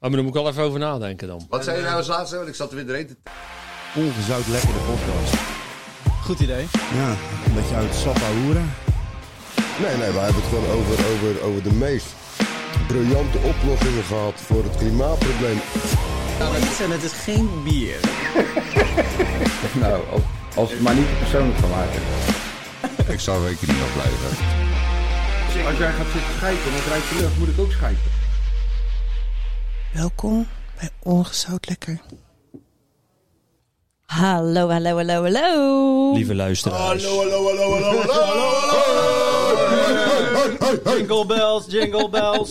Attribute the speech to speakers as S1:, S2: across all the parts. S1: Oh,
S2: maar daar moet ik wel even over nadenken dan.
S3: Wat zei je nou als laatste? Want ik zat er weer doorheen te...
S4: Ongezout lekkere podcast.
S5: Goed idee.
S4: Ja, een beetje uit Sappa hoeren.
S6: Nee, nee, wij hebben het gewoon over, over, over de meest briljante oplossingen gehad voor het klimaatprobleem.
S5: En het is geen bier.
S1: Nou, als, als het maar niet te persoonlijk van maken.
S6: Ik zou weken niet afblijven.
S1: Als jij gaat zitten schijten en het ruikt de lucht, moet ik ook schijten.
S7: Welkom bij Ongezout Lekker.
S8: Hallo, hallo, hallo, hallo.
S2: Lieve luisteraars.
S3: hallo, hallo, hallo, hallo, hallo.
S5: Jingle bells, jingle bells.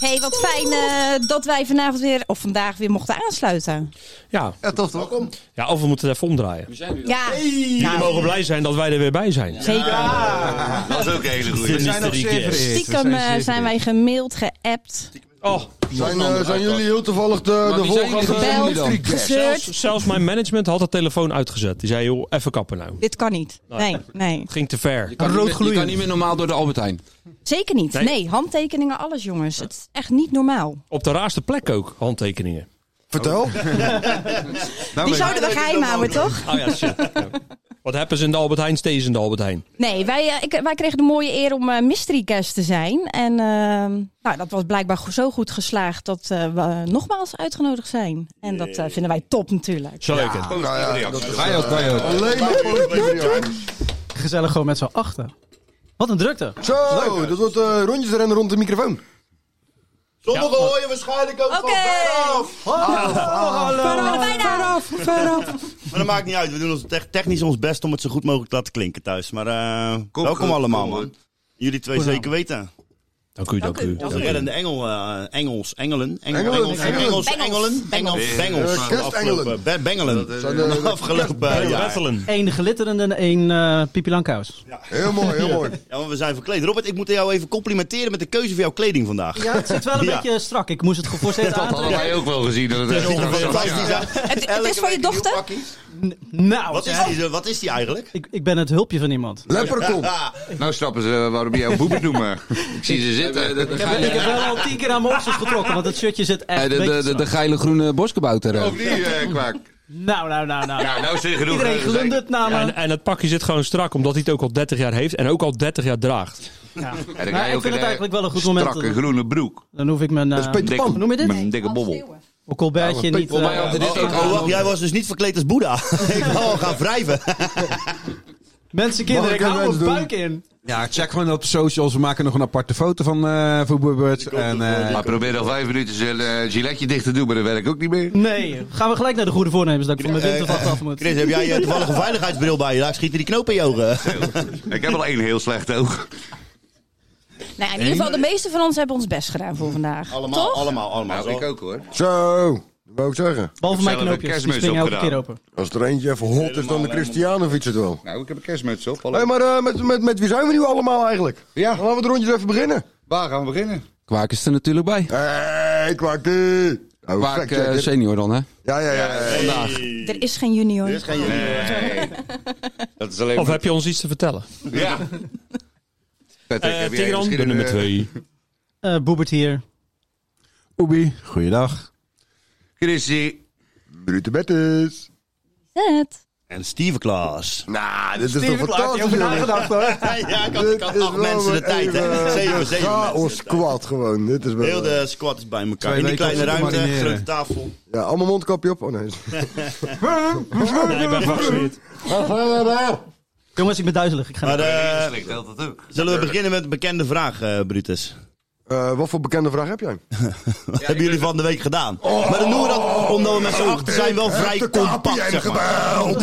S8: Hey, wat fijn eh, dat wij vanavond weer, of vandaag weer mochten aansluiten.
S2: Ja.
S3: Ja, tof toch? Welkom.
S2: ja, of we moeten het even omdraaien.
S8: Ja,
S3: Nou.
S2: Jullie mogen blij zijn dat wij er weer bij zijn.
S8: zeker.
S3: Dat is ook een hele goede.
S2: We zijn nog
S8: Stiekem eh, zijn wij gemaild, geappt,
S2: Oh,
S6: Zijn, eh, zijn jullie heel toevallig de, de
S8: gebeld?
S6: volgende
S8: Gebeld.
S2: zelfs,
S8: gezeurd.
S2: zelfs mijn management had de telefoon uitgezet. Die zei, joh, even kappen nou.
S8: Dit kan niet. Nee, nee.
S2: Het ging te ver.
S1: Kan
S4: Rood
S1: niet, meer- je kan
S4: gloeiend.
S1: niet meer normaal door de Albert Heijn.
S8: Zeker niet.
S2: Nee.
S8: Nee, handtekeningen, alles jongens. Het is echt niet normaal.
S2: Op de raarste plek ook, handtekeningen.
S4: Vertel.
S2: Nou,
S8: Die zouden we geheim houden, toch?
S2: Oh ja, shit. Ja. Wat hebben ze in de Albert Heijn, steeds in de Albert Heijn.
S8: Nee, wij, eh, ik, wij kregen de mooie eer om eh, mystery guest te zijn. En ehm, nou, dat was blijkbaar go- zo goed geslaagd dat eh, we eh, nogmaals uitgenodigd zijn. En dat eh, vinden wij top natuurlijk.
S2: Zo leuk.
S9: Oh,
S2: hè?
S6: Wij ook, wij ook. Alleen maar positieve
S5: Gezellig gewoon met z'n achten. Wat een drukte.
S6: Zo, dat wordt eh, rondjes rennen rond de microfoon.
S3: Sommigen hoor je waarschijnlijk ook van
S8: Oké.
S3: veraf.
S8: Hallo,
S10: Maar dat maakt niet uit. We doen ons te- technisch ons best om het zo goed mogelijk te laten klinken thuis. Maar eh, welkom
S6: goed,
S10: allemaal,
S6: kom,
S10: man. Jullie twee zeker weten.
S2: Dank u, dank u.
S8: Dank
S10: Onze reddende engel, eh, Engels, Engelen. Engel-
S6: Engelen,
S10: Engels,
S6: Engelen.
S10: Engels,
S8: Bengels.
S10: Engelen, Engels,
S3: Eh,
S10: Bengels.
S6: eh,
S10: De
S6: kerstengelen.
S10: afgelopen- Be- Bengelen.
S6: Zijn,
S10: Van
S6: eh,
S10: de afgelopen eh, jaar.
S2: Wettelen.
S5: Eén glitterende en één eh Pipi Langkous.
S6: Heel mooi, heel mooi.
S10: Ja, maar we zijn verkleed. Robert, ik moet jou even complimenteren met de keuze van jouw kleding vandaag.
S5: Ja, het zit wel een
S10: Ja.
S5: beetje strak. Ik moest het geforceerd
S3: hadden
S5: aantrekken.
S3: wij ook wel gezien. Dat het
S10: Ziet er fantastisch uit.
S8: Het, het is van je dochter?
S5: Nou,
S10: Wat is, die, wat is die eigenlijk?
S5: ik, ik ben het hulpje van iemand.
S6: Leprechaun.
S10: Ah,
S3: Nou snappen ze waarom je jouw boepen noemen. Ik zie ze zitten.
S5: Ik heb, ik heb wel al tien keer aan mijn oksels getrokken, want het shirtje zit echt
S1: Eh,
S5: een
S1: de,
S5: beetje
S1: de, de, de
S5: strak.
S1: geile groene boskabouter. eh.
S3: Ook niet, eh, kwaak.
S5: Nou, nou, nou, nou.
S3: Nou, nou is er genoeg.
S5: Iedereen nou,
S3: eh, gezegd.
S5: glundert naar
S2: Ja,
S5: me.
S2: en, en het pakje zit gewoon strak, omdat hij het ook al 30 jaar heeft en ook al 30 jaar draagt.
S3: Ja,
S5: Ja.
S3: dan
S5: Maar
S3: ga je
S5: Nou, ik
S3: ook
S5: vind
S3: een,
S5: het
S3: eh,
S5: eigenlijk wel een goed moment.
S3: Strakke
S5: Dan,
S3: groene broek.
S5: dan hoef ik mijn... eh,
S6: Peter
S3: Dikke-
S6: Pan.
S5: noem je dit?
S3: Een dikke bobbel. Nou,
S5: Mijn colbertje niet...
S1: Volgens mij
S5: eh,
S1: hadden dit ook
S10: Oh, wacht,
S1: al.
S10: jij was dus niet verkleed als Boeddha. ik wou al gaan wrijven.
S5: mensen, kinderen, ik
S6: Mag ik
S5: hou
S6: een
S5: mijn
S6: wens
S5: buik in.
S1: Ja, check gewoon op socials. We maken nog een aparte foto van eh Voetbalbirds. En eh,
S3: Maar probeer al vijf minuten zijn eh, giletje dicht te doen, maar dat werkt ook niet meer.
S5: Nee, gaan we gelijk naar de goede voornemens, dat ik van mijn wintervacht af moet.
S10: Chris, heb jij eh, toevallig een veiligheidsbril bij je? Daar schieten die knopen in je ogen.
S3: Ik heb al één heel slecht oog.
S8: Nou, in ieder geval, de meeste van ons hebben ons best gedaan voor vandaag.
S10: Allemaal,
S8: Toch?
S10: allemaal, allemaal.
S3: Nou, ik ook hoor.
S6: Zo, dat wou ik zeggen.
S5: Behalve
S3: Ik heb zelf
S5: mijn
S3: een
S5: knoopjes, die
S3: kerstmis
S5: springen elke
S3: opgedaan.
S5: keer open.
S6: Als er eentje even hot is, dan de
S10: Helemaal,
S6: Cristiano fiets het wel.
S3: Nou, ik heb een kerstmuts op.
S6: Hé, maar eh, met, met, met wie zijn we nu allemaal eigenlijk? Ja. Laten we het rondje even beginnen.
S3: Waar gaan we beginnen?
S1: Kwaak is er natuurlijk bij.
S6: Hé, hey, kwakkie. Oh,
S1: Kwaak eh,
S6: factchecker.
S1: senior dan, hè?
S6: Ja, ja, ja. ja.
S10: Vandaag.
S8: Er is geen junior.
S10: Er is geen
S3: Nee. Dat is alleen
S2: Of
S3: maar-
S2: heb je ons iets te vertellen?
S3: Ja. Patrick,
S2: Eh
S3: heb jij
S2: Tigran, de
S3: misschien
S2: nummer
S3: een,
S2: 2.
S5: Eh Boebert hier.
S1: Oebi, goeiedag.
S3: Chrissy.
S6: Brute Bettes.
S8: Zet.
S10: En Steven Klaas.
S6: Nou, dit is toch fantastisch, jongen.
S5: nagedacht hoor.
S10: Ja, ik had,
S6: Dit
S10: ik had
S6: is
S10: acht
S6: wel
S10: mensen de
S6: weer
S10: tijd, hè?
S6: even
S10: Zeven, zeven mensen
S6: Chaos
S10: de tijd.
S6: squad gewoon. Dit is wel...
S10: Heel de squad is bij elkaar.
S1: Twee
S10: In die
S1: weken
S10: kleine
S1: om ze te
S10: ruimte,
S1: marineren.
S10: grote tafel.
S6: eh, Ja, allemaal mondkapje op. Oh nee.
S2: Ja, ik ben gevaccineerd.
S5: Jongens, ik ben duizelig. Ik ga
S10: Maar
S5: naar-
S10: eh,
S3: Slikt altijd ook.
S10: zullen we beginnen met een bekende vraag, eh, Brutus?
S6: Eh, wat voor bekende vraag heb jij? Oh.
S10: Wat hebben jullie van de week gedaan? maar dan doen we dat omdat we met z'n achter zijn wel vrij compact, zeg maar.
S6: gebeld.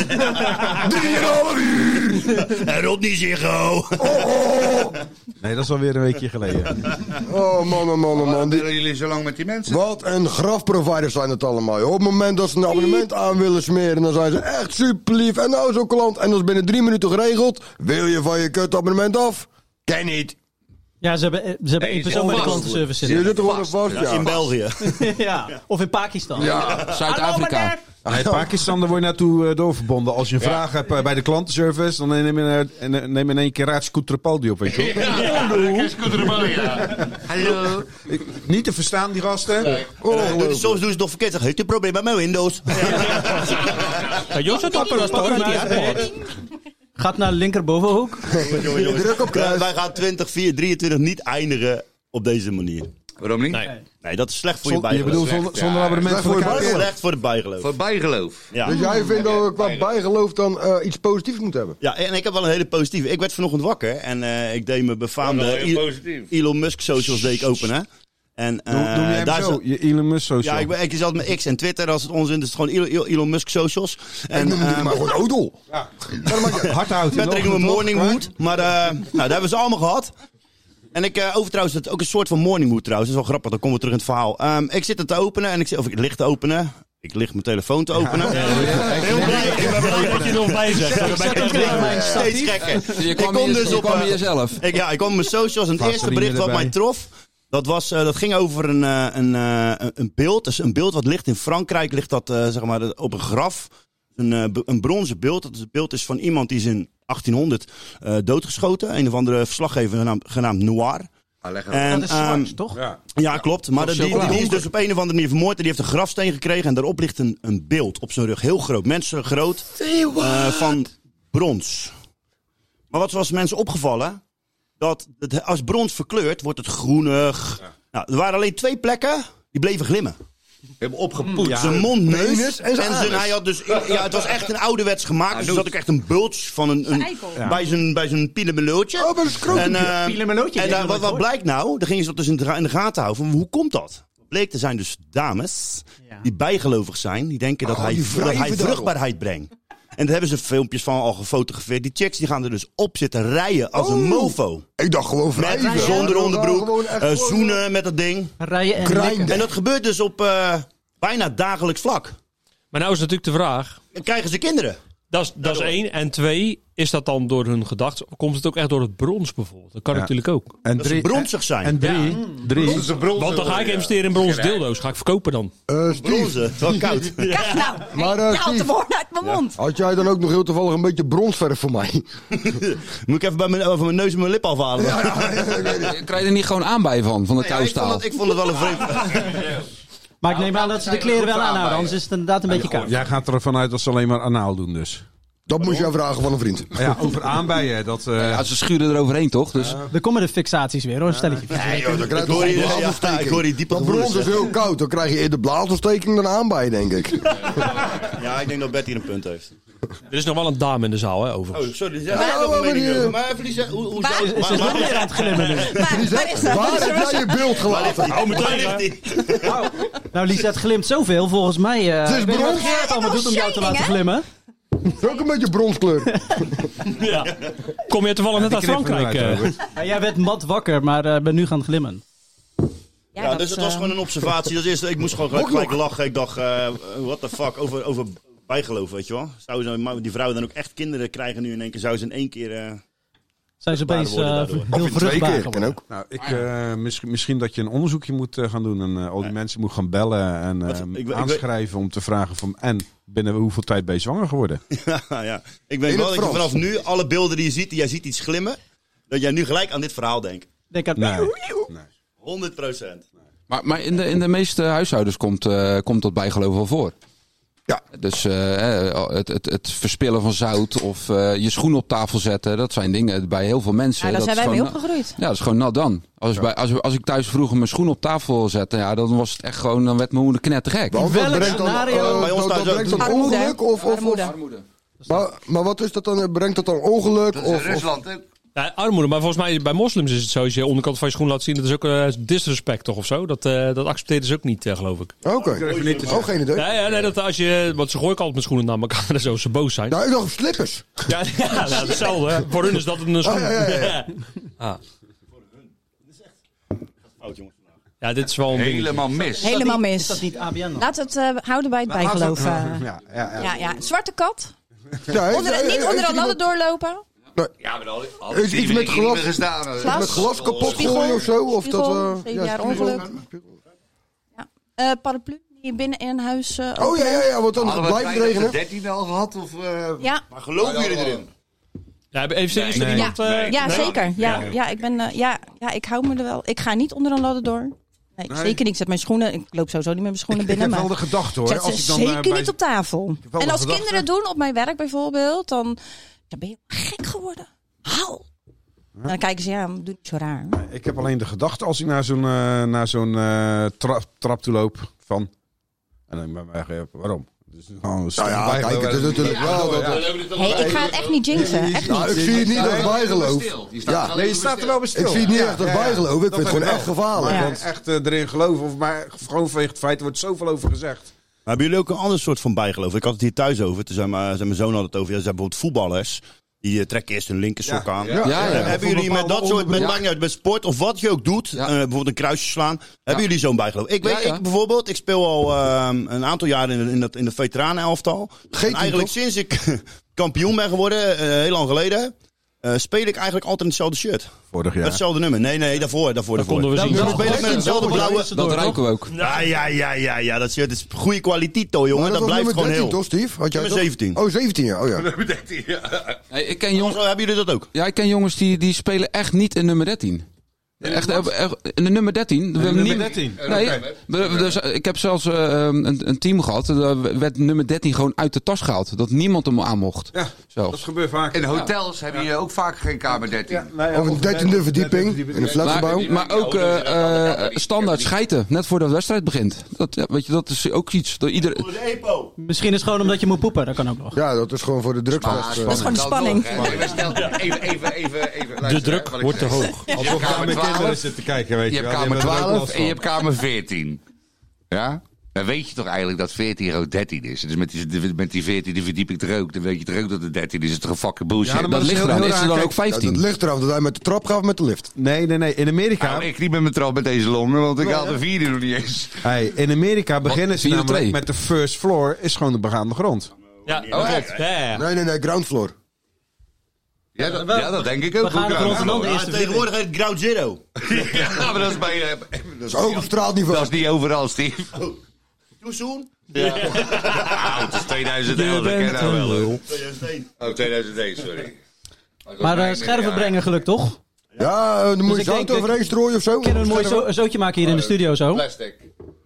S6: Drieënhalf uur.
S10: En Rodney Ziggo.
S1: Nee, dat is alweer een weekje geleden.
S6: Oh man, oh man, oh man.
S3: Waarom
S6: Die-
S3: willen jullie zo lang met die mensen?
S6: Wat een grafproviders zijn het allemaal. joh. Op het moment dat ze een abonnement aan willen smeren, dan zijn ze echt super lief. En nou zo'n klant, en dat is binnen drie minuten geregeld. Wil je van je kut abonnement af? Ken niet.
S5: Ja, ze hebben, eh, ze hebben in persoon bij de klantenservice
S6: Je
S5: zitten.
S6: zit er gewoon vast,
S10: In
S6: ja.
S10: België.
S5: ja. Of in Pakistan.
S1: Zuid-Afrika. Nee, Pakistan, daar word je naartoe eh, doorverbonden. Als je een vraag hebt eh, bij de klantenservice, dan neem je, eh, en, eh, neem je in één keer Raad Scootrapaldi op, weet je wel.
S3: Hallo.
S1: Niet te verstaan, die gasten. Oh.
S10: Doe- doe- Soms doen ze het nog verkeerd. Zeg, heeft u een probleem met mijn Windows?
S2: Ja, Jos had dat pas toch?
S5: Gaat naar de linkerbovenhoek.
S10: Jongen, jongen, jongen.
S6: Druk op kruis.
S10: Wij gaan 20, 4, 23 niet eindigen op deze manier.
S3: Waarom niet?
S2: Nee.
S10: Nee, dat is slecht voor je
S1: Zon- je
S10: bijgeloof.
S1: bedoelt zonder, zonder abonnement
S6: Ja,
S1: voor de
S6: voor
S10: Dat is
S6: je
S1: KPN.
S10: slecht voor het bijgeloof.
S3: Voor bijgeloof.
S10: Ja.
S6: Dus jij vindt dat we qua bijgeloof dan eh, iets positiefs moeten hebben?
S10: ja, en ik heb wel een hele positieve. Ik werd vanochtend wakker en eh, ik deed mijn befaamde
S3: heel
S10: I-
S3: positief.
S10: Elon Musk socials deed ik open, hè. En, eh,
S1: Doe, doe jij hem
S10: daar
S1: zo,
S10: zat-
S1: je Elon Musk social.
S10: Ja, ik, ben, ik zat met X en Twitter. Als het ons in is het gewoon Elon- Elon Musk socials. En,
S6: En noem
S10: ehm,
S6: natuurlijk maar gewoon Odel.
S1: Hard houden.
S10: Patrick noemen we Morning Wood. Maar eh, nou, dat hebben ze allemaal gehad. En ik eh over trouwens, dat is ook een soort van Morning Wood trouwens. Dat is wel grappig, dan komen we terug in het verhaal. Ehm, ik zit het te openen en ik zit, of ik licht te openen. Ik licht mijn telefoon te openen. Heel blij. Ik ben blij dat je er nog bij zegt. Ik ben echt blij. Steeds gekker.
S11: Je
S10: Ik
S11: kwam,
S10: kom
S11: hier,
S10: dus
S11: je
S10: op,
S11: kwam
S10: eh,
S11: hier zelf.
S10: Ik, ja, ik kwam op mijn socials en het eerste
S1: Vaseline
S10: bericht wat
S1: erbij.
S10: mij trof. Dat, was, eh, dat ging over een, eh, een, eh, een beeld. Dus een beeld wat ligt in Frankrijk, ligt dat eh, zeg maar, op een graf. Een, eh, be- een bronzen beeld. Dat is het beeld is van iemand die is in 1800 eh, doodgeschoten. Een of andere verslaggever genaamd, genaamd Noir.
S3: Ah, leg hem.
S10: En,
S5: Dat is
S10: ehm,
S5: zwart, toch?
S10: ja, klopt. Maar dat- die, die, die is dus op een of andere manier vermoord. En die heeft een grafsteen gekregen. En daarop ligt een, een beeld op zijn rug. Heel groot. Mensen groot. eh, van brons. Maar wat was mensen opgevallen? Dat het, als brons verkleurt, wordt het groenig. Nou, er waren alleen twee plekken die bleven glimmen.
S3: Hebben opgepoetst.
S10: Zijn mond, neus
S6: Penis en zijn anus.
S10: hij had dus, ja, Het was echt een ouderwets gemaakt. Dus er zat ook echt een bultje van een, een-
S8: eikel.
S10: bij zijn, bij zijn pielenmelootje.
S6: Oh, maar dat is groot.
S10: En, eh,
S5: Pielenmelootje,
S10: En
S5: ik heb
S10: daar-
S5: nog
S10: wat, wat
S5: nooit
S10: blijkt nou? Daar gingen ze dat dus in de, in de gaten houden. Van, hoe komt dat? Bleek, er zijn dus dames
S5: Ja.
S10: die bijgelovig zijn. Die denken dat,
S6: Oh,
S10: hij,
S6: die
S10: dat hij
S6: wrijven daarop.
S10: vruchtbaarheid brengt. En daar hebben ze filmpjes van al gefotografeerd. Die chicks die gaan er dus op zitten rijden als een
S6: Oh.
S10: mofo.
S6: Ik dacht gewoon
S10: Met
S6: vrij.
S10: zonder onderbroek.
S6: Gewoon echt
S10: eh,
S6: gewoon-
S10: zoenen met dat ding.
S5: Rijden en
S6: Grind.
S5: likken.
S10: En dat gebeurt dus op eh, bijna dagelijks vlak.
S2: Maar nou is natuurlijk de vraag.
S10: En krijgen ze kinderen.
S2: Dat is, dat is één. En twee, is dat dan door hun gedachten? Komt het ook echt door het brons bijvoorbeeld? Dat kan
S1: Ja.
S2: natuurlijk ook.
S1: En
S10: Dat ze
S1: drie,
S10: bronzig zijn.
S1: en drie, drie,
S3: Onze bron.
S2: Want dan ga ik investeren in brons dildo's. Ga ik verkopen dan.
S6: Eh, Steve,
S10: Bronzen. Het is wel koud.
S8: Kijk nou, hey,
S6: Maar, eh,
S8: je haalt de
S6: Steve.
S8: woorden uit mijn mond.
S6: had jij dan ook nog heel toevallig een beetje bronsverf voor mij?
S10: Moet ik even bij mijn, eh, van mijn neus en mijn lip afhalen.
S11: Krijg je er niet gewoon aan bij van, van de
S10: Ja, ik, vond
S11: koustaal?
S10: dat, ik vond het wel een vreemd.
S5: Maar ik neem aan dat ze de kleren wel aanhouden, anders is het inderdaad een beetje koud.
S1: Jij gaat ervan uit dat ze alleen maar anaal doen dus.
S6: Dat moest jij vragen van een vriend.
S1: Maar Ja, over aanbijen. Dat, eh,
S11: Ja, ze schuren eroverheen toch? Dus
S5: Er komen de fixaties weer hoor, stelletje.
S6: Nee, joh, dan krijg
S10: Ik hoor
S6: je
S10: hier-
S6: een
S10: ja,
S6: blaasontsteking.
S10: ik hoor hier diepe
S6: Dat
S10: gevoelens,
S6: brons is heel koud. Dan krijg je eerder blaasontsteking dan aanbijen, denk ik.
S10: Ja, ik denk dat Bert hier een punt heeft.
S2: Er is nog wel een dame in de zaal, hè, over.
S10: Oh, sorry. Zij hebben
S6: Ja,
S10: nog een
S6: maar
S10: mening
S6: die,
S10: over. Maar even die zeggen, hoe, hoe
S8: Waar-
S10: zou-
S8: Ze-
S10: waar-
S5: Ze is nog
S10: waar-
S5: meer aan het glimmen nu.
S8: Maar, waar is dat?
S6: Waar
S8: Zullen we
S6: heb jij je beeld gelaten?
S10: waar ligt die? Waar
S6: eh,
S10: ligt die?
S5: Nou, Lisa, het glimt zoveel. Volgens mij. eh
S6: is
S5: ik weet niet wat
S6: brons.
S5: Gerard allemaal doet om jou te
S8: Shining,
S5: laten
S8: hè?
S5: glimmen.
S6: Het is ook een beetje bronskleur.
S2: Ja. Kom je toevallig net
S1: die
S2: uit
S1: knippen
S2: Frankrijk?
S1: eruit,
S2: eh?
S1: Robert.
S5: Ja, jij werd mat wakker, maar eh ben nu gaan glimmen.
S10: Ja, dus het was gewoon
S5: eh,
S10: een observatie. Dat is, ik moest gewoon gelijk, gelijk lachen. Ik dacht, eh what the fuck, over, over bijgeloof, weet je wel. Zou ze, maar die vrouwen dan ook echt kinderen krijgen nu in één keer? Zou ze in één keer... eh,
S5: Zijn ze
S10: Vruchtbaar
S5: opeens eh,
S10: worden daardoor.
S5: heel vruchtbaar
S6: Kan
S5: geworden.
S6: ook.
S1: nou, ik, eh, misschien, misschien dat je een onderzoekje moet eh, gaan doen en eh, al die mensen moet gaan bellen en eh,
S10: Wat- ik- ik- ik-
S1: aanschrijven om te vragen van en binnen hoeveel tijd ben je zwanger geworden?
S10: ja, ja. Ik weet
S6: In
S10: wel
S6: het
S10: dat je
S6: Frans.
S10: vanaf nu alle beelden die je ziet, die jij ziet iets glimmen, dat jij nu gelijk aan dit verhaal denkt.
S5: Denk aan
S1: Nee.
S10: 100 procent.
S11: Maar, maar in, de, in de meeste huishoudens komt, eh, komt dat bijgeloof wel voor.
S6: Ja.
S11: Dus eh, eh, het, het, het verspillen van zout of eh, je schoen op tafel zetten, dat zijn dingen bij heel veel mensen.
S8: Ja, daar zijn
S11: is
S8: wij mee
S11: gewoon-
S8: opgegroeid.
S11: Ja, dat is gewoon nat dan. Als, bij, als, als ik thuis vroeger mijn schoen op tafel zette, ja, dan was het echt gewoon, dan werd mijn moeder knettergek.
S6: Want
S5: welk
S6: dat brengt dan,
S5: scenario?
S9: Oh,
S6: eh,
S10: Bij ons
S6: dat- dat
S10: thuis ook.
S6: brengt dan
S8: Armoede.
S6: ongeluk? Of, of, of,
S8: Armoede.
S6: maar, maar wat is dat dan? eh, Brengt dat dan ongeluk?
S3: Dat is in
S6: of, of,
S3: Rusland ook.
S2: Ja, armoede, maar volgens mij bij moslims is het zo. Als je de onderkant van je schoen laat zien, dat is ook eh, disrespect toch of zo? Dat, eh, dat accepteren ze ook niet, eh, geloof ik.
S6: Oké. Oh, geen idee.
S2: Nee, ja, nee, dat als je, want ze gooien ook altijd met schoenen naar elkaar en zo, als ze boos zijn. Ja,
S6: Nou, ik dacht slippers. Oh,
S2: ja, nou, hetzelfde. hè. Voor hun is dat een schoen.
S6: ja, ja, ja.
S10: Oud jongens.
S2: Ja, dit is wel een ding.
S11: Helemaal mis.
S8: Helemaal
S5: Is dat
S8: mis.
S5: niet ABN dan?
S8: Laat het eh, houden bij het bijgeloof. eh.
S1: Ja, ja, ja.
S8: Ja, ja. Zwarte kat.
S6: Nee,
S8: Onder,
S6: nee,
S8: niet onder
S6: eh, is
S8: een
S6: er
S8: ladder
S6: iemand
S8: doorlopen.
S3: Ja, maar al, al
S6: Is iets met glas?
S3: gestaan.
S8: Glas?
S6: Met glas kapot
S8: Spiegel.
S6: gooien of zo? Of dat,
S8: Spiegel,
S6: eh,
S8: zeven jaar
S6: spiegel.
S8: ongeluk. Eh, paraplu. in binnen in huis eh,
S6: Oh ja,
S8: openen.
S6: ja, ja, want dan
S3: Hadden we
S6: blijft het regenen.
S3: 13 al gehad? Of, eh,
S8: Ja.
S3: Maar geloven jullie erin?
S2: Ja, even serieus.
S1: Nee.
S2: iemand, eh,
S3: Nee.
S8: Ja,
S3: Nee?
S8: zeker. Ja, ja, ik ben, eh, ja, ja, ik hou me er wel. Ik ga niet onder een ladder door. Nee, zeker niet. Ik zet mijn schoenen. Ik loop sowieso niet met mijn schoenen
S1: Ik
S8: binnen.
S1: heb
S8: maar
S1: wel de gedachte hoor.
S8: zet ze
S1: Als ik dan eh,
S8: zeker
S1: bij-
S8: niet op tafel.
S1: wel
S8: En
S1: de
S8: als
S1: gedachte.
S8: kinderen doen op mijn werk bijvoorbeeld, dan, dan ben je gek geworden. Hou! En dan kijken ze, ja, doe niet zo raar.
S1: Ik heb alleen de gedachte als ik naar zo'n eh, naar zo'n eh, tra- trap toe loop van. En dan ben ik eigenlijk, waarom? Dus gewoon
S6: Nou ja, kijk, het is natuurlijk wel dat...
S8: hey, ik ga het echt niet jinxen. Echt
S6: Nou,
S8: niet.
S6: ik zie het niet als bijgeloof. Ja.
S1: Nee, je staat er wel bij stil.
S6: Ik zie het niet echt als
S1: ja, ja.
S6: bijgeloof. Ik vind het
S1: Dat heb
S6: gewoon
S1: ik
S6: echt
S1: wel.
S6: gevaarlijk.
S8: Ja.
S6: Want
S1: Echt eh, erin geloven, of maar gewoon vanwege het feit, er wordt zoveel over gezegd.
S10: Maar hebben jullie ook een ander soort van bijgeloof? Ik had het hier thuis over. Toen zei mijn, zei mijn zoon had het over. Ja, ze hebben bijvoorbeeld voetballers. Die eh, trekken eerst hun linker sok
S1: Ja,
S10: aan.
S1: ja.
S11: Ja, ja.
S10: Eh, Hebben jullie met dat soort, met, maakt niet uit, met sport of wat je ook doet,
S11: Ja.
S10: eh, bijvoorbeeld een kruisje slaan, hebben jullie zo'n bijgeloof? Ik weet,
S11: Ja, ja.
S10: ik bijvoorbeeld, ik speel al ehm, een aantal jaar in, in, dat, in de veteranenelftal. En eigenlijk sinds ik kampioen ben geworden, eh, heel lang geleden, eh, speel ik eigenlijk altijd in hetzelfde shirt.
S1: Vorig
S10: Met hetzelfde nummer. Nee, nee, daarvoor, daarvoor,
S2: Dat
S10: daarvoor.
S2: konden we zien.
S10: Dan
S2: Dat
S10: speel ik met hetzelfde blauwe...
S11: Dat ruiken we ook.
S10: Ja, ja, ja, ja, ja, dat shirt is goede kwaliteit, hoor, jongen.
S6: Maar
S10: Dat,
S6: was
S10: blijft
S6: nummer
S10: gewoon
S6: 13
S10: heel.
S6: toch, Steve? Had jij
S10: Nummer
S6: toch?
S10: 17.
S6: Oh, 17 ja. Oh ja.
S11: Nee, ik ken jongens,
S10: Zo, hebben jullie dat ook?
S11: ja, ik ken jongens die, die spelen echt niet in nummer 13. Echt, echt- in de nummer 13. We hebben
S1: nummer
S11: niet-
S1: 13?
S11: Nee, we- we- dus, eh, ik heb zelfs eh, een, een team gehad. Daar werd nummer 13 gewoon uit de tas gehaald. Dat niemand hem aan mocht.
S1: Ja, dat
S11: Zelfs.
S1: gebeurt vaak.
S3: In hotels hebben je ook vaak geen kamer 13.
S6: Of een 13e verdieping in een flatgebouw.
S11: Maar, maar ook eh, eh, standaard schijten, net voordat de wedstrijd begint. Dat, ja, weet je, dat is ook iets. Dat ieder,
S5: Misschien is het gewoon omdat je moet poepen. Dat kan ook nog.
S6: Ja, dat is gewoon voor de drugstest. eh.
S8: is gewoon de spanning.
S3: Even, even, even, even.
S2: De
S10: Dus-
S3: luisteren,
S2: druk
S3: hè, wat ik
S2: wordt te
S3: zeg.
S2: hoog.
S1: Alsof
S3: kamer
S1: ik aan mijn
S3: 12.
S1: kinderen zit te kijken, weet
S3: Je
S1: je
S3: hebt
S1: wel.
S3: kamer
S1: Die hebben er ook
S3: 12
S1: last
S3: en je
S1: van.
S3: hebt kamer 14. Ja? Dan weet je toch eigenlijk dat 14 ook 13 is. Dus met die, met die 14e verdieping er ook, dan weet je er ook dat het 13 is. Het is toch een fucking bullshit.
S1: Ja, maar
S11: dat
S1: dat is
S11: ligt
S1: heel
S11: eraan.
S1: raar.
S11: Is er dan
S1: Kijk,
S11: ook
S6: Ja, dat
S11: 15?
S6: ligt eraf dat hij met de trap gaat of met de lift.
S1: Nee, nee, nee. In Amerika,
S3: Nou, ik niet met mijn trap met deze Londen, want ik haal de vierde nog niet eens.
S1: hey, in Amerika beginnen ze
S11: vier of
S1: namelijk
S11: twee?
S1: met de first floor, is gewoon de begaande grond.
S2: Ja,
S3: Oh,
S2: dat klopt. Ja, ja, ja.
S6: Nee, nee, nee, ground floor.
S3: Ja, dat, ja, dat denk ik ook.
S5: We gaan
S3: Hoe
S5: er
S3: kan
S5: rond en
S3: dat?
S5: dan de
S10: Ja,
S5: eerste
S10: tegenwoordig heet het Ground Zero.
S3: Ja, maar dat is bij... eh,
S6: Dat is ook op
S3: Dat
S6: straatniveau.
S3: is niet overal, Steve.
S1: Oh.
S10: Too soon?
S3: Ah, het is 2011, dat ken nou wel. hoor. Oh, 2001, sorry.
S5: Maar eh, scherven brengen geluk toch? Dus
S6: Ja, eh, dan moet je
S5: ik
S6: zout
S5: denk-
S6: overheen strooien of zo.
S5: Kunnen we een mooi zo- zootje maken hier in de studio zo?
S3: Plastic.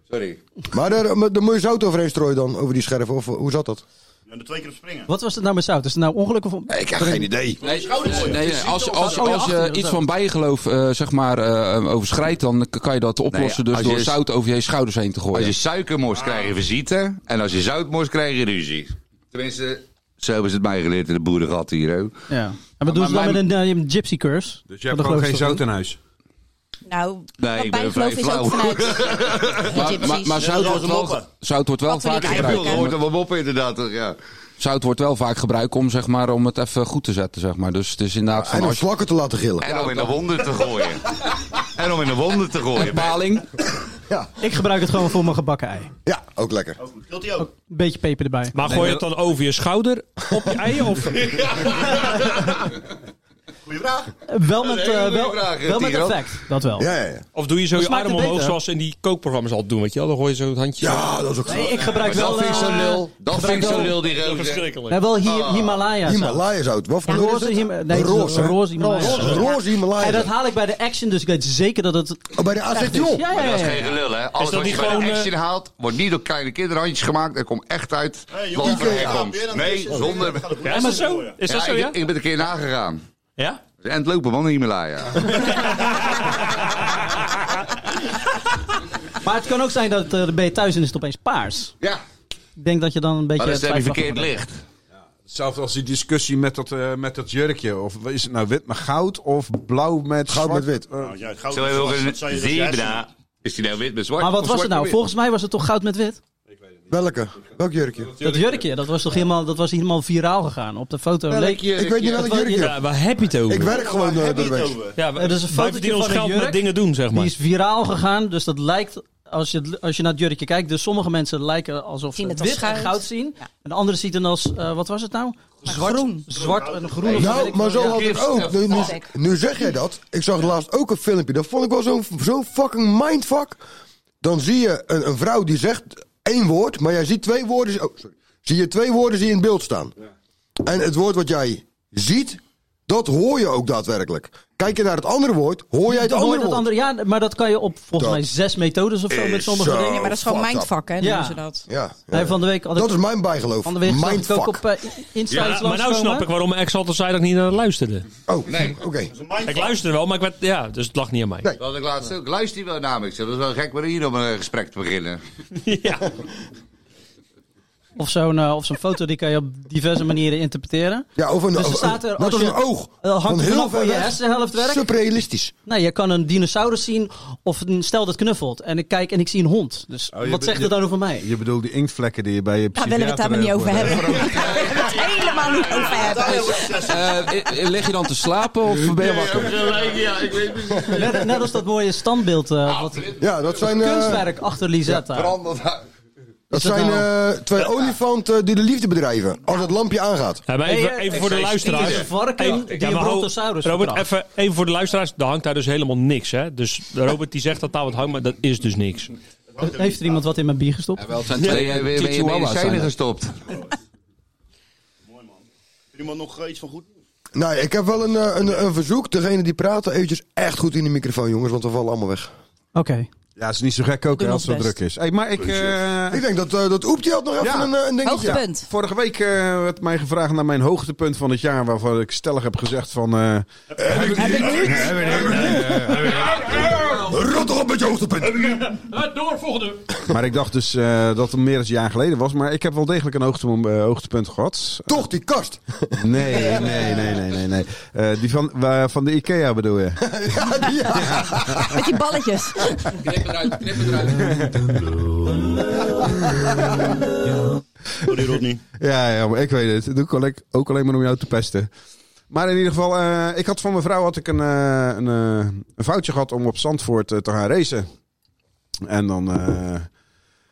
S3: Sorry.
S6: Maar daar, maar daar moet je zout overheen strooien dan, over die scherven. Of eh, hoe zat dat?
S10: Ja, de twee keer op springen.
S5: Wat was het nou met zout? Is het nou ongeluk of...
S6: Ik heb geen idee.
S11: Nee, nee,
S10: Dus
S11: nee, als, als,
S5: Oh, ja,
S11: als je
S5: achter,
S11: iets
S5: zo.
S11: van bijgeloof eh, zeg maar, eh, overschrijdt, dan k- kan je dat oplossen
S3: Nee, Nou als
S11: dus
S3: je
S11: door
S3: is-
S11: zout over je schouders heen te
S3: Als
S11: gooien.
S3: je suikermors krijg je visite. En als je zoutmors krijg je ruzie. Tenminste, zo hebben ze het mij geleerd in de boerengat hier. Hè.
S5: Ja. En wat doen ze dan met
S11: mijn-
S5: een eh, gypsy curse?
S1: Dus je hebt
S5: Dat
S1: gewoon
S5: geloof
S1: geen
S5: ik toch
S1: zout in huis.
S8: Nou,
S3: Nee,
S8: wat
S3: ik ben
S8: bijgeloof
S3: vrij
S8: is ook
S3: flauw.
S8: vanuit
S11: maar,
S8: de
S11: maar, maar zout,
S8: gypsies.
S10: Ja,
S11: wordt
S10: dat is een
S11: wel,
S10: moppen.
S11: zout wordt wel
S8: Wat wil je
S11: vaak
S8: kijken?
S11: gebruikt.
S3: Dat hoort er wel op inderdaad. toch, Ja.
S11: Zout wordt wel vaak gebruikt om, zeg maar, om het even goed te zetten. Zeg maar. Dus het is inderdaad van
S6: En om
S11: als je
S6: slakken te laten gillen.
S3: En om in de wonden te gooien. En om in de wonden te gooien.
S11: paling.
S5: Ik gebruik het gewoon voor mijn gebakken ei.
S6: Ja, ook lekker.
S10: Wilt hij ook?
S5: Beetje peper erbij.
S2: Maar gooi je het dan over je schouder op je ei? Of?
S10: Goeie vraag.
S5: Eh, Wel met,
S3: Dat is een
S5: eh,
S3: hele
S5: wel,
S3: goede vraag, eh,
S5: wel met
S3: Tigran.
S5: effect, dat wel.
S6: Ja, ja, ja.
S2: Of doe je zo je
S5: smaakt
S2: arm
S5: het
S2: omhoog
S5: beter.
S2: zoals in die kookprogramma's al doen, weet je wel? Dan gooi je zo het handje zo.
S6: Ja, dat is ook zo.
S5: Nee, ik gebruik
S3: Dat
S5: wel,
S3: vind ik
S5: eh,
S3: zo'n lul. Dat vind ik zo'n lul die
S2: Heel
S3: roze.
S2: verschrikkelijk.
S5: eh, wel hier,
S1: Ah.
S5: Himalaya zout.
S6: Himalaya zout. Wat voor kleur is
S5: Roze,
S6: het?
S5: Hima- nee,
S6: roze. hè?
S5: roze Himalaya
S6: Roze,
S5: zout.
S6: roze Himalaya
S5: En dat
S6: zout.
S5: haal ik bij de action, dus ik weet zeker dat het...
S6: Oh, bij de
S5: Ja,
S6: Azetiol.
S5: ja,
S3: Maar
S5: ja.
S3: dat is
S5: ja.
S3: geen gelul, hè? Alles
S2: dat
S3: wat je
S2: niet
S3: bij
S2: gewoon,
S3: de
S2: eh,
S3: action haalt, wordt niet door kleine kinderhandjes gemaakt. Er komt echt uit
S10: Hey, jongen,
S3: land van
S10: ja,
S3: herkomst.
S10: weer aan de
S3: Nee,
S10: eerste
S3: zonder...
S10: zin.
S2: Ja, is dat zo? Is dat
S3: Ja,
S2: zo, ja?
S3: ik, ik ben een keer nagegaan.
S2: Ja?
S3: En het lopen, man, in Himalaya.
S5: Maar het kan ook zijn dat eh, dan ben je thuis en is het opeens paars.
S3: Ja,
S5: Ik denk dat je dan een beetje...
S3: maar dan stem je
S5: twijfelachtig
S3: verkeerd
S5: wordt.
S3: licht.
S1: Hetzelfde als die discussie met dat, eh, met dat jurkje. Of is het nou wit met goud of blauw met
S6: Goud
S1: zwart?
S6: met wit.
S1: Eh,
S10: Nou, ja, het goud
S3: Zo hebben we
S10: was-
S3: ook
S10: dat zei
S3: een
S10: je- dat jij-
S3: zebra. Is die nou wit met zwart?
S5: Maar wat
S3: Of
S5: was
S3: zwart
S5: het
S3: met
S5: nou?
S3: wit?
S5: Volgens mij was het toch goud met wit?
S6: Welke? Welk jurkje?
S5: Dat jurkje, dat was toch helemaal, dat was helemaal viraal gegaan. Op de foto leek...
S6: Ik weet niet welk jurkje.
S2: Ja, waar heb je het over?
S6: Ik werk gewoon eh, door de
S10: Niet
S6: week.
S10: over.
S2: Ja, we-
S5: Er is een
S2: wij
S5: fotootje
S2: verdienen ons
S5: van een
S2: geld met
S5: jurk.
S2: dingen doen, zeg
S5: Die
S2: maar.
S5: is viraal gegaan, dus dat lijkt, als je, het- als je naar het jurkje kijkt, dus sommige mensen lijken alsof ze
S8: Zien het
S5: wit
S8: als
S5: en
S8: goud.
S5: goud zien.
S8: Ja.
S5: En anderen zien het als, eh, wat was het nou? Zwart, groen. Zwart en groen. of weet
S6: Nou,
S5: ik
S6: maar
S5: veel.
S6: zo had ik ook. Nu, nu, nu zeg jij dat. Ik zag laatst ook een filmpje. Dat vond ik wel zo'n zo fucking mindfuck. Dan zie je een, een vrouw die zegt... één woord, maar jij ziet twee woorden. Oh, sorry. Zie je twee woorden die in het beeld staan. En het woord wat jij ziet, dat hoor je ook daadwerkelijk. Kijk je naar het andere woord, hoor jij het
S5: Dan hoor je
S6: andere
S5: dat
S6: woord.
S5: andere, ja, maar dat kan je op volgens
S6: Dat
S5: mij zes methodes of zo met
S6: is
S5: sommige
S6: zo
S5: dingen.
S8: maar dat is gewoon
S6: fucked up.
S8: mindvak, hè?
S5: Ja.
S8: Noemen ze dat.
S6: Ja, ja.
S5: Nee, van de week had ik,
S6: dat is mijn bijgeloof.
S5: van de week zag ik
S6: Mindfuck.
S5: ook op eh, Insta iets
S2: Ja, maar nou
S5: langskomen.
S2: snap ik waarom mijn ex altijd zei dat ik niet naar haar luisterde.
S6: Oh, nee. oké.
S2: Ik luisterde wel, maar ik werd, ja, dus het lag niet aan mij.
S6: Nee.
S3: Dat ik laatst ook. Luister je wel namelijk. Dat is wel gek maar hier om een eh, gesprek te beginnen.
S2: Ja.
S5: Of zo'n eh, of zo'n foto, die kan je op diverse manieren interpreteren.
S6: Ja, of een,
S5: Dus er
S6: of-
S5: staat er,
S6: net
S5: als
S6: als
S5: je-
S6: een oog.
S5: Eh, hangt
S6: van
S5: er
S6: heel
S5: vanaf
S6: ver
S5: hoe je
S6: weg.
S5: hersenhelft werkt.
S6: Superrealistisch.
S5: Nee, je kan een dinosaurus zien of een stel dat knuffelt. En ik kijk en ik zie een hond. Dus
S1: je
S5: wat
S1: bent-
S5: zegt
S1: je-
S5: het dan over mij?
S1: Je bedoelt die inktvlekken die je bij je eh,
S8: Daar willen we het daar maar niet over hebben. Daar willen we het helemaal niet over hebben.
S11: Eh, lig je dan te slapen
S6: Oh,
S11: of ben je wakker?
S3: Ja, ik weet precies.
S5: Net, net als dat mooie standbeeld, eh, wat,
S6: Ja, dat zijn, eh,
S5: kunstwerk achter Lisetta.
S6: dat
S5: Is dat
S6: zijn
S5: nou-
S6: eh, twee olifanten die de liefde bedrijven. Als het lampje aangaat.
S2: Ja, maar even,
S5: Nee, eh,
S2: even voor de
S5: er is
S2: luisteraars.
S5: een varken
S2: Even-
S5: die
S2: ja,
S5: een
S2: maar ho-
S5: brontosaurus
S2: Robert,
S5: verkracht.
S2: even, even voor de luisteraars. Daar hangt daar dus helemaal niks. Hè? Dus Robert die zegt dat daar wat hangt, maar dat is dus niks.
S5: Heeft er iemand wat in mijn bier gestopt?
S11: Wel, het zijn
S3: Ben
S11: twee
S3: je
S11: eh,
S3: weer met je
S11: chihuahuas zijn
S3: medicijnen
S11: dat.
S3: gestopt?
S10: Iemand nog eh, iets van goed?
S6: Nou, ik heb wel een, eh, een, een verzoek. Degene die praten, eventjes echt goed in de microfoon, jongens. Want we vallen allemaal weg.
S5: Oké.
S1: Ja, het is niet zo gek ook hè,
S8: Doe
S1: als het
S8: ons
S1: zo
S8: best.
S1: druk is. Hey, maar ik, eh,
S6: Ik denk dat, eh dat Oep die had nog even
S1: Ja.
S6: een, eh, een dingetje.
S8: Hoogtepunt.
S1: vorige week eh, werd mij gevraagd naar mijn hoogtepunt van het jaar. Waarvan ik stellig heb gezegd van... eh,
S6: Rot toch op met je hoogtepunt.
S1: maar ik dacht dus eh, dat het meer dan een jaar geleden was. Maar ik heb wel degelijk een hoogte, eh, hoogtepunt gehad.
S6: Toch die kast.
S1: Nee, nee, nee, nee, nee. nee. Eh, die van, waar- van de Ikea bedoel je?
S6: ja, die- ja.
S8: Met die balletjes.
S11: Knip eruit, knip eruit.
S10: Sorry, Rodney.
S1: Ja, ja, maar ik weet het. Dat doe ik alleen- ook alleen maar om jou te pesten. Maar in ieder geval, eh, ik had van mijn vrouw had ik een, eh, een, eh, een foutje gehad om op Zandvoort eh, te gaan racen. En dan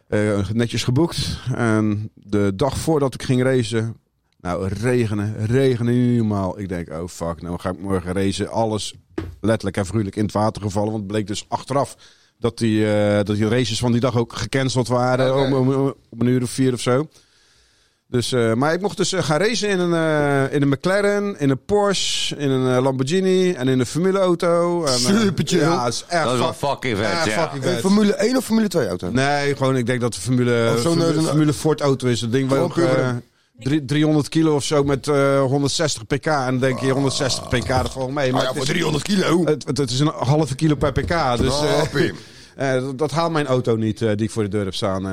S1: eh, eh, netjes geboekt. En de dag voordat ik ging racen, nou regenen, regenen niet normaal. Ik denk, oh fuck, nou ga ik morgen racen. Alles letterlijk en vrolijk in het water gevallen. Want het bleek dus achteraf dat die, eh, dat die races van die dag ook gecanceld waren.
S3: Oké.
S1: Om, om, om- om een uur of vier of zo. Dus, eh, maar ik mocht dus eh, gaan racen in een, eh, in een McLaren, in een Porsche, in een eh, Lamborghini en in een formuleauto. En, eh,
S6: Super chill.
S1: Ja, het is echt
S3: Dat is wel
S1: fuck-
S3: fucking vet,
S1: echt
S3: ja.
S1: Ah, fucking
S6: Eh,
S1: vet.
S6: Formule 1 of Formule 2 auto?
S1: Nee, gewoon ik denk dat de Formule,
S6: Of zo'n,
S1: Formule,
S6: eh, zo'n-
S1: Formule Ford auto is. Dat ding waar
S6: Gewoon
S1: ook
S6: puur voor
S1: eh, drie- 300 kilo of zo met eh, 160 pk. En dan denk je 160 pk, dat valt mee.
S6: Ah
S1: Maar
S6: ja,
S1: het,
S6: voor
S1: is,
S6: 300 kilo.
S1: het, het- het is een halve kilo per pk. Dus, eh,
S6: Happy.
S1: eh, dat, dat haalt mijn auto niet, eh, die ik voor de deur heb staan.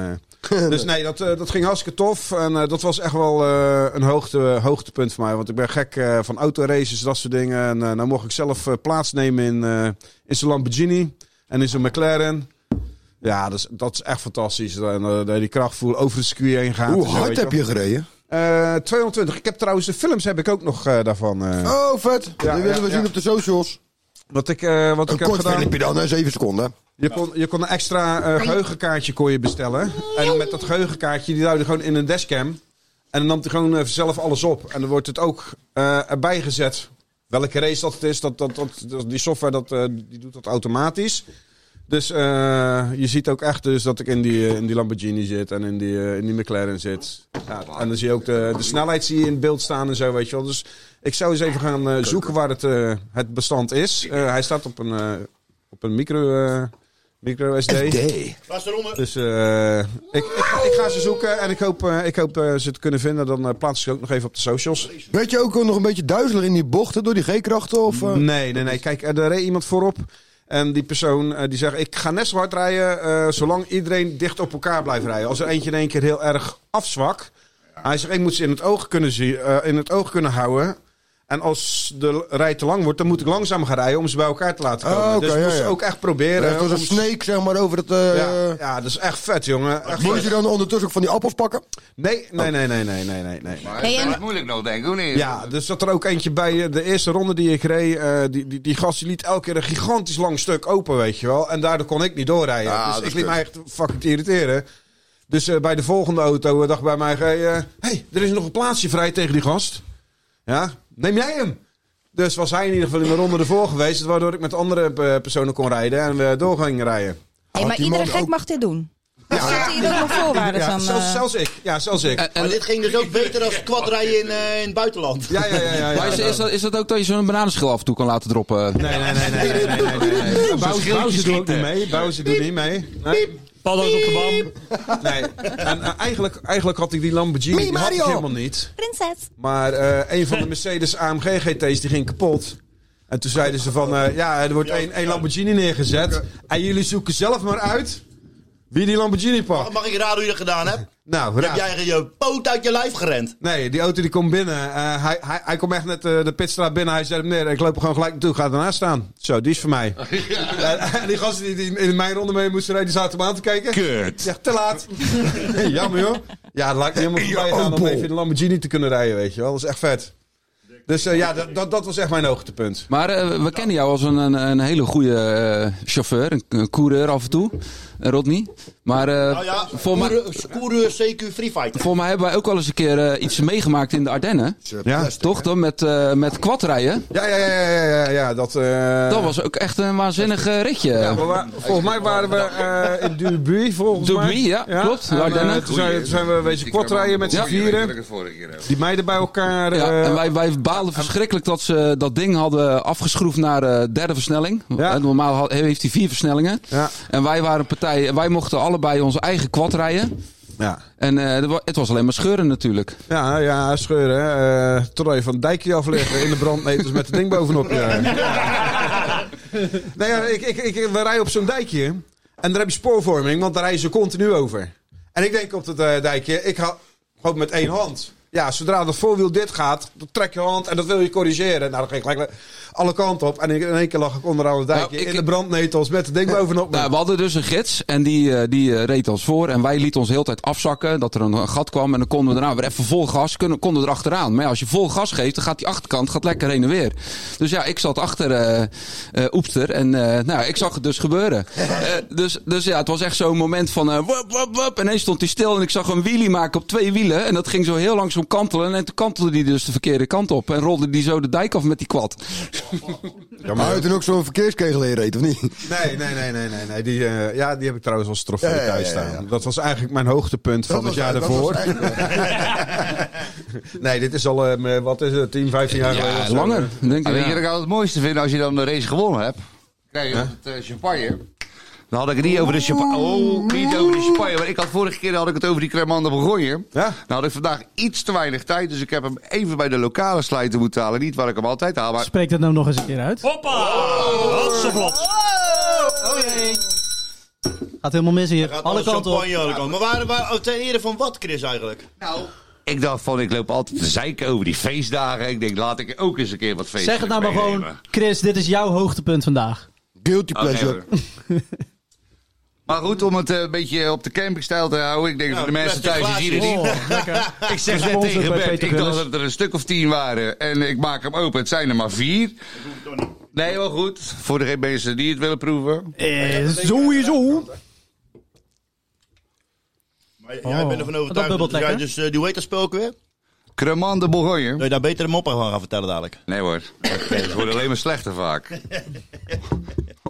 S1: eh. dus nee, dat, eh, dat ging hartstikke tof. En eh, dat was echt wel eh, een hoogte, hoogtepunt voor mij. Want ik ben gek eh, van autoraces, dat soort dingen. En eh, nou mocht ik zelf eh, plaatsnemen in, eh, in zo'n Lamborghini en in zo'n McLaren. Ja, dat is, dat is echt fantastisch. En, eh, dat je die kracht voel over het circuit heen gaat.
S6: Hoe
S1: en zo,
S6: hard
S1: weet je
S6: heb
S1: wel.
S6: je gereden?
S1: Eh, 220. Ik heb trouwens de films heb ik ook nog eh, daarvan. eh.
S6: Oh, vet.
S1: Ja,
S6: die willen
S1: ja,
S6: we
S1: ja.
S6: zien op de socials.
S1: Wat ik, eh, wat
S6: Een
S1: ik heb
S6: kort
S1: gedaan.
S6: filmpje dan, hè, 7 seconden.
S1: Je kon, je kon een extra eh, geheugenkaartje kon je bestellen. En met dat geheugenkaartje, die duwde gewoon in een dashcam. En dan nam hij gewoon eh, zelf alles op. En dan wordt het ook eh, erbij gezet. Welke race dat het is, dat, dat, dat, dat- die software dat, eh, die doet dat automatisch. Dus eh, je ziet ook echt dus dat ik in die, eh, in die Lamborghini zit en in die, eh, in die McLaren zit. Ja, en dan zie je ook de, de snelheid zie je in het beeld staan en zo, weet je wel. Dus ik zou eens even gaan eh, zoeken waar het, eh, het bestand is. Eh, hij staat op een, eh, op een micro, eh, micro SD.
S6: Nee.
S10: Laatste ronde.
S1: Dus eh, ik, ik, ga, ik ga ze zoeken en ik hoop, eh, ik hoop eh, ze te kunnen vinden. Dan eh, plaats ik ze ook nog even op de socials.
S6: Weet je ook nog een beetje duizelig in die bochten door die G-krachten? Of, eh?
S1: Nee, nee, nee. Kijk, er reed iemand voorop. En die persoon eh, die zegt, ik ga net zo hard rijden eh, zolang iedereen dicht op elkaar blijft rijden. Als er eentje in één keer heel erg afzwakt. Hij zegt, ik moet ze in het oog kunnen, zien, eh, in het oog kunnen houden. En als de rij te lang wordt, dan moet ik langzaam gaan rijden om ze bij elkaar te laten komen.
S6: Oh, oké,
S1: dus ik
S6: ja,
S1: moest
S6: ja.
S1: ze ook echt proberen.
S6: Echt als een
S1: om-
S6: snake, zeg maar, over het... eh,
S1: ja, ja, dat is echt vet, jongen. Echt
S6: Moet je
S1: vet.
S6: dan ondertussen ook van die appels pakken? Oh.
S1: Nee, nee, nee, nee, nee, nee, nee, nee.
S3: Maar
S8: Nee,
S3: dat is
S8: en-
S3: moeilijk nog, denk ik, hoe niet?
S1: Ja, dus zat er ook eentje bij eh, de eerste ronde die ik reed. eh, die, die, die gast die liet elke keer een gigantisch lang stuk open, weet je wel. En daardoor kon ik niet doorrijden.
S6: Ah, dat
S1: dus
S6: is
S1: ik liet
S6: kut.
S1: mij echt fucking te irriteren. Dus eh, bij de volgende auto eh, dacht bij mij: hé, hey, eh, hey, er is nog een plaatsje vrij tegen die gast. Ja, neem jij hem? Dus was hij in ieder geval in de ronde ervoor geweest. Waardoor ik met andere eh, personen kon rijden en we door gingen rijden.
S8: Hey, maar
S6: die
S8: iedere
S6: man
S8: gek
S6: ook-
S8: mag dit doen. Ja, zitten hier ook nog voorwaarden
S1: Ja,
S8: aan.
S1: zelfs,
S8: eh,
S1: zelfs ik. Ja, zelfs ik.
S10: Maar dit ging dus ook beter dan kwadrijden in, eh, in het buitenland.
S1: Ja, ja, ja. ja, ja.
S11: Maar is, is, dat, is dat ook dat je zo'n bananenschil af en toe kan laten droppen?
S1: Nee, nee, nee, nee, nee, nee, nee, nee.
S3: schildje
S1: Bowser, Bowser doet ook niet
S3: schieten.
S1: mee. Bowser doet niet mee. Nee.
S2: Paddo's op de bam.
S1: nee. En eh, eigenlijk, eigenlijk had ik die Lamborghini die had ik helemaal niet.
S8: Prinses.
S1: Maar eh, een van de Mercedes AMG GT's die ging kapot. En toen zeiden ze van, eh, ja, er wordt één, één Lamborghini neergezet. En jullie zoeken zelf maar uit wie die Lamborghini pakt.
S10: Mag ik raden hoe je dat gedaan hebt?
S1: Nou,
S10: Heb
S1: raad.
S10: jij je poot uit je lijf gerend?
S1: Nee, die auto die komt binnen. Eh, hij, hij, hij komt echt net eh, de pitstraat binnen. Hij zet hem neer. Ik loop er gewoon gelijk naartoe. Ga ernaast staan. Zo, die is voor mij. En, en die gasten die, die in mijn ronde mee moesten rijden, die zaten me aan te kijken.
S3: Kut.
S1: Zeg, te laat. Jammer joh. Ja, dat lijkt me helemaal voorbij gaan om
S6: Opel.
S1: even in de Lamborghini te kunnen rijden, weet je wel. Dat is echt vet. Dus eh, ja, dat, dat, dat was echt mijn hoogtepunt.
S11: Maar eh, we kennen jou als een, een, een hele goede eh, chauffeur, een, een coureur af en toe, eh, Rodney. Maar eh,
S10: Nou ja,
S11: voor, mij,
S10: coureur- coureur CQ Free Fighter.
S11: voor mij hebben wij ook wel eens een keer eh, iets meegemaakt in de Ardennen.
S1: Ja,
S11: Toch dan met, eh met kwadrijden?
S1: ja, ja, ja, ja, ja, ja, ja, dat... eh,
S11: Dat was ook echt een waanzinnig eh, ritje.
S1: Ja, we wa- volgens mij waren we eh, in Dubuis, volgens
S11: Dubuis,
S1: mij.
S11: ja, klopt.
S1: En, eh,
S11: Ardennen.
S1: toen zijn, toen zijn we wezen kwartrijden met z'n
S3: eh, Ja.
S1: vieren.
S3: Ik het vorige keer eh, over.
S1: Die meiden bij elkaar.
S11: Ja,
S1: eh,
S11: en wij, wij baalden verschrikkelijk dat ze dat ding hadden afgeschroefd naar eh derde versnelling.
S1: Ja.
S11: Eh, Normaal had- heeft hij vier versnellingen.
S1: Ja.
S11: En wij waren partij, wij mochten allebei onze eigen kwad rijden.
S1: ja.
S11: En eh, er wa- het was alleen maar scheuren natuurlijk.
S1: Ja, ja, scheuren. hè. Eh Troy van Dijkje afleggen in de brandnetels met het ding bovenop je. nee, ja, ik, ik, ik, we rijden op zo'n dijkje. En daar heb je spoorvorming, want daar rijden ze continu over. En ik denk op dat eh, dijkje, ik hou gewoon met één hand. Ja, zodra dat voorwiel dit gaat, dan trek je hand en dat wil je corrigeren. Nou, dan ging ik gelijk alle kanten op. En in in één keer lag ik onderaan het dijkje
S11: Nou, ik-
S1: in de brandnetels met het ding bovenop me.
S11: Nou, we hadden dus een gids en die, eh, die eh, reed ons voor. En wij lieten ons de hele tijd afzakken dat er een, een gat kwam. En dan konden we daarna weer even vol gas, kunnen, konden we erachteraan. Maar ja, als je vol gas geeft, dan gaat die achterkant gaat lekker heen en weer. Dus ja, ik zat achter eh eh, Oepster en eh, nou, ik zag het dus gebeuren. Eh, dus, dus ja, het was echt zo'n moment van eh wop, wop, wop. En ineens stond hij stil en ik zag een wheelie maken op twee wielen. En dat ging zo heel langzaam kantelen. En toen kantelde die dus de verkeerde kant op. En rolde die zo de dijk af met die kwad.
S6: Maar hij toen ook zo'n verkeerskegel in reed, of niet?
S1: Nee, nee, nee, nee, nee. nee. Die, eh, ja, die heb ik trouwens als trofee
S6: Ja, ja, ja,
S1: thuis
S6: ja,
S1: staan.
S6: ja.
S1: Dat was eigenlijk mijn hoogtepunt van
S6: Dat
S1: het
S6: was-
S1: jaar
S6: dat
S1: daarvoor.
S6: was eigenlijk-
S1: Nee, dit is al, eh, wat is het, 10, 15 jaar geleden? Ah, of
S11: Ja,
S1: zo.
S11: langer. Denk
S3: Maar
S11: ik,
S3: Ah, weet
S11: ja.
S3: je wat ik altijd het mooiste vind als je dan de race gewonnen hebt? Krijg je het eh, champagne. Dan had ik het niet over de champagne. Oh, niet over de champagne. Maar ik had vorige keer had ik het over die cremande begonje.
S1: Ja?
S3: Nou had ik vandaag iets te weinig tijd. Dus ik heb hem even bij de lokale slijter moeten halen. Niet waar ik hem altijd haal. Maar
S5: Spreek dat nou nog eens een keer uit.
S2: Hoppa! Wat zo vlot.
S5: Gaat helemaal mis hier.
S10: Gaat
S5: Alle kanten op.
S10: champagne, alle kanten. Maar waren we ten ere van wat, Chris,
S8: Nou.
S10: eigenlijk?
S3: ik dacht van, ik loop altijd te zeiken over die feestdagen. Ik denk, laat ik ook eens een keer wat feestdagen
S5: Zeg het nou maar gewoon. Chris, dit is jouw hoogtepunt vandaag.
S6: Guilty
S3: Oké,
S6: pleasure.
S3: hoor. maar goed, om het eh, een beetje op de campingstijl te houden. Ik denk
S10: Ja,
S3: voor de mensen
S10: plastic
S3: thuis, die zien het
S10: glaasje.
S3: niet. Ik zeg net tegen
S5: bij
S3: Bert,
S5: Peter
S3: ik dacht
S5: Gillis.
S3: dat er een stuk of tien waren. En ik maak hem open, het zijn er maar vier. Nee, wel goed. Voor de mensen die het willen proeven.
S5: Eh, sowieso.
S10: Maar jij bent ervan overtuigd.
S5: bubbelt
S10: dat jij
S5: lekker.
S10: dus, eh, die hoe heet dat spel ook weer?
S3: Cremant de Bourgogne.
S10: Wil je daar beter een mop van gaan vertellen dadelijk?
S3: Nee hoor, het wordt alleen maar slechter vaak.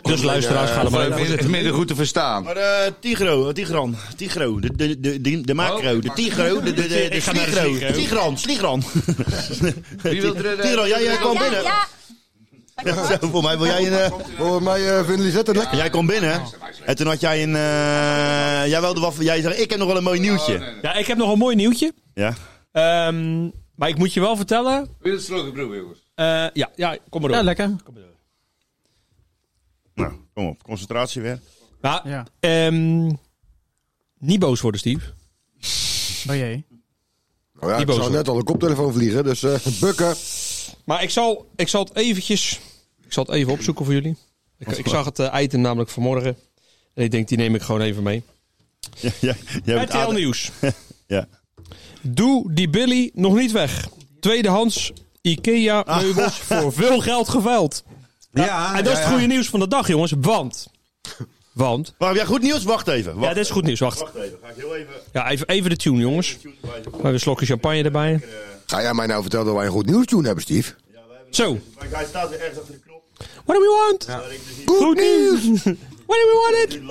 S2: Dus luisteraars, ga er maar
S3: Maar het is
S10: eh,
S2: even voor
S3: het
S2: zitten.
S3: minder goed te verstaan.
S10: Maar eh Tigro, eh, Tigran, Tigro, de, de, de, de, de macro, de Tigro, de, de, de, de,
S2: Oh. Ik ga naar de
S10: Sligro.
S2: Sligro.
S10: Sligran, Sligran.
S3: Wie wil er... eh,
S10: Tigran, jij, jij kwam
S8: Ja,
S10: binnen.
S8: ja.
S10: Zo, Voor mij wil jij een... eh,
S6: Volgens mij eh, vinden Lisette het lekker.
S10: Jij kwam binnen en toen had jij een... eh, jij wilde wat... Jij zei, ik heb nog wel een mooi nieuwtje.
S2: Ja, ik heb nog een mooi nieuwtje.
S10: Ja.
S2: Ehm, maar ik moet je wel vertellen.
S3: Wil je het slogan proeven, jongens?
S2: eh, ja, ja, kom maar door.
S5: Ja, lekker.
S10: Nou, kom op. Concentratie weer.
S2: Maar,
S5: Ja.
S2: ehm, niet boos worden, Steve.
S5: Oh jee.
S6: Oh ja, ik
S2: boos
S6: zou
S2: wordt.
S6: net al een koptelefoon vliegen, dus eh, bukken.
S2: Maar ik zal, ik zal het eventjes... Ik zal het even opzoeken voor jullie. Ik, ik zag het eh, item namelijk vanmorgen. En ik denk, die neem ik gewoon even mee.
S10: Ja, ja, jij bent
S2: RTL
S10: aardig.
S2: Nieuws.
S10: Ja.
S2: Doe die Billy nog niet weg. Tweedehands IKEA-meubels voor veel geld geveild.
S1: Ja,
S2: en dat is
S1: ja,
S2: het
S1: ja.
S2: goede nieuws van de dag, jongens. Want... Want...
S10: Maar heb jij goed nieuws? Wacht even. Wacht
S2: Ja, dit is goed nieuws. Wacht.
S10: Wacht even, ga ik heel even...
S2: Ja, even, even de tune, jongens. Maar een slokje champagne erbij.
S10: eh,
S6: Ga jij mij nou vertellen dat wij een goed nieuws doen hebben, Steve?
S2: Zo.
S10: Maar hij staat weer ergens achter de knop.
S2: What do we want?
S6: Goed nieuws!
S2: What do we want it?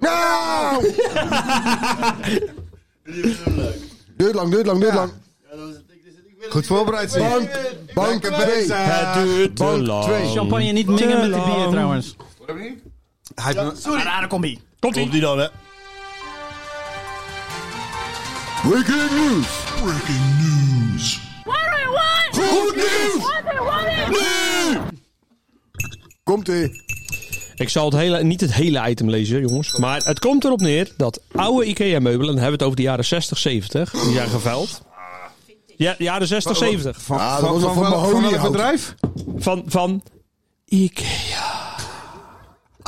S6: Nou! Duurt lang, duurt lang, duurt lang.
S3: Goed voorbereid, zie je.
S6: Bank, bank
S3: Lekker
S6: twee.
S3: bezig.
S6: Het duurt
S2: te
S6: bank
S2: lang.
S6: twee.
S5: Champagne niet mengen met de bier trouwens.
S1: Hij heeft me-
S10: Sorry. Rare combi. Komt ie dan, hè?
S6: Breaking news. Breaking news. What do Goed nieuws. Komt ie.
S2: Ik zal het hele, niet het hele item lezen, jongens. Maar het komt erop neer dat oude IKEA-meubelen, dan hebben we het over de jaren 60, 70, die zijn geveild. Ja, jaren 60, 70.
S1: van,
S6: Ah, dat
S1: van,
S6: was wel
S1: van,
S6: van
S1: van, van welk
S6: mahoniehout.
S1: bedrijf?
S2: Van, van IKEA.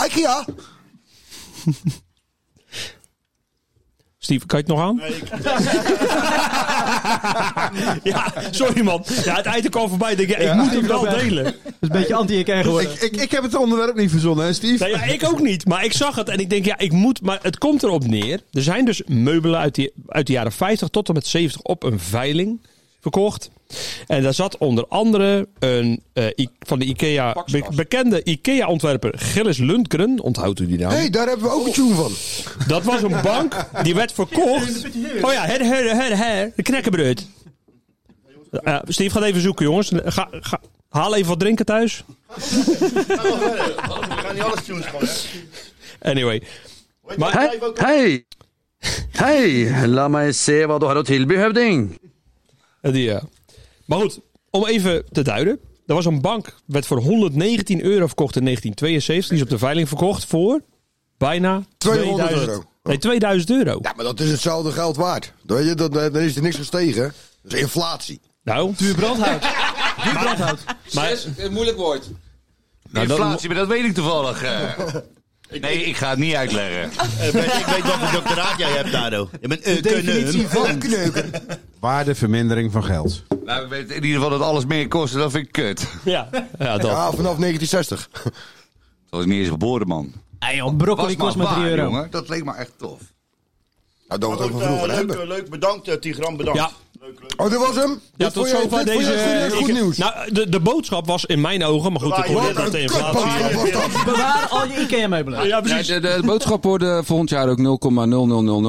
S6: Ikea.
S2: Steve, kan je het nog aan? ja, sorry man. Ja, het item kwam voorbij. Ik, denk, ja, ik moet het wel delen.
S5: Dat is een beetje anti-IKEA geworden.
S1: Ik, ik, ik heb het onderwerp niet verzonnen, hè, Steve?
S2: Nou ja, ik ook niet. Maar ik zag het en ik denk, ja, ik moet. Maar het komt erop neer. Er zijn dus meubelen uit, die, uit de jaren 50 tot en met 70 op een veiling verkocht. En daar zat onder andere een eh, I- van de IKEA, be- bekende IKEA-ontwerper Gilles Lundgren. Onthoudt u die naam?
S6: Hé, hey, daar hebben we ook een tune van.
S2: Dat was een bank die werd verkocht. Oh ja, her, her, her, her. De knekkenbreut. Eh, Steve gaat even zoeken, jongens. Ga, ga- haal even wat drinken thuis.
S10: We gaan niet alles tunes gewoon, hè?
S2: Anyway. Maar-
S12: Hei! Hei! La meg se hva du har å tilby, høvding.
S2: Eh, Die, ja. Maar goed, om even te duiden. Er was een bank, werd voor 119 euro verkocht in 1972. Die is op de veiling verkocht voor bijna
S6: 200
S2: 2000
S6: euro.
S2: Nee, 2000 euro.
S6: Ja, maar dat is hetzelfde geld waard. Dan, weet je, dat, dan is er niks gestegen. Dat is inflatie.
S2: Nou,
S5: Duur brandhout. Duur brandhout.
S2: maar,
S11: moeilijk woord.
S10: Nou,
S3: Inflatie, maar dat weet ik toevallig. eh. Nee, ik ga het niet uitleggen.
S10: Eh, weet- Ik weet wat voor doctoraat jij hebt, Dado. Je bent een
S5: Definitie van.
S1: Waardevermindering van geld.
S3: Nou, we weten in ieder geval dat alles meer kost. Dat vind ik kut.
S2: ja, ja, dat.
S6: Ja, vanaf 1960.
S3: Dat was niet eens geboren, man.
S5: Hey, joh, broccoli
S3: Was
S5: kost maar 3
S3: waar,
S5: euro.
S3: jongen. Dat leek me echt tof.
S6: Nou, dat we het over vroeger
S10: leuk,
S6: hebben.
S10: eh, leuk, bedankt, eh, Tigran, bedankt.
S2: Ja.
S10: Leuk, leuk.
S6: Oh, dat was hem?
S2: Ja,
S6: Dit
S2: tot
S6: vond jij-
S2: zover
S6: dit vond
S2: deze.
S6: jij goed-
S2: eh,
S6: Goed
S2: ik-
S6: nieuws.
S2: Nou, de, de boodschap was in mijn ogen, maar goed, ik
S10: Waar
S2: hoor
S10: je
S2: net
S10: net
S2: dat de
S10: een
S2: inflatie.
S6: kutboodschap was dat.
S5: Bewaar al je IKEA-meubelen.
S2: Ja,
S11: Ja,
S2: precies.
S11: de, de boodschap worden volgend jaar ook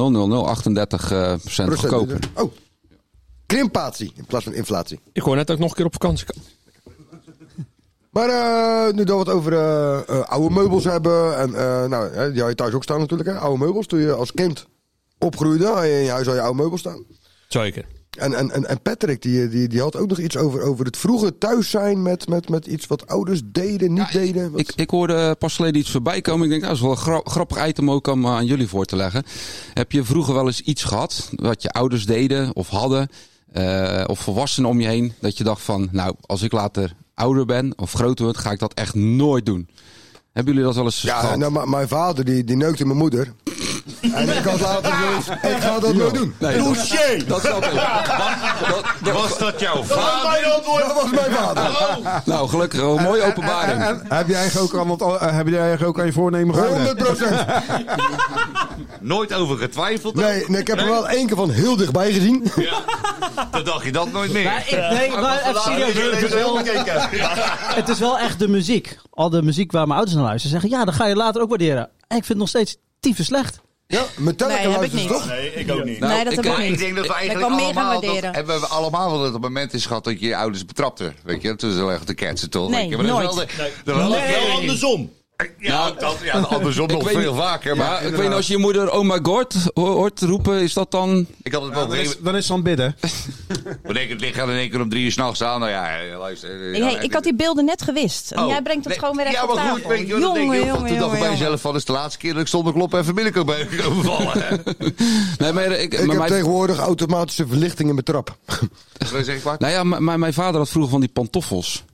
S11: 0,0000038 eh, procent
S6: Procent.
S11: goedkoper.
S6: Oh. Krimpatie in plaats van inflatie.
S2: Ik hoor net dat ik nog een keer op vakantie kan.
S6: Maar eh, nu dat we het over eh, eh, oude meubels hebben. En eh, nou, hè, die had je thuis ook staan natuurlijk. Hè? Oude meubels. Toen je als kind opgroeide, had je in je huis al je oude meubels staan.
S2: Zeker.
S6: En, en, en, en Patrick, die, die, die had ook nog iets over, over het vroeger thuis zijn met, met, met iets wat ouders deden, niet deden. Wat-
S11: Ik, ik hoorde pas geleden iets voorbij komen. Ik denk, nou, dat is wel een gra- grappig item ook om eh, aan jullie voor te leggen. Heb je vroeger wel eens iets gehad wat je ouders deden of hadden, eh, of volwassenen om je heen, dat je dacht van, nou, als ik later ouder ben of groter word, ga ik dat echt nooit doen. Hebben jullie dat wel eens
S6: ja,
S11: gehad?
S6: nou, maar mijn vader die, die neukte mijn moeder. en ik had later
S9: Ah.
S6: zoiets, ik ga dat nooit doen.
S11: Nee, dat,
S10: Touché!
S11: dat snap ik. Maar dat- dat-
S3: Was dat jouw
S10: Dat was mijn antwoord.
S6: Dat was mijn vader.
S9: Oh.
S11: nou, gelukkig, een
S1: Eh,
S11: mooie
S1: En,
S11: openbaring.
S1: en heb, jij eigenlijk ook aan, het- eh, heb jij eigenlijk ook aan je voornemen gehouden?
S6: 100 procent.
S3: Nooit over getwijfeld. ook?
S6: Nee, nee, ik heb hem wel één keer van heel dichtbij gezien.
S3: Dan dacht je dat nooit meer.
S5: Maar ik, nee, maar even serieus. Het is, wel, het is wel echt de muziek. Al de muziek waar mijn ouders naar luisteren. Zeggen, ja, dan ga je later ook waarderen. En ik vind het nog steeds tyfus slecht.
S6: Ja, Metallica
S8: Nee, heb
S6: luistert
S8: ik
S6: toch?
S8: niet.
S10: Nee, ik ook niet.
S11: Nou,
S8: nee, dat
S11: ik,
S8: heb ik
S11: eh,
S8: niet.
S3: Ik denk dat we eigenlijk
S8: kan meer gaan
S3: allemaal dat,
S8: waarderen.
S3: hebben we allemaal wel dat op het moment is gehad dat je je ouders betrapte. Weet je, dat is wel echt de ketsen toch?
S8: Nee,
S3: weet je, maar dat is
S8: nooit.
S3: wel de- dat is wel de-
S10: Wel andersom.
S3: Ja, ook dat, ja, andersom nog
S11: weet
S3: veel
S11: niet-
S3: vaker.
S11: Ja,
S3: Maar
S11: ik weet niet, als je je moeder oh my god ho- hoort roepen, is dat dan...
S3: ik had het wel
S1: Dan is,
S3: gegeven.
S1: dan is het aan het bidden.
S3: Wanneer ik het licht in één keer om drie uur s'nachts aan. Nou ja, eh, luister. eh,
S8: Hey,
S3: ja,
S8: ik had die beelden net gewist. En
S3: Oh,
S8: jij brengt het
S3: nee,
S8: gewoon weer echt
S3: Ja,
S8: op
S3: maar goed,
S8: tafel.
S3: weet je wat ik denk? Heel veel- Toen dacht ik bij
S8: jongen.
S3: mezelf van, is de laatste keer dat ik zonder kloppen even binnen kan ben- overvallen. hè?
S11: Nee, maar eh, ik,
S6: Ik
S11: maar
S6: heb
S11: mijn-
S6: tegenwoordig automatische verlichting in mijn trap.
S3: Dat zeg ik waar.
S11: Nou ja, m- mijn, mijn vader had vroeger van die pantoffels.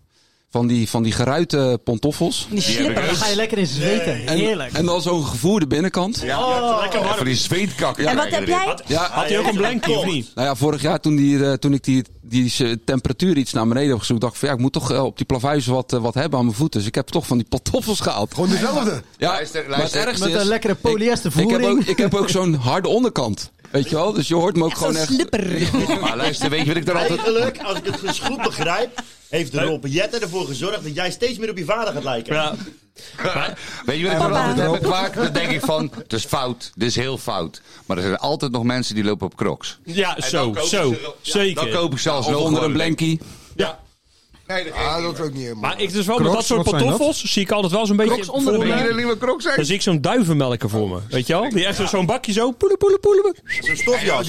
S11: Van die, van die geruite pantoffels.
S8: Die slipper.
S5: Dan ga je lekker in zweten.
S11: En,
S5: Heerlijk.
S11: En dan zo'n gevoerde binnenkant. Ja.
S3: Even die zweetkakken.
S8: En wat heb
S3: krijgen
S8: jij?
S2: Had hij ook een blankie of niet?
S11: Nou ja, vorig jaar toen, die, eh, toen ik die, die eh, temperatuur iets naar beneden heb gezocht, dacht ik van ja, ik moet toch eh, op die plavuizen wat, eh, wat hebben aan mijn voeten. Dus ik heb toch van die pantoffels gehaald.
S6: Gewoon dezelfde.
S11: Ja,
S3: Luister,
S11: maar het
S3: luister.
S11: ergste
S5: Met een
S11: is,
S5: lekkere
S11: ik- Ik, heb
S5: polyestervoering.
S11: ook, ik heb ook zo'n harde onderkant. Weet je wel? Dus je hoort me ook gewoon echt...
S3: Maar Nou, luister, weet je wat ik er altijd...
S10: Eigenlijk, als ik het dus goed begrijp, heeft de Rob Jetten ervoor gezorgd dat jij steeds meer op je vader gaat lijken.
S2: Ja.
S3: Weet je wat ik er
S10: Papa.
S3: altijd heb gemaakt? Dan denk ik van, het is fout, dit is heel fout. Maar er zijn altijd nog mensen die lopen op crocs.
S2: Ja,
S3: dan
S2: zo,
S3: koop ik
S2: zo.
S3: ze wel- ja,
S2: zeker.
S3: dan koop ik ze alsnog
S2: Of
S3: gewoon
S11: blankie.
S2: Ja.
S3: Nee, dat,
S6: is Ah, ook niet helemaal.
S2: Maar ik dus wel met
S6: Crocs,
S2: dat soort
S6: wat zijn dat?
S2: pantoffels zie ik altijd wel zo'n beetje
S6: Crocs onder de
S2: voor me.
S6: benen, nieuwe Crocs, hè?
S2: Dan zie ik zo'n duivenmelker voor me, weet je wel? Die echt zo'n bakje zo poelen poelen poelen.
S10: Zo'n
S6: Je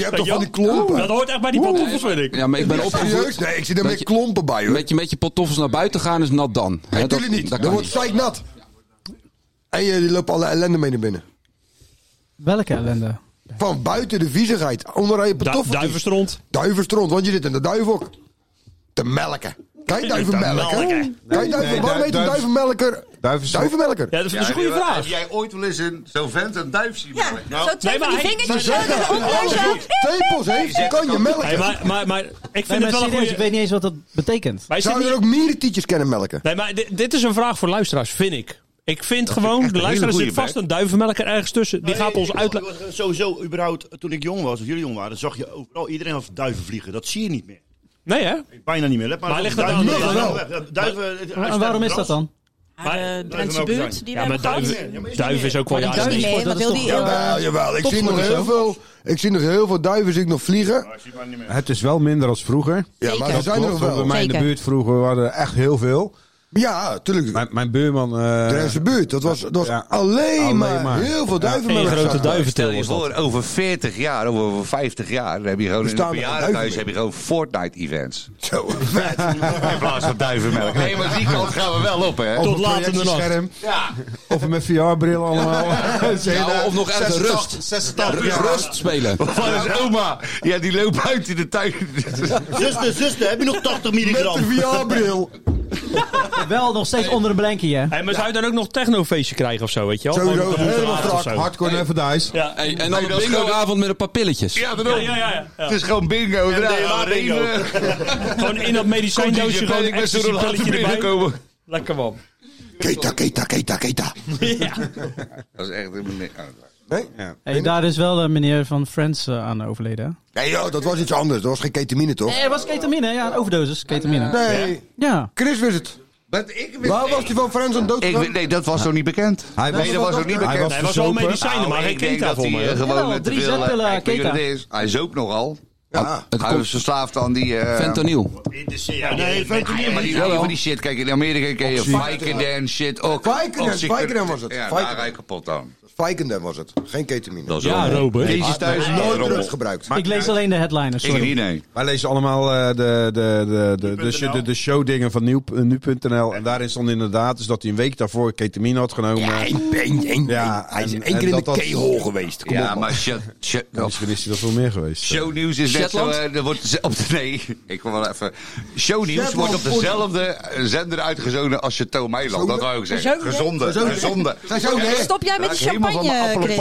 S6: hebt toch van die klompen?
S2: Dat hoort echt bij die pantoffels, weet ik.
S11: Ja, maar ik ben opgevoed...
S6: Serieus? Nee, ik zit er met klompen bij, hoor.
S11: Met je, met je pottoffels naar buiten gaan is nat dan. Hè, dat-
S6: Natuurlijk niet.
S11: dat kan
S6: Dan wordt
S11: niet.
S6: het nat. En jullie lopen alle ellende mee naar binnen.
S5: Welke ellende?
S6: Van buiten de viezigheid. Onderaan je pantoffel.
S2: duivenstront.
S6: Duivenstront, want je zit in de duivok. Te melken. Kijk, duivenmelker.
S2: melken.
S6: Kijk, duiven,
S1: nee,
S6: waarom heet
S1: du-
S6: een
S1: duif-
S6: duivenmelker?
S1: Duivenstront.
S6: Duivenmelker.
S2: Ja, dat is een goede
S3: Heb
S2: vraag.
S3: jij ooit wel eens een zo'n vent een duif zien?
S7: Ja,
S3: melken?
S7: zo twee
S2: Nee, maar
S7: van die
S2: hij-
S7: vingertjes
S6: Zeg
S7: zo
S6: dat
S7: dat
S6: alles
S7: omhoog
S6: goed tepels heeft, kan je
S2: Hey,
S6: melken.
S2: maar, maar, maar ik vind
S5: Nee,
S2: het
S5: maar
S2: wel een
S5: serieus,
S2: goede...
S5: ik weet niet eens wat dat betekent.
S2: Wij
S6: Zou je
S2: zitten
S6: er ook mierentietjes kennen melken?
S2: Nee, maar dit, dit is een vraag voor luisteraars, vind ik. Ik vind gewoon, de luisteraar
S3: hele
S2: zit
S3: goeie,
S2: vast een duivenmelker ergens tussen. Die gaat ons uitleggen.
S10: Sowieso, überhaupt, toen ik jong was, of jullie jong waren, zag je overal iedereen als duiven vliegen. Dat zie je niet meer.
S2: Nee, hè?
S10: Bijna niet meer. Let Maar,
S2: Maar
S10: op,
S2: ligt dat
S10: duiven-
S2: aan-
S10: duiven-
S2: wel.
S10: duiven- duiven-
S5: En waarom is dat dan?
S2: Maar-
S8: eh,
S7: Maar de Drentse
S10: Duiven
S7: buurt,
S10: ook
S7: die we
S2: Ja, maar
S7: hebben gehad.
S2: duiven, duiven is ook wel
S5: Maar die
S2: jaren
S5: duiven-
S2: geleden.
S7: Nee,
S5: sport,
S7: wat
S5: dat is
S7: wil
S5: toch,
S7: die...
S5: eh,
S6: Jawel, Nou, jawel. Ik zie nog
S5: topsport
S6: heel
S5: of
S6: veel... Ik zie nog heel veel duiven zie ik nog vliegen.
S1: Het is wel minder als vroeger.
S6: Ja, maar er
S7: Zeker.
S6: zijn er nog
S1: Klopt, want bij
S6: wel.
S1: mij in de
S7: Zeker.
S1: buurt vroeger waren er echt heel veel.
S6: Ja, tuurlijk.
S1: Mijn, mijn buurman...
S6: De
S1: eh,
S6: Drentse buurt. Dat was, dat was
S1: Ja.
S6: alleen
S1: Alleen
S6: maar
S1: maar.
S6: heel veel
S2: Eén
S6: duivenmelkers.
S2: grote
S6: zaten.
S2: duiventil
S3: Stel je
S2: was dat.
S3: voor, over 40 jaar, of over 50 jaar, dan heb je gewoon in
S6: Bestaan
S3: een
S6: er nog
S3: bejaardenhuis
S6: duiven
S3: heb je gewoon Fortnite-events.
S6: Zo.
S3: In plaats van duivenmelk. Nee, maar die kant gaan we wel op, hè?
S2: Tot
S1: een
S2: laat in de nacht.
S1: projectiescherm. Of met VR-bril allemaal.
S11: Ja, of nog ergens rust. Rust spelen.
S3: Van is oma. Ja, die loopt buiten de tuin.
S10: Zuster, zuster, heb je nog 80 milligram?
S6: VR-bril.
S5: Wel nog steeds onder een blankje, hè?
S2: Hey, maar zou je dan ook nog technofeestje krijgen of zo, weet je wel?
S6: Sowieso.
S2: Gewoon op de
S6: Helemaal
S2: straat of
S6: strak.
S2: zo.
S1: Hardcore Never Dies.
S2: Ja.
S11: Hey, en dan
S3: Nee,
S11: een
S3: dat is gewoon-
S11: bingoavond met de papilletjes.
S3: Ja,
S2: Ja,
S3: daarom.
S2: ja, ja, ja.
S3: Het is gewoon bingo.
S10: MDMA bingo.
S2: Gewoon in dat medicijndoosje gewoon een ecstasy pilletje erbij. Lekker man.
S6: Keta, keta, keta, keta.
S3: Dat is echt een...
S6: Nee?
S5: Hey, daar is wel een meneer van Friends eh, aan overleden, hè?
S6: Nee, joh, dat was iets anders. Dat was geen ketamine, toch?
S5: Nee, er was ketamine, ja, een overdosis ketamine.
S6: Nee.
S5: Ja.
S6: Chris wist het.
S3: Ik
S6: Waar was hij van Friends aan dood?
S3: Ik, weet- nee, dat was nog niet bekend.
S1: Hij
S3: nee, dat was nog niet bekend.
S1: Hij was
S2: Hij was wel
S1: verzopen.
S2: medicijnen, maar
S3: Nou,
S2: geen
S3: ik denk
S2: keta
S3: dat
S2: voor
S3: hij,
S2: me.
S3: eh,
S2: hè?
S3: gewoon
S5: Jawel,
S3: met
S5: drie
S3: te veel, eh,
S5: zetpillen,
S3: kijk, weet je wat
S5: keta.
S3: het is? Hij is ook nogal.
S6: Ja.
S11: Het
S3: Hij
S11: komt
S3: is verslaafd aan die... eh,
S11: fentanyl.
S10: Ja, nee, vindt u
S3: Ja, maar die,
S11: Jawel.
S3: van die shit, kijk, in Amerika ken je Vicodin, shit, ook.
S6: Vicodin,
S3: Oxycodin.
S6: Vicodin was het.
S3: Ja,
S6: Vicodin.
S3: daar ga je kapot aan.
S6: Vicodin was het. Geen ketamine.
S3: Dat is
S2: Ja,
S3: wel-
S2: Robert.
S3: Jezus thuis is
S6: Nooit
S3: nooit
S6: drugs
S3: rommel.
S6: gebruikt.
S5: Ik lees alleen de headliners,
S3: Ik
S5: sorry.
S3: niet, nee.
S1: Wij lezen allemaal eh, de, de, de, de, de,
S10: Nu.nl.
S1: de, de showdingen van Nieuw- eh, nu.nl. En daarin stond inderdaad dus dat hij een week daarvoor ketamine had genomen. Ja,
S6: hij is
S1: en-
S6: één
S1: en
S6: keer in
S1: dat
S6: de
S1: dat-
S6: keyhole geweest. Kom
S3: Ja,
S6: op,
S3: maar shit, shit,
S1: Ja,
S3: dat-
S1: Misschien is hij dat wel meer geweest.
S3: Shownieuws is net zo...
S11: Shetland?
S3: eh, Er wordt ze- op de, nee, ik wil wel even... Shownieuws
S6: Shetland
S3: wordt op
S6: voor-
S3: dezelfde eh, zender uitgezonden als Chateau Meiland. Dat wou ik zeggen.
S7: Gezonden?
S3: Gezonde. Gezonde.
S6: Gezonden, hè?
S7: Stop jij met
S3: Raak
S7: die
S3: helemaal van de
S7: champagne,
S3: appel op
S7: Chris?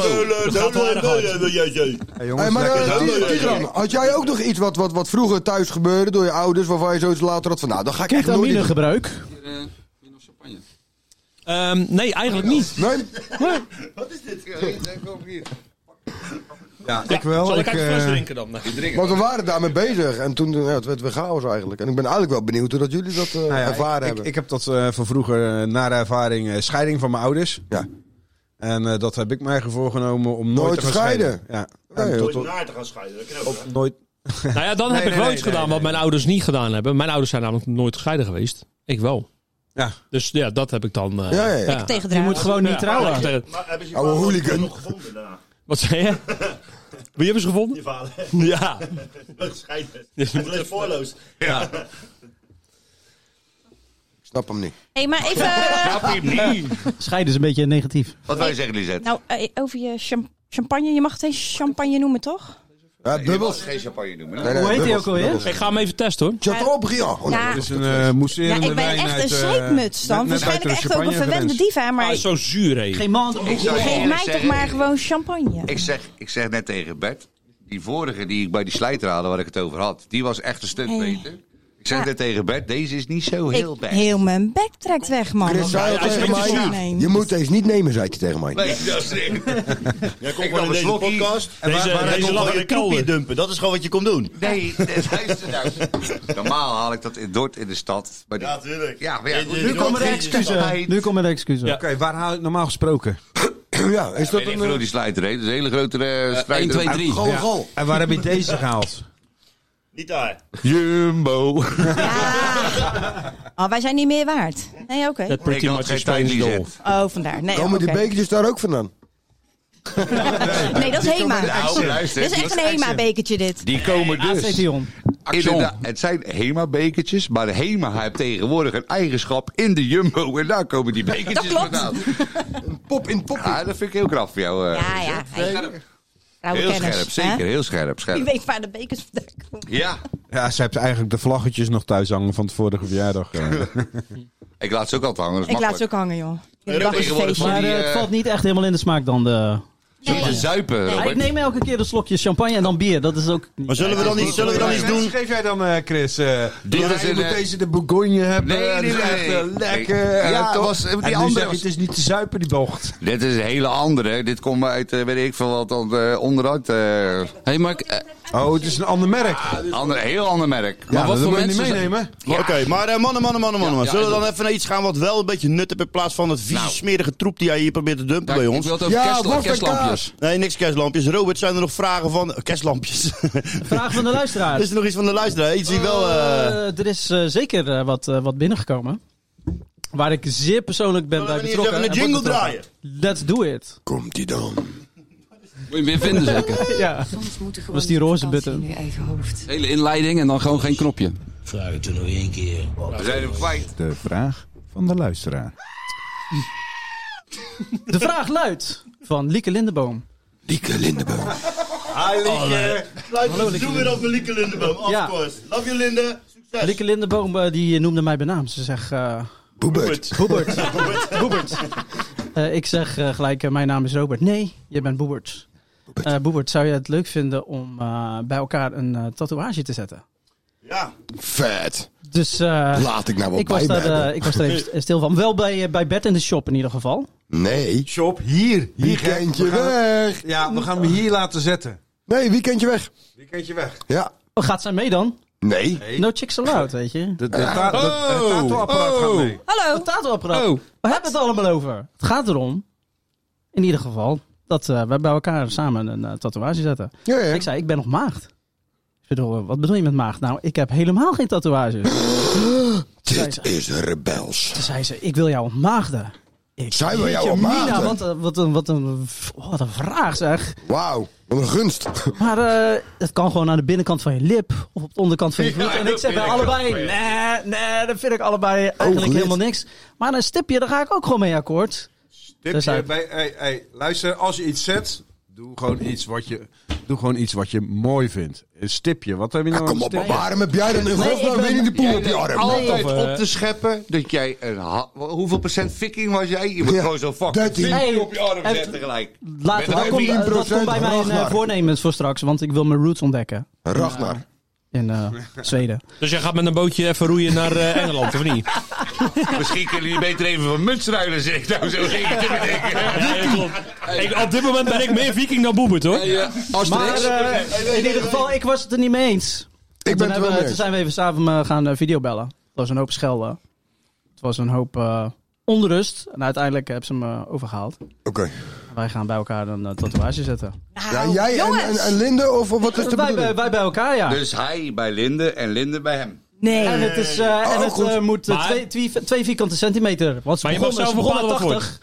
S3: poot.
S1: Hey,
S6: Hey,
S1: jongens,
S6: maar
S1: lekker.
S6: eh, Ti- Tigran, had jij ook nog iets wat, wat, wat vroeger thuis gebeurde door je ouders, waarvan je zoiets later had van, nou, dat ga ik echt nooit doen.
S5: Ketaminegebruik.
S2: Ehm, nee, eigenlijk niet.
S6: Nee?
S1: Ja, ik wel.
S2: Zal
S1: ik,
S2: ik uit de fles
S1: eh,
S2: drinken dan?
S6: Want we waren daarmee bezig en toen ja, het werd weer chaos eigenlijk. En ik ben eigenlijk wel benieuwd hoe dat jullie dat eh,
S1: nou ja,
S6: ervaren
S1: ik,
S6: hebben.
S1: Ik, ik heb dat eh, van vroeger, eh, na de ervaring, eh, scheiding van mijn ouders.
S6: Ja.
S1: En eh, dat heb ik mij eigen voorgenomen om nooit,
S6: Nooit
S1: te gaan
S6: te scheiden.
S1: scheiden. Ja.
S6: Nee,
S1: En
S6: joh.
S1: tot,
S10: Door naar te gaan scheiden, dat kan ook. hè?
S1: nooit.
S2: Nou ja, dan heb
S1: Nee,
S2: ik
S1: nee,
S2: wel
S1: nee,
S2: iets
S1: nee,
S2: gedaan wat mijn ouders niet gedaan hebben. Mijn ouders zijn namelijk nooit gescheiden geweest. Ik wel.
S1: Ja.
S2: Dus ja, dat heb ik dan... eh,
S6: Ja, ja, ja.
S5: Je
S7: Tegendraad.
S5: moet gewoon niet
S2: Ja,
S5: trouwen.
S2: tegen-
S10: Maar hebben ze je
S6: Oude
S10: vader
S6: hooligan.
S10: nog gevonden daarna?
S2: Wat zei je? Wie hebben ze gevonden?
S10: Je vader.
S2: Ja.
S10: Dat scheiden. Hij bleef voorloos.
S6: snap hem niet.
S7: Hé, maar even... eh,
S5: Scheiden is een beetje negatief.
S3: Wat wij zeggen, Lisette?
S7: Nou, eh, over je cham- champagne. Je mag het geen champagne noemen, toch?
S6: Ja, dubbels.
S3: Je mag geen champagne noemen.
S6: Nee, nee,
S5: Hoe heet die
S6: dubbels,
S5: ook alweer?
S6: dubbels.
S2: Ik ga hem even testen hoor.
S6: Shut up, Gian. Oh, nee,
S7: Ja.
S6: dat
S1: Het
S6: is
S1: is een eh
S7: Ja,
S1: mousserende
S7: ik ben
S1: wijn
S7: echt een
S1: uit, eh,
S7: zeepmuts dan.
S1: net- net uit de
S7: Waarschijnlijk echt ook een
S1: champagne
S7: verwende
S1: grens.
S7: diva.
S2: Hij
S7: Maar
S2: is zo zuur hé.
S5: Geen man.
S3: Ik zou
S7: geef
S3: eerlijk
S7: mij toch
S3: zeggen,
S7: maar gewoon champagne.
S3: Ik zeg, ik zeg net tegen Bert, die vorige die ik bij die slijter haalde waar ik het over had, die was echt een stuk
S7: Hey.
S3: beter. Ik Ik zeg dit tegen Bert, deze is niet zo heel
S8: Ik-
S3: best.
S8: heel mijn bek trekt weg, man. Oh,
S6: Chris zei al
S8: Wat
S6: tegen
S8: moet ik
S6: mij,
S8: nemen?
S6: je moet deze niet nemen, zei hij tegen mij.
S3: Nee, dat is echt.
S10: Jij
S3: Ik
S10: komt
S3: nam
S10: gewoon
S3: een
S10: in deze
S3: slokkie.
S10: podcast.
S3: En
S10: en
S3: deze-
S10: waar,
S3: deze
S10: waar
S3: lag
S10: kom
S3: in
S10: je
S3: de
S10: koepie
S3: kelder.
S10: dumpen? Dat is gewoon wat je komt doen.
S3: Nee, dat- luister nou. Normaal haal ik dat in Dordt in de stad. Maar die-
S10: Ja, tuurlijk.
S3: Ja, maar ja,
S5: Eh,
S10: Nu
S3: komt
S10: komen de
S3: geen
S10: excuses.
S3: tijd.
S5: Nu komen de excuses.
S1: Oké, waar haal ik normaal gesproken?
S6: Ja, is dat
S3: Weet ik
S6: een... eh,
S3: veel hoe die slijter heet. Dat is een hele grote eh strijder.
S11: 1, 2, 3.
S6: Goal, goal.
S1: En waar heb je deze gehaald?
S10: Niet daar.
S3: Jumbo.
S8: Oh, wij zijn niet meer waard. Nee, oké.
S2: Dat pretty
S3: Ik had
S2: much
S3: geen
S2: is Spanish
S3: tijd,
S2: goal.
S3: Lisette.
S8: Oh, vandaar. Nee,
S6: Komen die
S8: oké.
S6: bekertjes daar ook vandaan?
S8: Nee, dat is Hema. Oh,
S3: Nou,
S8: Dat
S3: luister.
S8: is echt een Hema-bekertje, dit.
S3: Die komen dus.
S5: AC Tion.
S3: Inderdaad, het zijn Hema-bekertjes, maar de Hema heeft tegenwoordig een eigenschap in de Jumbo. En daar komen die bekertjes
S8: Dat klopt.
S3: vandaan.
S6: Pop in pop.
S3: Ja, dat vind ik heel knap voor jou. eh.
S8: Ja, ja. Hey, rauwe
S3: Heel
S8: kennis,
S3: scherp,
S8: hè?
S3: zeker. Heel scherp,
S8: Je
S3: scherp.
S8: weet waar de bekers vandaan komen.
S3: Ja,
S1: Ja, ze hebt eigenlijk de vlaggetjes nog thuis hangen van het vorige verjaardag. eh.
S3: ik laat ze ook altijd hangen. Dat is
S8: Ik laat
S3: makkelijk.
S8: ze ook hangen, joh. Ik heb
S10: Europa
S8: een
S3: tegenwoordig
S8: feestje.
S5: Maar
S3: Die,
S5: eh,
S3: eh,
S5: het valt niet echt helemaal in de smaak dan. De...
S3: Zullen we zuipen,
S5: Ja, ik
S3: Robert?
S5: neem elke keer een slokje champagne en dan bier. Dat is ook...
S10: Maar zullen we dan iets, zullen we dan iets
S1: Wat
S10: doen?
S1: geef jij dan, eh, Chris? eh?
S3: Dit
S1: Ja,
S3: is
S1: je
S3: een,
S1: moet
S3: eh,
S1: deze de Bourgogne hebben.
S3: Nee,
S1: en
S3: nee,
S1: het is echt,
S3: nee.
S1: eh, lekker.
S3: Nee.
S1: eh,
S3: Ja,
S1: toch?
S3: was- die
S1: En nu
S3: andere
S1: zeg je,
S3: was-
S1: het is niet te zuipen, die bocht.
S3: Dit is een hele andere. Dit komt uit, eh, weet ik veel wat, dan, eh, onderuit. eh,
S11: Hey, maar, eh,
S1: Oh, het is een ander merk.
S3: ander, heel ander merk.
S11: maar wat voor
S1: wil je niet
S11: mensen... zijn-
S1: meenemen?
S10: Oké, maar eh, mannen, mannen, mannen, mannen.
S11: ja,
S10: Zullen we
S11: en
S10: dan even naar iets gaan wat wel een beetje nut hebt in plaats van het vieze smerige troep die jij hier probeert te dumpen
S11: Kijk,
S10: bij
S11: Ik
S10: ons?
S11: wil het over
S6: Ja,
S11: kerstla-
S6: wat een
S11: kerstlampjes.
S10: Nee, niks kerstlampjes. Robert, zijn er nog vragen van... eh, Kerstlampjes.
S5: Vraag van de luisteraar.
S10: is er nog iets van de luisteraar? Iets die wel... eh,
S5: Eh, er is eh, zeker eh, wat, eh, wat binnengekomen. Waar ik zeer persoonlijk ben bij
S10: Zullen we niet
S5: betrokken.
S10: eens even een
S5: en
S10: jingle
S5: wordt
S10: draaien?
S5: betrokken. Let's do it.
S6: Komt die dan?
S11: Moet je hem weer vinden zeker.
S5: Ja.
S1: eh,
S13: Soms moeten gewoon
S5: Was die roze
S13: vakantie
S5: button.
S13: in je eigen hoofd.
S11: Hele inleiding en dan gewoon geen knopje.
S14: Vraag het er nog één keer.
S3: We zijn hem kwijt.
S1: De vraag van de luisteraar.
S5: De vraag luidt van Lieke Lindeboom.
S6: Dieke Lindeboom.
S10: Luister, doen we dat voor Lieke Lindeboom, of
S5: Ja.
S10: course. Love you, Linde.
S1: Dus-
S10: Succes.
S5: Lieke Lindeboom eh, die noemde mij bij naam. Ze zegt... eh,
S6: Boebert.
S5: Boebert. Boebert. Eh, ik zeg eh, gelijk, eh, mijn naam is Robert. Nee, je bent Boebert. Eh Boebert, zou je het leuk vinden om eh, bij elkaar een eh, tatoeage te zetten?
S10: Ja.
S6: Vet.
S5: Dus eh,
S6: Laat ik nou wel
S5: ik, was
S6: bij me
S5: daar, eh,
S6: hebben.
S5: ik was daar even stil van. Wel bij, eh, bij Bert in de Shop in ieder geval.
S6: Nee.
S1: Shop, hier. Hier
S6: Weekendje weg.
S1: Ja, we gaan hem hier laten zetten.
S6: Nee, weekendje weg.
S1: Weekendje weg.
S6: Ja.
S5: Oh, gaat zij mee dan?
S6: Nee.
S5: No chicks allowed, weet je. Oh.
S1: De, de, ta- de- het
S6: Oh.
S1: tattooapparaat gaat mee.
S8: Hallo.
S5: Het tattooapparaat.
S11: Oh.
S5: We hebben het allemaal over. Het gaat erom, in ieder geval, dat eh, we bij elkaar samen een eh, tatoeage zetten.
S6: Ja, ja.
S5: Ik zei, ik ben nog maagd. Ik bedoel, eh, wat bedoel je met maagd? Nou, ik heb helemaal geen tatoeages.
S6: Dit is rebels.
S5: Toen zei ze, ik wil jou ontmaagden. Ik,
S6: Zij wil jou
S5: jeetje, Mina,
S6: ontmaagden?
S5: wat, een- wat, een, wat, een, oh, wat een vraag zeg.
S6: Wauw. Wat een gunst.
S5: Maar eh, het kan gewoon aan de binnenkant van je lip of op de onderkant van je voet. en ik zeg bij allebei, nee, nee, dat vind ik allebei eigenlijk
S6: lid.
S5: helemaal niks. Maar een stipje, daar ga ik ook gewoon mee akkoord.
S1: Tipje
S5: Dus hij-
S1: bij, hey, hey, luister, als je iets zet, doe gewoon iets wat je, doe gewoon iets wat je mooi vindt. Een stipje, wat heb je nou aan
S6: Kom op,
S1: een
S6: maar
S1: stipje?
S6: waarom heb jij dan in
S5: Nee, ik
S6: godsnaam
S5: ben-
S6: weer niet de poel op je arm?
S3: Altijd
S5: of, eh,
S3: op te scheppen dat jij een... ha- Hoeveel procent viking was jij? Je moet
S6: Ja,
S3: gewoon zo fucking
S6: 13.
S3: viking op je arm
S5: Hey,
S3: zetten gelijk.
S5: Later,
S3: Met
S5: dat, komt, dat
S6: 10%
S5: komt bij mijn eh,
S6: Ragnar.
S5: voornemens voor straks, want ik wil mijn roots ontdekken
S6: Ragnar.
S5: in eh, Zweden.
S2: Dus jij gaat met een bootje even roeien naar eh, Engeland, of niet?
S3: Misschien kunnen jullie beter even van muts ruilen, zeg ik nou zo.
S2: Ik, op dit moment ben ik meer viking dan Boebert, hoor.
S11: Hey, eh,
S5: Maar
S11: Asterix.
S5: eh, in ieder geval, ik was het er niet mee eens.
S6: Ik ben
S5: toen,
S6: het er
S5: hebben we-
S6: wel mee
S5: toen
S6: eens.
S5: zijn we even samen eh, gaan eh, videobellen. Het was een hoop schelden. Het was een hoop eh, onrust. En uiteindelijk heb ze me overgehaald.
S6: Oké.
S5: Wij gaan bij elkaar een eh, tatoeage zetten. Eh,
S6: Ja, jij en- en en Linde of of wat is de
S5: Wij, bij-
S6: bedoeling?
S5: wij bij elkaar, ja.
S3: Dus hij bij Linde en Linde bij hem.
S8: Nee.
S5: En het, is, eh, en het
S6: Oh, goed.
S5: eh, moet eh,
S2: Maar-
S5: twee, twee, twee vierkante centimeter. Want ze
S2: Maar je
S5: begon,
S2: mag
S5: ze
S2: zelf
S5: begon met
S2: bepalen wat
S5: 80.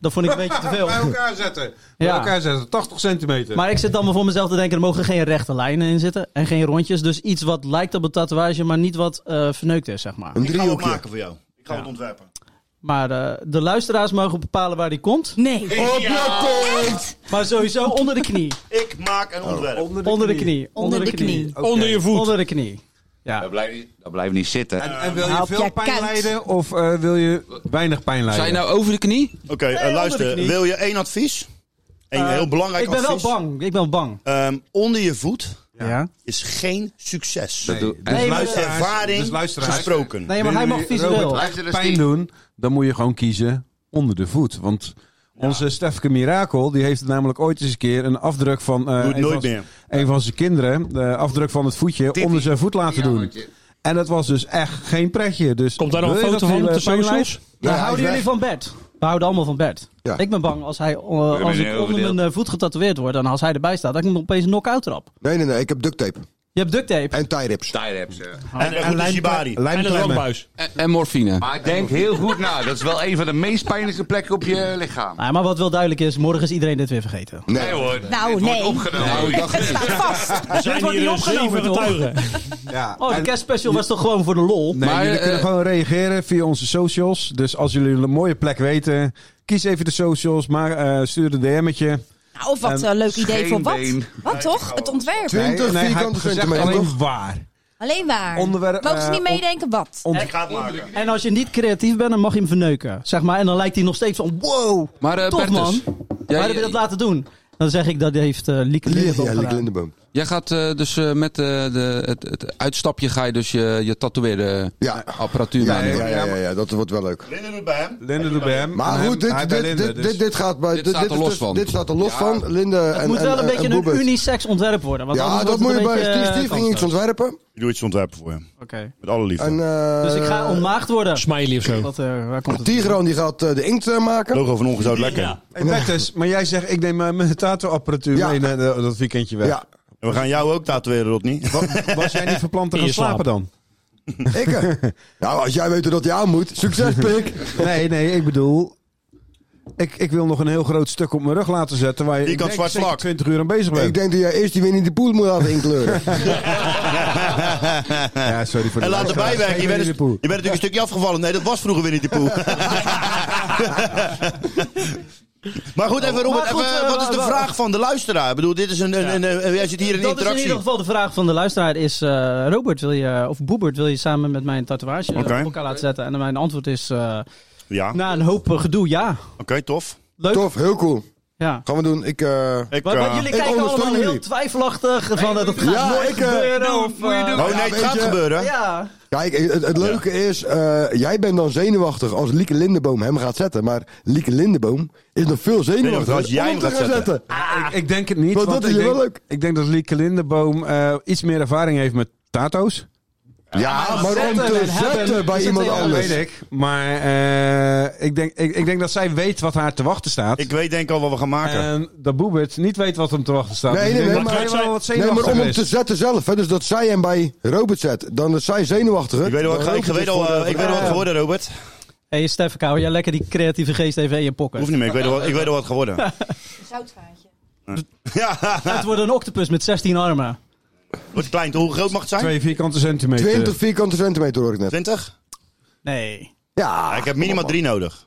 S5: Dat vond ik een beetje te veel.
S1: Bij elkaar zetten. Bij
S5: Ja.
S1: elkaar zetten. 80 centimeter.
S5: Maar ik zit dan maar voor mezelf te denken, er mogen geen rechte lijnen in zitten. En geen rondjes. Dus iets wat lijkt op een tatoeage, maar niet wat eh, verneukt is, zeg maar.
S10: Ik
S6: Een
S10: ga het
S6: driehoekje.
S10: maken voor jou. Ik ga het ontwerpen.
S5: Maar eh, de luisteraars mogen bepalen waar die komt.
S8: Nee.
S6: Op je kont.
S5: Maar sowieso onder de knie.
S10: Ik maak
S5: Oh.
S10: een ontwerp.
S5: Onder de knie.
S8: Onder de knie.
S2: Onder je voet.
S5: Onder de knie. Ja.
S3: Dat blijft, dat blijft niet zitten.
S1: En, en wil
S8: Nou,
S1: je
S8: op
S1: veel
S8: je
S1: pijn
S8: kant.
S1: lijden of eh, wil je weinig pijn lijden?
S11: Zijn je nou over de knie?
S10: Oké, eh, luister.
S5: knie. Eh,
S10: Wil je één advies? Een heel belangrijk
S5: Ik ben wel
S10: advies.
S5: bang. Ik ben bang.
S10: Ehm, onder je voet is geen succes.
S1: Dat doe-
S10: Dus
S1: Nee, maar-
S10: uit ervaring
S1: dus luisteraars-
S10: gesproken.
S5: Nee, maar hij mag
S1: Willen jullie
S5: visueel.
S1: Robert echt pijn doen, dan moet je gewoon kiezen onder de voet. Want onze Stefke Mirakel, die heeft namelijk ooit eens een keer een afdruk van... eh,
S10: Doe het
S1: een
S10: nooit
S1: van z-
S10: meer.
S1: Een van zijn kinderen, de afdruk van het voetje, onder zijn voet laten doen. En dat was dus echt geen pretje. Dus Komt
S2: daar nog een foto van op de socials?
S5: Nou, houden jullie van Bert? We houden allemaal van Bert.
S2: Ja.
S5: Ik ben bang als hij eh,
S2: ben
S5: als
S2: heel
S5: ik onder
S2: verdeeld.
S5: mijn eh, voet getatoeëerd wordt en als hij erbij staat, dat ik hem opeens een knock-out trap.
S6: Nee, nee, nee. Ik heb duct tape.
S5: Je hebt duct tape?
S6: En tie rips.
S3: Tie rips, ja.
S6: En- en lijm- lijmklemmen. En een rookbuis.
S11: En, en morfine.
S3: Maar ik denk heel goed na. Dat is wel een van de meest pijnlijke plekken op je lichaam.
S5: Ah, maar wat wel duidelijk is, morgen is iedereen dit weer vergeten.
S3: Nee, hoor.
S8: Nou, nee.
S3: Het
S8: staat vast.
S5: Er zijn wordt hier niet opgenomen, zeven toch? getuigen.
S1: Ja,
S5: Oh, de
S1: en-
S5: kerstspecial was toch gewoon voor de lol?
S1: Nee, jullie kunnen
S5: eh,
S1: gewoon reageren via onze socials. Dus als jullie een mooie plek weten, kies even de socials, maar eh, stuur een DM'tje.
S8: Nou, of wat
S1: En
S8: een leuk idee voor wat.
S1: scheenbeen.
S8: Wat toch? Het ontwerp.
S1: Nee, nee, hij heeft gezegd alleen waar.
S8: Alleen waar.
S1: Onderwerp,
S8: Mogen ze
S1: eh,
S8: niet meedenken wat?
S1: ont-
S5: En als je niet creatief bent, dan mag je hem verneuken. Zeg maar, en dan lijkt hij nog steeds van, wow,
S11: Maar, eh,
S5: tof
S11: Bertus,
S5: man.
S11: jij-
S5: Waar heb je dat laten doen? Dan zeg ik, dat heeft eh Lieke Lindeboom
S11: ja,
S5: gedaan.
S11: Lieke Lindeboom. Jij gaat eh, dus eh, met eh, de, het, het uitstapje ga je dus je, je tatoeëerde apparatuur
S6: Ja,
S11: meenemen.
S6: ja, ja, ja, ja, dat wordt wel leuk.
S1: Linde doet bij hem.
S6: Maar
S1: Hij-
S6: goed, dit,
S1: hij
S6: dit,
S1: bij
S6: dit,
S1: Linde, dus-
S6: dit, dit gaat bij.
S11: Dit staat er
S6: is
S11: los
S6: dus-
S11: van.
S6: Dit staat er los van. Linde Eh, en.
S5: Het moet
S6: en-
S5: wel een
S6: en-
S5: beetje
S6: en
S5: een
S6: Boebert.
S5: unisex ontwerp worden. Want
S6: Ja,
S5: anders
S6: dat moet
S5: wordt
S6: je
S5: het
S6: bij.
S5: een beetje,
S6: Steve,
S5: eh,
S6: Steve ging iets
S5: kansloos.
S6: ontwerpen.
S10: Ik doe iets ontwerpen voor hem.
S5: Oké.
S10: Met alle liefde.
S6: En, eh,
S5: Dus ik ga ontmaagd worden.
S2: Smiley of zo.
S5: Wat, eh, waar komt het?
S6: Tigran die gaat eh, de inkt eh, maken.
S10: Logo van ongezout lekker.
S1: Hey, Bertus, maar jij zegt, ik neem eh, mijn tattoo-apparatuur mee naar de- dat weekendje weg.
S6: Ja.
S10: En we gaan jou ook tatoeëren, Rodney.
S1: Was jij niet verplant te
S10: In
S1: gaan
S10: je slaap.
S1: slapen dan?
S6: Ik. eh, nou, als jij weet hoe dat je aan moet. Succes, pik.
S1: Nee, nee, ik bedoel... Ik, ik wil nog een heel groot stuk op mijn rug laten zetten... waar je
S10: Die kan
S1: ik denk,
S10: zwart
S1: zeker
S10: vlak.
S1: 20 uur aan bezig bent.
S6: Ik denk dat jij eerst die Winnie de Poel moet laten inkleuren.
S1: ja, sorry voor de
S10: En laat
S1: luisteraars.
S10: erbij werken. Je
S1: Geen
S10: bent, dus-
S1: Winnie de Pooh.
S10: je bent natuurlijk een stukje afgevallen. Nee, dat was vroeger Winnie de Poel. maar goed, even Robert,
S5: Maar goed,
S10: even,
S5: eh,
S10: wat is de
S5: wa- wa-
S10: vraag van de luisteraar? Ik bedoel, dit is een... een, een- een- jij zit hier in de
S5: Dat is in
S10: interactie.
S5: ieder geval de vraag van de luisteraar is... eh, Robert, wil je, of Boebert, wil je samen met mijn tatoeage eh,
S10: Oké.
S5: op elkaar laten zetten? En mijn antwoord is, eh,
S10: Ja, oké,
S5: na een hoop eh, gedoe, ja.
S10: tof.
S5: Leuk.
S6: Tof, heel cool.
S5: Ja.
S6: Gaan we doen. Ik. eh,
S10: Ik,
S5: Maar, maar
S10: eh,
S5: jullie
S6: ik
S5: kijken
S6: ondersteun
S5: allemaal heel
S6: jullie.
S5: twijfelachtig. Van, eh, dat gaat
S6: Ja,
S5: nooit
S6: ik, eh,
S5: gebeuren.
S6: doe,
S5: of,
S6: moet je
S5: eh,
S10: Oh
S6: doen.
S10: nee,
S6: Ja,
S10: het
S6: weet
S10: gaat
S6: je-
S10: gebeuren.
S5: Ja.
S6: Kijk, het, het leuke is, eh, jij bent dan zenuwachtig als Lieke Lindeboom hem gaat zetten. Maar Lieke Lindeboom is nog veel zenuwachtiger
S10: Zenuwachtig als jij
S6: om
S10: hem
S6: te
S10: gaat
S6: gaan
S10: zetten. Ah,
S1: Ah, Ik, ik denk het niet.
S6: Want
S1: Want,
S6: dat
S1: ik,
S6: is
S1: denk,
S6: wel leuk.
S1: ik denk dat Lieke Lindeboom eh, iets meer ervaring heeft met tato's.
S6: Ja, maar om
S5: zetten
S6: te
S5: en hebben,
S6: zetten bij
S5: is het
S6: iemand
S5: heel
S6: anders.
S1: Weet ik. Maar eh, ik, denk, ik, ik denk dat zij weet wat haar te wachten staat.
S10: Ik weet denk ik al wat we gaan maken.
S1: en dat Boebert niet weet wat hem te wachten staat.
S6: Nee,
S1: Dus ik
S6: nee,
S1: denk
S6: nee,
S1: dat
S6: maar-
S1: zij wel wat
S6: Nee, maar
S1: zenuwachtig
S6: om hem
S1: is.
S6: te zetten zelf. Hè, dus dat zij hem bij Robert zet. Dan is zij zenuwachtiger.
S10: ik weet al,
S6: Dan
S10: ik, ga- ik
S6: Robert
S10: weet
S6: is
S10: al,
S6: voor
S10: eh,
S6: de-
S10: ik weet al wat geworden, Robert.
S5: Hé, hey, Stef, hou jij lekker die creatieve geest even in je pocket.
S10: Hoeft niet meer, ik weet al, wat- ik weet al wat geworden.
S8: Zoutvaatje.
S10: ja,
S5: Het wordt een octopus met 16 armen.
S10: wordt klein. Hoe groot mag het zijn?
S1: Twee vierkante centimeter.
S6: 20 vierkante centimeter hoor ik net.
S10: 20?
S5: Nee.
S6: Ja,
S10: Ja, ik heb minimaal drie nodig.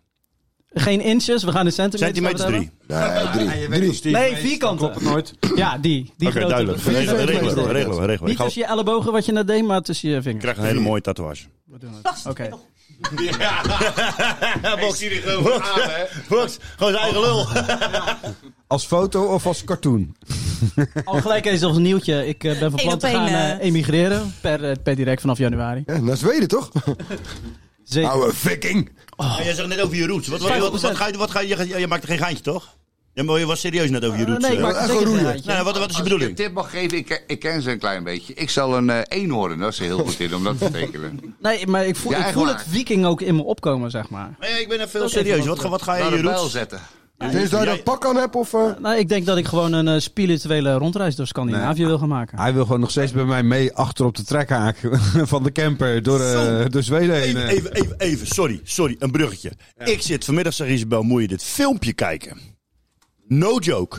S5: Geen inches, we gaan de centimeters.
S10: Centimeters
S5: gaan we
S10: drie.
S5: het
S10: Oké,
S6: nee, drie.
S5: hebben. Nee, vierkant.
S1: Nooit.
S5: Ja, die. die grote.
S10: duidelijk.
S5: Vier
S10: Regelen,
S5: centimeters.
S10: regelen, we, regelen, we, regelen. we.
S5: Niet
S10: Ik, ga-
S5: tussen je ellebogen wat je net deed, maar tussen je
S10: ik
S5: vingers.
S10: krijg een hele mooie tatoeage.
S5: Oké.
S10: Box, Box, Box, gewoon zijn eigen lul.
S1: Als foto of als cartoon?
S5: Al gelijk eens als een nieuwtje. Ik eh, ben van
S8: Eén
S5: plan
S8: op
S5: te
S8: één,
S5: gaan
S8: eh.
S5: eh, emigreren per, eh, per direct vanaf januari.
S6: Ja, naar Zweden toch?
S5: Zeker.
S6: Oude viking.
S5: Oh.
S10: Ja, jij zegt net over je roots. Wat, wat, wat, wat ga je, wat ga je, je, je maakt er geen geintje, toch? Je, je was serieus net over je roots.
S5: nee, ik
S10: eh.
S5: maak
S6: echt
S5: er
S6: een
S5: zeker een
S6: roeier.
S5: rijtje.
S10: Nou, wat, wat is je
S3: Als ik een
S10: bedoeling?
S3: tip mag geven, ik, ik ken ze een klein beetje. Ik zal een eh, eenhoorn, daar is ze heel goed in om dat te tekenen.
S5: Nee, maar ik voel,
S3: Ja,
S5: ik
S3: echt
S5: voel
S3: waar.
S5: het viking ook in me opkomen, zeg maar.
S10: Nee, ik ben even heel
S5: Dat is even
S10: serieus.
S5: wat
S10: Wat, ga- wat ga je
S3: Naar
S10: je
S3: een pijl
S10: roots?
S3: zetten.
S6: Sinds dat
S10: jij-
S6: je dat pak aan hebt of... eh,
S5: Nou, ik denk dat ik gewoon een eh, spirituele rondreis door Scandinavië wil gaan maken.
S1: Hij wil gewoon nog steeds bij mij mee achter op de trekhaak van de camper door, eh, door Zweden heen.
S10: Even,
S1: eh.
S10: even, even, even, sorry, sorry, een bruggetje. Ik zit vanmiddag, zegt Isabel, moet je dit filmpje kijken? No joke.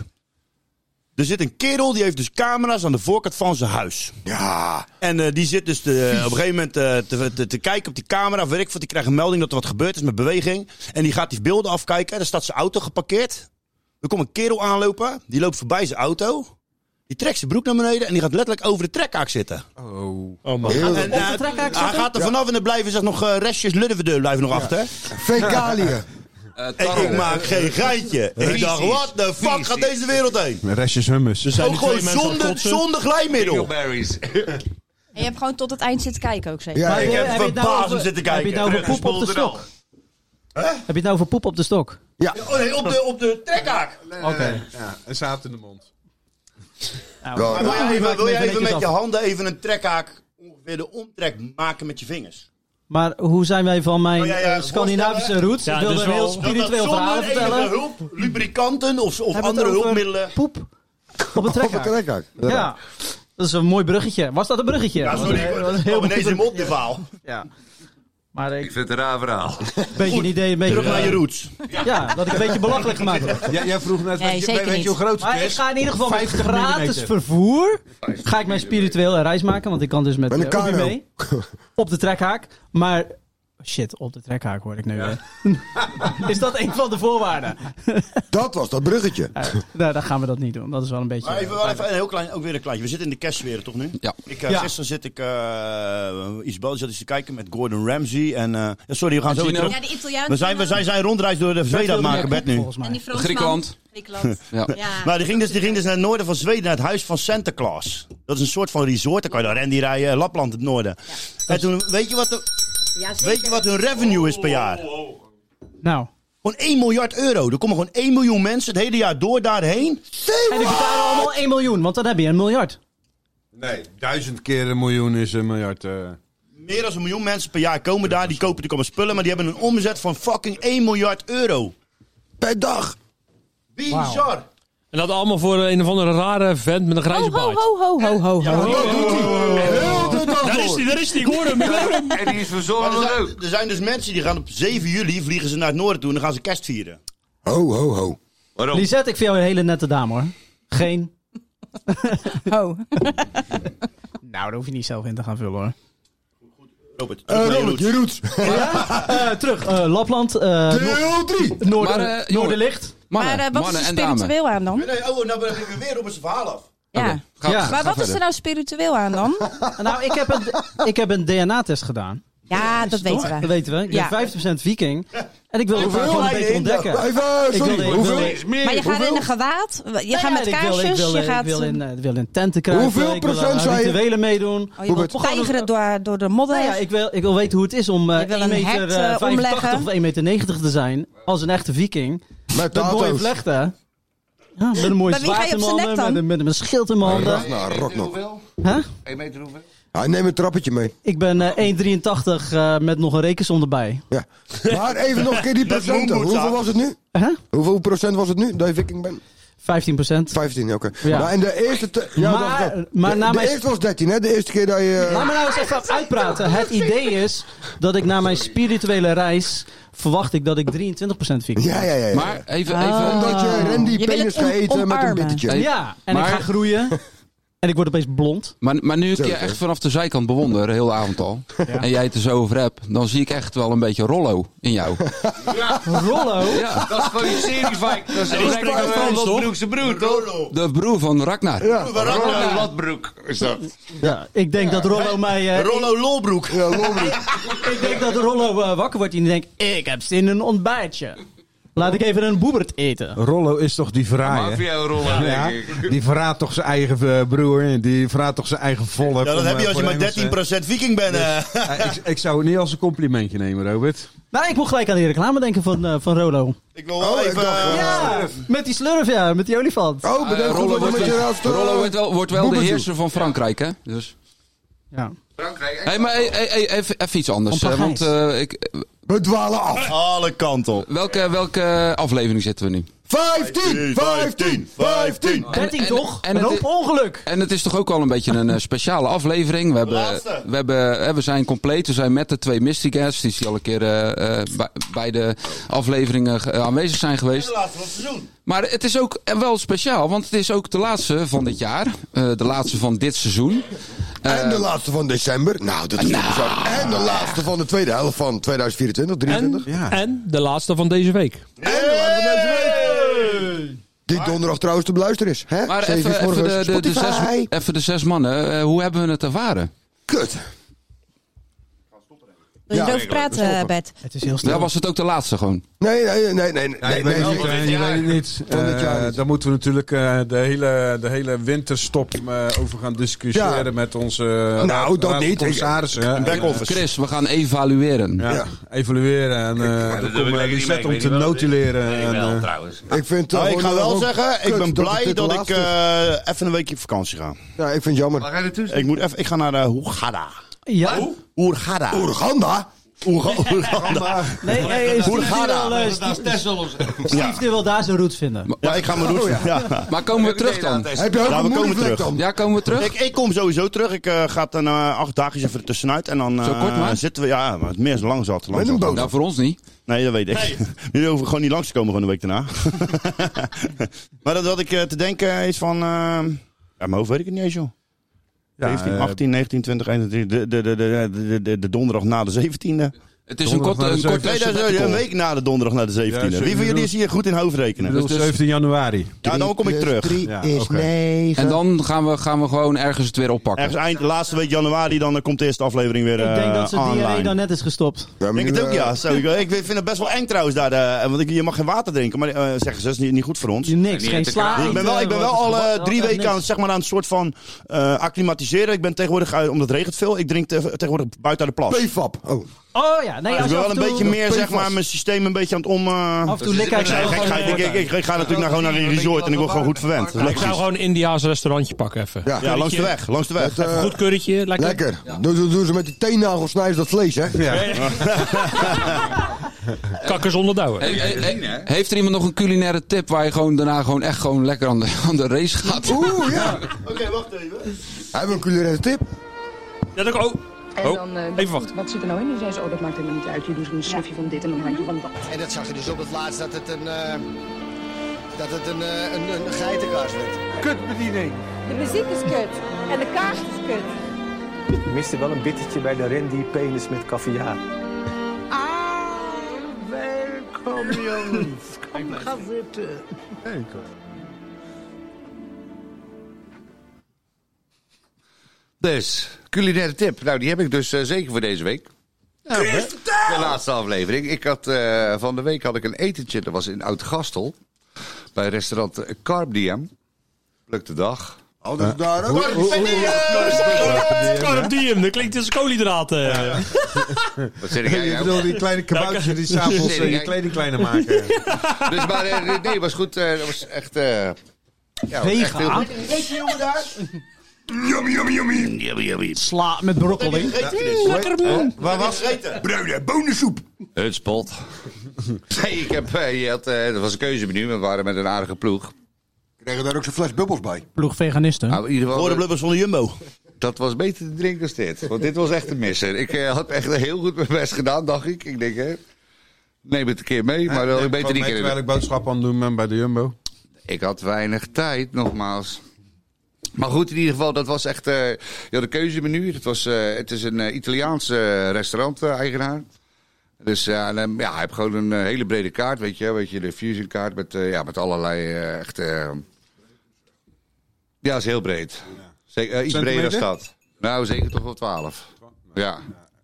S10: Er zit een kerel, die heeft dus camera's aan de voorkant van zijn huis.
S6: Ja.
S10: En eh, die zit dus te- op een gegeven moment eh, te, te, te kijken op die camera. of Weet ik wat, die krijgt een melding dat er wat gebeurd is met beweging. En die gaat die beelden afkijken. En dan staat zijn auto geparkeerd. Er komt een kerel aanlopen. Die loopt voorbij zijn auto. Die trekt zijn broek naar beneden. En die gaat letterlijk over de trekhaak zitten.
S2: Oh man.
S6: Heel
S10: En, eh,
S5: trekhaak
S10: hij
S5: zitten?
S10: gaat er vanaf en er blijven zeg, nog eh, restjes Luddeverdeur blijven nog achter.
S6: Fecaliën.
S10: En ik maak geen geitje. Ik dacht, what the fuck gaat deze wereld heen?
S1: Restjes hummus.
S10: Ook Oh, gewoon zonder, zonder glijmiddel. Oh,
S8: En je hebt gewoon tot het eind zitten kijken ook zeker?
S10: Ja, Maar ik heb
S5: je het nou
S10: verbazend
S5: over-
S10: zitten
S5: Heb je het
S10: kijken.
S5: nou over
S10: Terug
S5: poep op de
S10: naar
S5: stok? Heb je het nou over poep op de stok?
S6: Ja.
S10: Oh nee, op de, op de trekhaak.
S5: Oké.
S1: Ja, een zaad in de mond.
S10: Maar wil jij even, wil jij even met je
S5: af.
S10: handen even een trekhaak ongeveer de omtrek maken met je vingers?
S5: Maar hoe zijn wij van mijn
S10: Wil jij,
S5: eh,
S10: eh,
S5: Scandinavische
S10: voorstellen
S5: roots? ik wilde een heel
S10: dat dat
S5: spiritueel verhaal
S10: zonder enige
S5: vertellen.
S10: hulp, lubricanten of, of
S5: Hebben we
S10: andere
S5: het over
S10: hulpmiddelen.
S5: Poep op een
S6: Op een
S5: trekhaak.
S6: trekhaak.
S5: Ja. Dat is een mooi bruggetje. Was dat een bruggetje?
S10: Ja,
S5: Dat was
S10: sorry.
S5: een-
S10: ik-
S5: dat
S10: Dat
S5: was
S10: is
S5: een heel
S10: heel
S5: mooi
S10: ineens in mijn
S5: bruggetje.
S10: op dit verhaal.
S5: Ja. Maar ik
S3: Ik vind het een raar verhaal.
S5: een beetje een idee. Een beetje
S10: Terug naar je roots.
S5: Ja, dat ik een beetje belachelijk gemaakt word.
S1: Ja, jij vroeg net,
S8: Nee,
S1: weet, je,
S8: zeker
S1: weet je hoe
S8: niet.
S1: groot het
S5: Maar ik
S1: is?
S5: ga in ieder geval met
S1: 50
S5: gratis
S1: millimeter.
S5: vervoer. Ga ik mijn spirituele reis maken, want ik kan dus met
S6: Met
S5: eh,
S6: een
S5: Obi
S6: kano.
S5: mee. Op de trekhaak. Maar shit, op de trekhaak hoor ik nu. weer. Is dat een van de voorwaarden?
S6: Dat was dat bruggetje.
S5: Eh, nou, dan gaan we dat niet doen. Dat is wel een beetje.
S10: Maar even, wel even een heel klein, ook weer een kleintje. We zitten in de kerstsfeer toch nu?
S11: Ja.
S10: Ik, eh,
S5: Ja.
S10: Gisteren zit ik eh iets Belgisch zat eens te kijken met Gordon Ramsay en... eh, ja, sorry, we gaan zo weer
S11: Gino.
S10: terug.
S8: Ja, de Italiaan.
S10: We zijn, we zijn, zijn rondreis door de Zweden aan het maken, Bert, nu.
S5: Volgens mij.
S8: En die Fransman.
S11: Griekenland.
S8: Griekenland.
S11: Ja.
S8: Ja.
S10: Maar die ging, dus, die ging dus naar het noorden van Zweden, naar het huis van Santa Claus. Dat is een soort van resort, dan kan je naar Randy rijden, eh, Lapland het noorden. En toen, weet je, wat de-
S8: Ja, zeker.
S10: weet je wat hun revenue is per jaar?
S5: Nou.
S10: Gewoon 1 miljard euro. Er komen gewoon 1 miljoen mensen het hele jaar door daarheen.
S5: En die betalen allemaal 1 miljoen, want dan heb je een miljard.
S1: Nee, duizend keer een miljoen is een miljard. eh.
S10: Meer dan een miljoen mensen per jaar komen daar, die kopen die komen spullen, maar die hebben een omzet van fucking 1 miljard euro.
S6: Per dag.
S10: Bizar.
S2: En dat allemaal voor eh, een of andere rare vent met een grijze
S8: Ho, ho,
S2: baard.
S8: ho, ho, ho, ho, ho.
S6: Dat doet hij. Heel de dag
S2: Daar is
S6: door.
S2: hij, daar is hij. Ik hoor hem, ik hoor hem.
S3: En die is
S10: Maar er,
S3: verzorgd ook.
S10: zijn, er zijn dus mensen die gaan op 7 juli vliegen ze naar het noorden toe en dan gaan ze kerst vieren.
S6: Ho, ho, ho.
S5: Lisette, ik vind jou een hele nette dame hoor. Geen.
S8: ho.
S5: Nou, daar hoef je niet zelf in te gaan vullen hoor.
S10: Robert, terug
S6: Eh
S10: naar je
S6: Ronald,
S10: roots.
S6: je roots.
S5: Eh, terug, eh, Lapland, eh,
S6: Deel 3.
S5: Noor- Noorder,
S11: Maar, eh, jongen.
S5: Noorderlicht.
S11: Mannen,
S8: Maar eh, wat is
S11: mannen
S8: er
S11: en dames.
S8: spiritueel aan dan?
S10: Nee, oh, nou ben ik weer Robert zijn verhaal af.
S8: Ja.
S11: Ga,
S5: Ja.
S11: ga-
S8: Maar
S11: ga
S8: wat is er
S11: verder.
S8: nou spiritueel aan dan?
S5: Nou, ik heb een, ik heb een DNA-test gedaan.
S8: Ja, dat weten
S5: Dat
S8: we.
S5: weten we. Ik
S8: Ja.
S5: ben 50% viking. En ik wil het gewoon een beetje ontdekken.
S6: Even,
S5: Ik wilde-
S6: eh, sorry.
S5: ik
S6: Hoeveel?
S5: wilde-
S8: Maar je gaat in een gewaad, je gaat met
S5: Nou Ja, ik wil- ik
S8: kaarsjes,
S5: wil-
S8: je
S5: Ik
S8: gaat...
S5: wil in, eh, ik wil in tenten kruipen.
S6: Hoeveel
S5: ik wil aan
S6: procent zei je?
S5: rituelen meedoen.
S8: Oh, je wilt
S5: Gewoon een-
S8: tijgeren door, door de
S5: Nou ja,
S8: modder.
S5: ik, wil, ik wil weten hoe het is om eh,
S8: Je wil
S5: 1
S8: een
S5: meter
S8: hert, eh,
S5: 85
S8: omleggen.
S5: of 1,90 meter te zijn. Als een echte viking.
S6: Met
S5: Met mooie
S6: tato's.
S5: vlechten. Ja, met een mooie
S8: Maar wie ga je
S5: zwaard in
S8: op zijn
S5: mijn
S8: nek
S5: handen,
S8: dan?
S5: met, een- met een schild in mijn handen.
S6: Ragnar, Ragnar.
S3: hoeveel?
S5: Huh?
S3: 1 meter hoeveel?
S6: Hij neemt een trappetje mee.
S5: Ik ben eh, 1,83 eh, met nog een rekensom erbij.
S6: Ja. Maar even nog een keer die procenten.
S10: Moonboots
S6: Hoeveel
S10: aan.
S6: was het nu?
S5: Huh?
S6: Hoeveel procent was het nu dat je viking bent?
S5: 15
S6: 15, oké.
S5: Ja.
S6: Nou, en de eerste... te- Ja,
S5: Maar-
S6: dat- dat-
S5: maar
S6: de,
S5: na
S6: de
S5: mijn-
S6: eerste was 13, hè? De eerste keer dat je...
S5: Laat me nou eens even uitpraten. Het idee is dat ik na mijn spirituele reis verwacht ik dat ik 23% viking ben.
S6: Ja, ja, ja. ja.
S11: Maar even,
S5: Ah.
S11: even,
S6: Omdat je Randy
S8: Je wil
S6: penis
S8: het
S6: gaat
S8: om-
S6: eten met een
S8: omarmen.
S6: bittertje.
S11: Hey,
S5: Ja, Ah. en ik
S11: maar-
S5: ga groeien. En ik word opeens blond.
S11: Maar, maar nu ik je
S6: Zeker.
S11: echt vanaf de zijkant bewonder, heel de avond al, en jij het er zo over hebt, dan zie ik echt wel een beetje Rollo in jou.
S5: Rollo.
S11: Ja,
S3: Dat is van je serie, Vijk. Dat is
S2: Die spreekt
S3: van
S2: ook Frans, toch?
S3: Ladbroekse broer, toch?
S11: de broer van Ragnar.
S6: Ja.
S3: Ronald Ladbroek is dat.
S5: Ja, ik denk dat Rollo mij. eh,
S10: Rollo Lolbroek.
S6: Ja, lolbroek.
S5: ik denk dat Rollo eh, wakker wordt en die denkt: ik heb zin in een ontbijtje. Laat ik even een boebert eten.
S1: Rollo is toch die verraaier?
S3: Mafia-rollen,
S1: Ja,
S3: denk ik.
S1: die verraadt toch zijn eigen eh, broer, die verraadt toch zijn eigen volk.
S10: Ja, dat
S1: om,
S10: heb
S1: eh,
S10: je als je
S1: voor
S10: maar 13%
S1: Engels, eh.
S10: viking bent. eh.
S1: Eh, ik, ik zou het niet als een complimentje nemen, Robert.
S5: Nou, ik moet gelijk aan die reclame denken van, eh, van Rollo.
S10: Ik wil wel
S6: Oh, ik
S10: even...
S6: dacht,
S10: eh,
S5: Ja, met die slurf, ja, met die olifant.
S6: Oh,
S11: Eh,
S6: bedankt
S11: Rollo
S6: dat je
S11: wordt,
S6: met je
S11: wel-
S6: raast...
S11: Rollo wordt wel, wordt wel de
S6: Boebertje.
S11: heerser van Frankrijk, hè? Dus.
S5: Ja.
S3: Frankrijk,
S11: Hey, maar hey, hey, hey, even, even iets anders.
S5: Om
S11: eh, Want
S5: Parijs.
S11: eh, ik,
S6: We dwalen af.
S10: Alle kanten op.
S11: welke, welke aflevering zitten we nu?
S6: 15, 15, 15.
S5: 13
S11: en-
S5: toch?
S11: en
S5: een
S11: het
S5: hoop
S11: i-
S5: ongeluk.
S11: En het is toch ook wel een beetje een eh, speciale aflevering. We, hebben,
S10: Laatste.
S11: we, hebben, hè, we zijn compleet. We zijn met de twee Mystery Guests. Die zie je al een keer eh, eh, bij, bij de afleveringen eh, aanwezig zijn
S10: De
S11: geweest.
S10: laatste van het seizoen.
S11: Maar het is ook eh, wel speciaal. Want het is ook de laatste van dit jaar. eh, de laatste van dit seizoen. Eh,
S6: En de laatste van december. Nou, dat is bizar. En de laatste van de tweede helft van 2024,
S2: En,
S6: 2023.
S2: en de laatste van deze week.
S6: En, de laatste van deze week. Die donderdag trouwens te beluisteren is. Hè?
S11: Maar
S6: Zeven
S11: even,
S6: uur 's
S11: even,
S6: morgens.
S11: de, de, de zes,
S6: Spotify.
S11: even de zes mannen. eh, hoe hebben we het ervaren?
S6: Kut.
S8: Wil je erover praten, eh, Bert?
S5: Het is heel
S11: Ja, was het ook de laatste gewoon?
S6: Nee, nee, nee, nee. nee,
S1: Ja, je
S6: nee,
S1: weet
S6: nee,
S1: het niet, eh, je weet het niet.
S6: Van dit jaar
S1: Eh,
S6: niet.
S1: Dan moeten we natuurlijk eh, de, hele, de hele winterstop eh, over gaan discussiëren
S6: Ja.
S1: met eh, onze
S10: Eh,
S6: Nou,
S1: raad-
S6: dat
S1: raad van
S6: niet.
S1: commissarissen. hè.
S11: Chris, we gaan evalueren.
S1: Ja, evalueren en eh er komt een reset om te notuleren. en, eh,
S6: Ik vind eh,
S10: Nou, ik ga wel zeggen, ik ben blij
S6: het
S10: dat
S6: de
S10: ik
S6: laatste is.
S10: eh, even een weekje op vakantie ga.
S6: Ja, ik vind het jammer.
S3: ga je naartoe?
S10: Ik, moet even, ik ga naar eh Hurghada.
S5: Ja.
S10: Hurghada.
S6: Oerganda?
S10: Oerga- Oerganda.
S5: Nee, hey, Steve, die
S10: Hurghada.
S5: wil, eh,
S14: Dat is
S5: Steve,
S14: Tessel of zo.
S5: Steve die wil daar zijn roots vinden.
S10: Ja, ik ga mijn route.
S6: Oh,
S10: ja.
S11: Maar komen we terug dan?
S6: Heb je ook
S10: Ja, we
S6: een
S10: komen
S6: moedervlek
S10: terug.
S6: dan?
S11: Ja, komen we terug?
S10: Ik, ik kom sowieso terug. Ik eh, ga dan eh, acht dagjes even ertussenuit. En dan eh,
S11: Zo kort maar?
S10: zitten we. Ja, maar het meer is lang zat. Lang
S6: Met een
S10: zat.
S6: boot.
S11: Nou, voor ons niet.
S10: Nee, dat weet ik. Jullie hoeven gewoon niet langs te komen van de week daarna. maar dat wat ik eh, te denken is van. eh, ja, mijn hoofd weet ik het niet eens, joh.
S1: Ja,
S10: 17,
S1: eh,
S10: 18, 19, 20, 21. De, de, de, de, de, de, de donderdag na de 17e.
S11: Het is een
S1: Donderdag
S11: korte,
S1: naar de
S11: een korte
S10: Nee, dat is
S11: sabbatical.
S10: een week na de donderdag na de 17e.
S1: Ja,
S10: Wie van jullie is hier goed in hoofdrekenen?
S1: bedoel,
S11: dus-
S1: 17 januari.
S10: ja, dan kom ik terug.
S6: Drie
S1: Ja,
S6: is
S1: oké.
S6: negen.
S11: En dan gaan we, gaan we gewoon ergens het weer oppakken.
S10: Ergens eind, laatste week januari, dan eh, komt de eerste aflevering weer
S5: Ik denk
S10: eh,
S5: dat ze
S10: online.
S5: DNA dan net is gestopt.
S6: Ja, maar
S10: Ik denk
S6: nu,
S10: het ook,
S6: eh,
S10: ja. Zo, ik, ik vind het best wel eng trouwens daar. eh, want ik, je mag geen water drinken, maar eh, zeggen ze, dat is niet, niet goed voor ons.
S5: Je niks,
S2: Niet
S5: geen
S2: te
S5: sla.
S2: kraaien.
S10: ik ben wel, ik ben wel al eh,
S5: Oh,
S10: drie weken aan, het, zeg maar, aan het soort van eh, acclimatiseren. Ik ben tegenwoordig, eh, omdat het regent veel, ik drink te- tegenwoordig buiten aan de plas. Dus
S6: P-fap. Oh.
S5: Oh ja, nee,
S10: ik
S5: als je
S10: ben wel
S5: af en
S10: een
S5: toe-
S10: beetje meer, zeg
S6: PFAS.
S10: maar, mijn systeem een beetje aan het om... eh,
S5: Af en toe
S3: Dus
S5: likker ik
S3: het is
S5: zou
S10: ik,
S3: een
S10: ga,
S5: gewoon-
S10: ik, ik, ik- ik ga natuurlijk naar, gewoon naar een resort en ik word gewoon goed verwend. Dat is
S2: Ik zou
S10: logisch.
S2: gewoon een Indiaas restaurantje pakken even.
S6: Ja.
S10: Ja, langs de weg, langs de weg.
S6: Dat, eh,
S2: Goed kurretje, lekker.
S6: lekker. Doe, doe, doe ze met die teennagels snijden ze dat vlees, hè?
S2: Kakken zonder douwen.
S11: He- he- he- heeft er iemand nog een culinaire tip waar je gewoon daarna gewoon echt gewoon lekker aan de, aan de race gaat?
S6: Oeh, ja.
S10: Oké, wacht even.
S6: Hebben we een culinaire tip?
S2: Ja, dat ook.
S13: En
S2: Oh,
S13: dan, eh,
S2: even wachten.
S13: Wat zit er nou in? En zei ze, oh, dat maakt helemaal niet uit. Je doet een snufje van dit en een handje van dat.
S15: En dat zag je dus op het laatst dat het een, eh, dat het een, eh, een, een geitenkaas werd.
S3: Kutbediening.
S16: De muziek is kut en de kaart is kut.
S17: Ik miste wel een bittertje bij de Randy penis met caviar.
S15: Welkom jongens, kom ga zitten.
S5: Eh,
S3: Dus, culinaire tip. Nou, die heb ik dus eh, zeker voor deze week. Ja, de laatste aflevering. Ik had, eh, van de week had ik een etentje. Dat was in Oud-Gastel. Bij restaurant Carb Diem. Lukte dag.
S2: Oh,
S6: Alles daar ook.
S2: Carb diem, dat klinkt als eh. koolhydraten.
S3: Wat zeg ik
S1: Je
S3: eigenlijk?
S1: bedoelt die
S2: Nou,
S1: kleine kaboutjes die s'avonds
S3: Nee,
S1: eh, je
S3: nee.
S1: kleding kleiner maken.
S3: Dus, maar eh, nee, was goed. eh, dat was echt... eh ja, was echt heel
S5: Vega,
S3: goed.
S10: Weet je jongen daar?
S3: Yummy, yummy, yummy. Yummy, yummy.
S5: sla met broccoli.
S2: Lekker man.
S10: Waar was het?
S6: Bruine bonensoep.
S3: Het spot. nee, ik heb, eh, je had, eh, dat was een keuzemenu. We waren met een aardige ploeg.
S6: Kregen daar ook zo'n fles bubbels bij?
S5: Ploeg veganisten.
S3: Nou, in ieder geval,
S10: Voor de blubbers van de Jumbo.
S3: Dat was beter te drinken als dit. Want dit was echt een misser. Ik eh, had echt heel goed mijn best gedaan, dacht ik. Ik denk, hè, neem het een keer mee.
S1: eh,
S3: Maar dan had ik beter niet keer.
S1: Terwijl ik boodschap aan het doen ben bij de Jumbo.
S3: Ik had weinig tijd, nogmaals. Maar goed, in ieder geval, dat was echt... eh je had een keuzemenu. Het, was, eh, het is een eh, Italiaans eh, restaurant-eigenaar. Dus eh, en, ehm, ja, hij heeft gewoon een eh, hele brede kaart, weet je. Weet je, de fusion kaart met, eh, ja, met allerlei eh, echt... eh, ja, is heel breed. Zeker, eh, iets breder dan
S1: Centimeter?
S3: dat. Nou, zeker toch wel 12. Ja,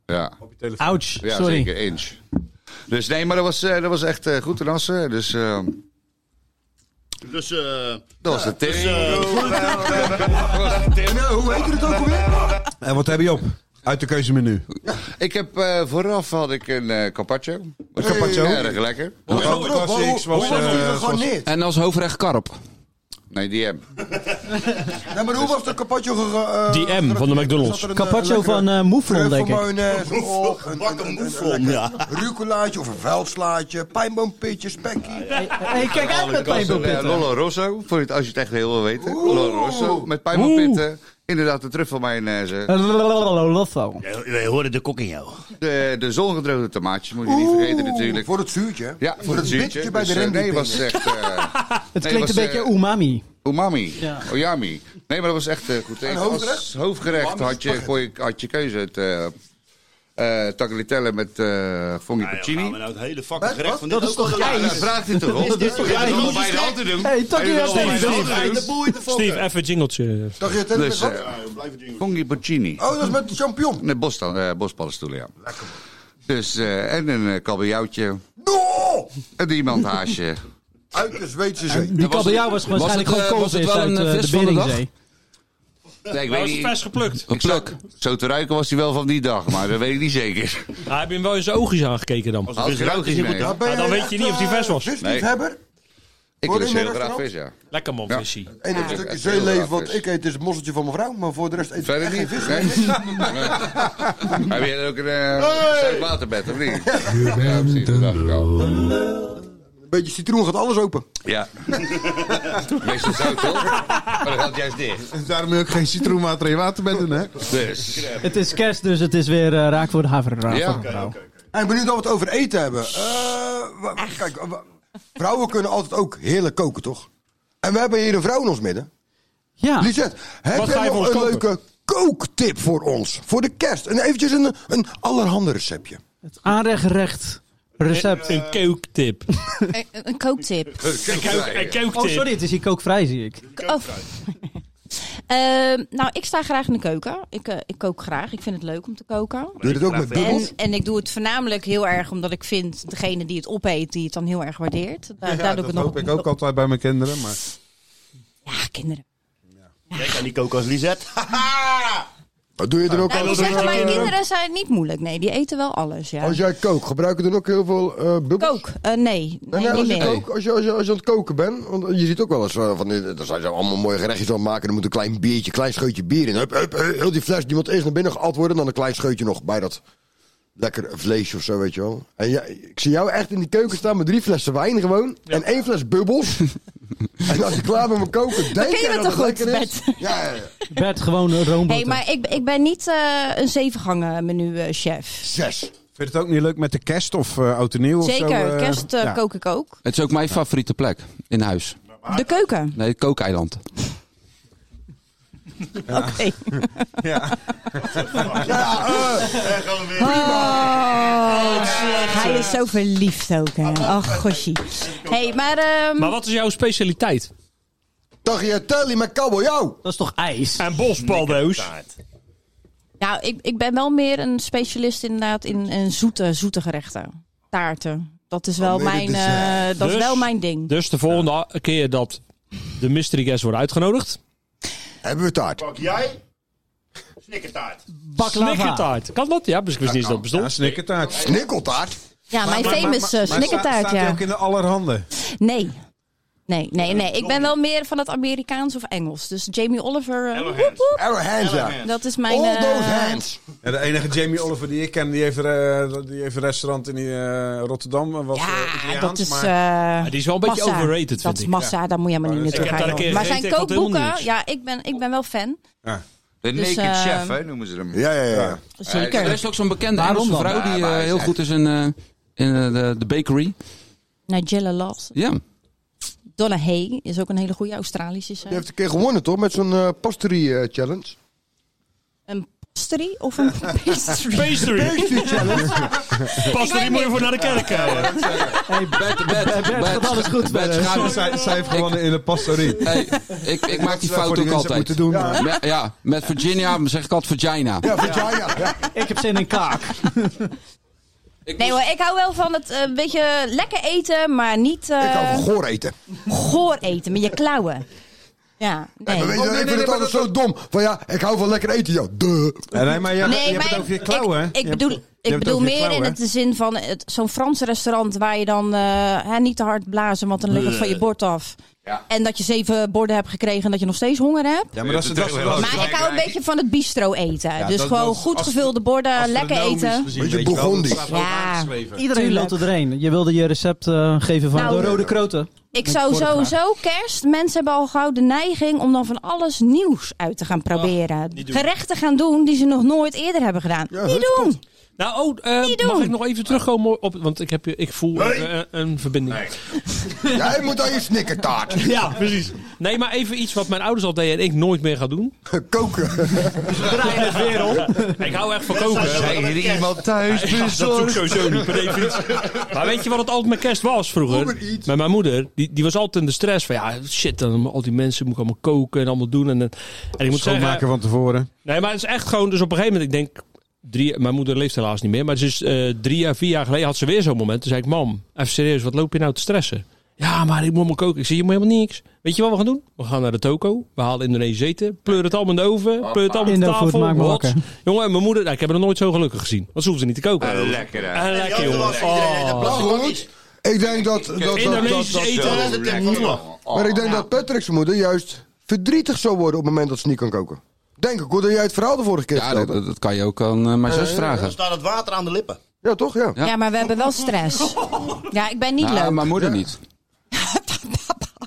S3: ja.
S5: Ouch,
S3: Ja,
S5: sorry.
S3: zeker inch. Dus nee, maar dat was, eh, dat was echt eh, goed te rassen. Dus eh,
S10: Dus eh
S3: dat was de tip.
S9: dus, eh,
S6: Nou, hoe heet het ook alweer?
S1: En wat heb je op? Uit de keuzemenu.
S3: Ik heb eh, vooraf had ik een eh carpaccio. Een
S1: carpaccio?
S3: Erg lekker.
S1: Hoe
S6: Wat erop? Hoe
S1: was,
S6: hoe was die
S1: eh,
S6: gegarneerd?
S11: En als hoofdrecht karp.
S3: Nee, die heb.
S6: Nee, maar hoe was de eh, carpaccio gegarneerd?
S2: Die M van de McDonald's.
S5: Carpaccio van eh Mouflon, denk ik.
S6: eh, oh, Bakken moeflon, ja. Rucolaatje of een veldslaatje, pijnboompitje, spekkie.
S5: Hey, hey, kijk uit met mijn
S3: Uh,
S5: boekpitten.
S3: Lollo Rosso, voor het, als je het echt heel wil weten. Lollo Rosso met pijnpitten. Inderdaad, de truffel mayonaise.
S5: Lotto.
S10: wij horen de kok in jou.
S3: De, de zongedroogde tomaatjes moet je niet vergeten natuurlijk.
S6: Voor het zuurtje.
S3: Ja, voor het zuurtje.
S6: bitje bij de
S3: Dus, eh,
S6: Randy
S3: Nee,
S6: Pink.
S3: was echt... eh,
S5: Het
S3: Nee,
S5: klinkt een
S3: was,
S5: beetje
S3: eh,
S5: umami.
S3: Umami.
S5: Ja.
S3: Oyami. Nee, maar dat was echt eh, goed. eten. Als
S6: hoofdgerecht?
S3: hoofdgerecht had je, kon je, had je keuze. Het, eh eh, tagliatelle met eh
S10: gaan
S3: fungicini.
S10: we nou het hele fucking gerecht van dit
S5: Dat is toch
S3: Ja, dat
S5: ijs?
S3: vraagt hij toch op?
S10: dit toch
S3: Hij
S10: ijs?
S3: wil bij de hand te doen.
S5: Hey,
S3: Hij wil
S5: Takkie,
S3: bij de
S5: Steve,
S3: hand te doen.
S2: Steve, even jingeltje.
S6: Dacht je het
S3: Dus,
S6: helemaal
S3: eh, Fungi Puccini.
S6: Oh, dat is met de champignon.
S3: Nee, bos, eh bospallenstoelen, ja. Dus, eh, en een eh, kabeljauwtje. Een diamanthaasje.
S6: Uit de Zweedse
S5: En die kabeljauw was waarschijnlijk gewoon
S3: koolvis
S5: koolvis uit eh, de Beringzee.
S3: Nee, ik
S2: Hij
S3: weet
S2: was
S3: niet.
S2: vers geplukt.
S3: Ik zag- Zo te ruiken was hij wel van die dag, maar dat weet ik niet zeker.
S2: Ah, heb je hem wel in zijn oogjes aangekeken dan?
S3: Als er rook is, nee.
S2: Ah, dan weet je niet of hij vers was.
S6: Visliefhebber?
S3: Ik
S6: Hoor je
S3: lust
S6: in
S3: heel
S6: een
S3: graag
S6: restaurant?
S3: vis, ja.
S2: Lekker man,
S3: Ja.
S2: visie.
S6: Het enige
S3: Ja.
S6: stukje
S3: Echt heel
S6: zeeleven
S3: raar
S6: wat
S3: vis.
S6: ik eet is het mosseltje van mijn vrouw, maar voor de rest eet ik
S3: Verder
S6: echt geen
S3: niet?
S6: vis.
S3: Nee. Nee. Heb jij ook een eh, zoutwaterbed, of niet? Ja, precies. dat dacht ik al.
S6: Een beetje citroen gaat alles open.
S3: Ja. Meestal zout, toch? Maar dan gaat het juist dicht.
S1: Daarom wil ik geen citroenwater in water met doen, hè?
S3: Dus.
S5: Het is kerst, dus het is weer eh, raak voor de havervrouw.
S6: Ja.
S5: Havervrouw.
S6: En benieuwd dat we het over eten hebben. Eh, wa- kijk, eh, wa- vrouwen kunnen altijd ook heerlijk koken, toch? En we hebben hier een vrouw in ons midden.
S5: Ja.
S6: Lisette, heb
S2: Wat ga
S6: jij
S2: je voor
S6: nog
S2: ons
S6: een
S2: koken?
S6: leuke kooktip voor ons? Voor de kerst. En eventjes een, een allerhande receptje.
S5: Aanrechtrecht recept.
S2: Een kooktip.
S8: Een, Eh, een kooktip.
S2: Een kooktip.
S5: Oh, sorry, het is hier kookvrij, zie ik.
S8: Oh. Ehm, nou, ik sta graag in de keuken. Ik, eh, ik kook graag. Ik vind het leuk om te koken.
S6: Doe je dat ook met
S8: En,
S6: bubbels?
S8: en ik doe het voornamelijk heel erg omdat ik vind degene die het opeet, die het dan heel erg waardeert. Daar, daar doe
S1: dat
S8: ik het nog
S1: hoop ik ook altijd bij mijn kinderen, maar...
S8: Ja, kinderen.
S10: Jij kan niet koken als Lisette.
S6: Wat doe je er ook
S8: Nou,
S6: aan?
S8: ik zeg, mijn kinderen zijn niet moeilijk. Nee, die eten wel alles. Ja.
S6: Als jij kookt, gebruiken er ook heel veel eh bubbels?
S8: Kook? Eh, nee, nee,
S6: Oh, En, eh,
S8: niet
S6: als, je
S8: meer.
S6: kook- als, je, als, je, als je aan het koken bent, want je ziet ook wel eens eh, van, eh, dan zijn ze allemaal mooie gerechtjes aan het maken, dan moet een klein biertje, klein scheutje bier in. Hup, hup, hup, heel die fles, die moet eerst naar binnen geat worden, dan een klein scheutje nog bij dat lekker vleesje of zo, weet je wel. En jij- ik zie jou echt in die keuken staan met drie flessen wijn gewoon, en één fles bubbels. en als je klaar bent met koken, denk
S8: ken je
S6: jij
S8: het
S6: dat het
S8: toch goed,
S6: lekker is. Ja, ja, ja.
S5: Bert, gewoon een roomboter.
S8: Hey, maar ik, ik ben niet eh, een zevengangen menu eh, chef.
S6: Zes.
S1: Vind je het ook niet leuk met de kerst of eh oud en nieuw of zo?
S8: Zeker,
S1: eh?
S8: kerst eh,
S1: Ja.
S8: kook ik ook.
S11: Het is ook mijn favoriete plek in huis.
S8: De keuken.
S11: Nee, het kookeiland.
S8: Oké.
S1: Ja.
S6: Ja, eh,
S8: Oh, zeg, hij is zo verliefd ook, hè. Ach, goshie. hey, maar...
S5: Um,
S8: ehm,
S2: Maar wat is jouw specialiteit?
S6: tagliatelle met kabeljauw.
S5: Dat is toch ijs?
S2: En bosbaldoos.
S8: Nou, ik, ik ben wel meer een specialist inderdaad in, in zoete, zoete gerechten. Taarten. Dat is wel,
S1: Oh,
S6: meer de
S8: mijn, eh,
S6: dessert.
S8: dat is
S2: Dus-
S8: wel mijn ding.
S2: Dus de volgende keer dat de mystery guest wordt uitgenodigd.
S6: Hebben we taart?
S10: Pak jij? Snikkertaart.
S5: Bak lava.
S2: Snikkertaart. Kan dat? Ja, dus ik wist niet eens dat het
S1: Ja,
S2: bestond.
S1: snikkertaart.
S6: Snikkeltaart?
S8: Ja, mijn famous eh,
S1: Maar
S8: snikkertaart,
S1: staat hij
S8: ja.
S1: ook in de allerhande?
S8: Nee. Nee, nee, nee. Ik ben wel meer van het Amerikaans of Engels. Dus Jamie Oliver. eh, woep, woep.
S6: Our hands, ja.
S8: dat is mijn.
S6: All
S8: eh,
S6: those hands.
S1: Ja, de enige Jamie Oliver die ik ken, die heeft, eh, die heeft een restaurant in eh, Rotterdam. eh, Wat, eh,
S8: Ja,
S1: Italiaans,
S8: dat is.
S1: maar-
S8: eh,
S2: die is wel een beetje
S8: massa.
S2: overrated, vind
S8: Dat is
S2: ik.
S8: massa, daar moet je helemaal niet
S1: Ik
S8: naartoe
S2: heb
S8: gaan.
S2: daar een
S8: joh.
S2: keer
S8: Maar
S2: gegeten,
S8: zijn
S2: ik had helemaal
S8: kookboeken,
S2: niks.
S8: ja, ik ben, ik ben wel fan.
S1: ja.
S3: De
S8: Dus,
S3: naked
S8: eh,
S3: chef, hè, noemen ze hem.
S6: Ja, ja, ja.
S11: Er
S8: Zeker.
S11: is ook zo'n bekende
S5: Waarom
S11: Engelse
S5: dan?
S11: vrouw die
S3: Ja, maar
S11: eh,
S3: hij is
S11: heel
S3: echt-
S11: goed is in, eh, in eh, de, de bakery.
S8: Nigella Loves.
S11: Ja.
S8: Donna Hay is ook een hele goede Australische.
S6: Je
S8: Zij.
S6: heeft een keer gewonnen, toch? Met zo'n eh pastorie eh, challenge.
S8: Een pastry of een pastry?
S2: Pastry. Pastry moet je voor naar de kerk. eh.
S5: Hey,
S11: Bert, Bert, Bert,
S5: gaat alles goed,
S11: Bert,
S5: Bert.
S11: schuif-
S1: Zij, zij heeft gewonnen in de pastorie.
S11: Hey, ik, ik maak die
S1: Voor
S11: fout ook
S1: mensen
S11: altijd.
S1: moeten doen.
S11: Ja. Me- ja, met Virginia zeg ik altijd vagina.
S6: Ja, vagina. Ja.
S5: Ik heb zin in kaak.
S11: Ik
S8: Nee
S11: moest-
S8: hoor, ik hou wel van het eh, beetje lekker eten, maar niet eh,
S6: Ik hou van goor eten.
S8: goor eten met je klauwen. Ja, nee.
S6: Maar weet je,
S1: Oh, nee,
S6: ik
S1: nee,
S6: vind het
S1: maar
S6: altijd zo dom. Van ja, ik hou van lekker eten, joh. Duh.
S1: Ja, nee, maar je, je hebt
S8: maar
S1: het over je klauwen. hè?
S8: Ik,
S1: Je
S8: ik
S1: hebt- je
S8: bedoel,
S1: hebt het
S8: ik bedoel
S1: over je
S8: meer in
S1: klauwen,
S8: het de zin van het- zo'n Frans restaurant waar je dan eh, hè, niet te hard blazen, want dan ligt het van je bord af.
S3: Ja.
S8: En dat je zeven borden hebt gekregen en dat je nog steeds honger hebt.
S1: hè? Ja, maar dat is dat is- dat is-
S8: Maar ik hou een beetje van het bistro eten.
S1: Ja,
S8: dus
S1: dat-
S8: gewoon
S1: dat is
S8: goed
S1: astro-
S8: gevulde borden, lekker
S1: astronomisch
S8: eten.
S1: gezien,
S6: Beetje
S1: weet je wel, dat
S6: Bourgondisch.
S1: staat wel
S8: Ja.
S1: aangeschreven.
S5: Iedereen loopt er doorheen. Je wilde je recept eh, geven van
S8: Nou,
S5: de rode kroten.
S8: Ik zou
S5: vorig jaar.
S8: sowieso kerst. Mensen hebben al gauw de neiging om dan van alles nieuws uit te gaan proberen. Gerechten gaan doen die ze nog nooit eerder hebben gedaan.
S6: Ja,
S8: niet
S6: dat
S8: doen!
S2: Nou, oh, eh,
S8: Niet doen.
S2: mag ik nog even terugkomen op... Want ik, heb, ik voel eh, een, een verbinding.
S6: Jij moet aan je snikkertaart.
S2: Ja, precies. Nee, maar even iets wat mijn ouders al deden en ik nooit meer ga doen.
S6: Koken.
S2: Ik hou echt van koken. hè.
S3: Zijn er iemand thuis
S2: Dat doe ik
S3: bezorgd?
S2: sowieso niet per definitie. Maar weet je wat het altijd met kerst was vroeger?
S6: Uber Eats.
S2: Met mijn moeder. Die, die was altijd in de stress van ja, shit, dan al die mensen moet ik allemaal koken en allemaal doen. En, en ik moet
S1: Schoonmaken
S2: zeggen,
S1: van tevoren.
S2: nee, maar het is echt gewoon, dus op een gegeven moment, ik denk, drie, mijn moeder leeft helaas niet meer. Maar dus eh, drie à vier jaar geleden had ze weer zo'n moment. Toen zei ik, mam, even serieus, wat loop je nou te stressen? Ja, maar ik moet me koken. Ik zie je moet helemaal niks. Weet je wat we gaan doen? We gaan naar de toko. We halen Indonesisch eten. Pleur het allemaal in de oven. Pleur het allemaal op de
S5: Indofood,
S2: tafel.
S5: maak me
S2: Wat?
S5: wakker.
S2: Jongen, en mijn moeder, nou, ik heb haar nog nooit zo gelukkig gezien. Want ze hoefde niet te koken.
S3: Ah, lekker, hè?
S2: Ah, lekker,
S3: En die
S2: jongen.
S3: andere was iedereen, dat
S2: Oh.
S3: blad-
S6: Maar goed, ik denk dat... dat, dat, dat,
S2: Indonesisch
S6: dat-
S2: eten.
S6: dat-
S2: Dat is het
S6: Maar ik denk
S8: Oh,
S6: dat Patrick's moeder juist verdrietig zou worden op het moment dat ze niet kan koken. Denk ik, hoor dat jij het verhaal de vorige keer
S11: Ja, dat,
S6: vertelde.
S11: dat kan je ook aan eh, mijn
S6: Ja,
S11: zus
S6: ja,
S11: vragen.
S10: Dan staat het water aan de lippen.
S6: Ja, toch? Ja.
S8: Ja, maar we hebben wel stress. Ja, ik ben niet
S11: Nou,
S8: leuk.
S11: Mijn moeder niet.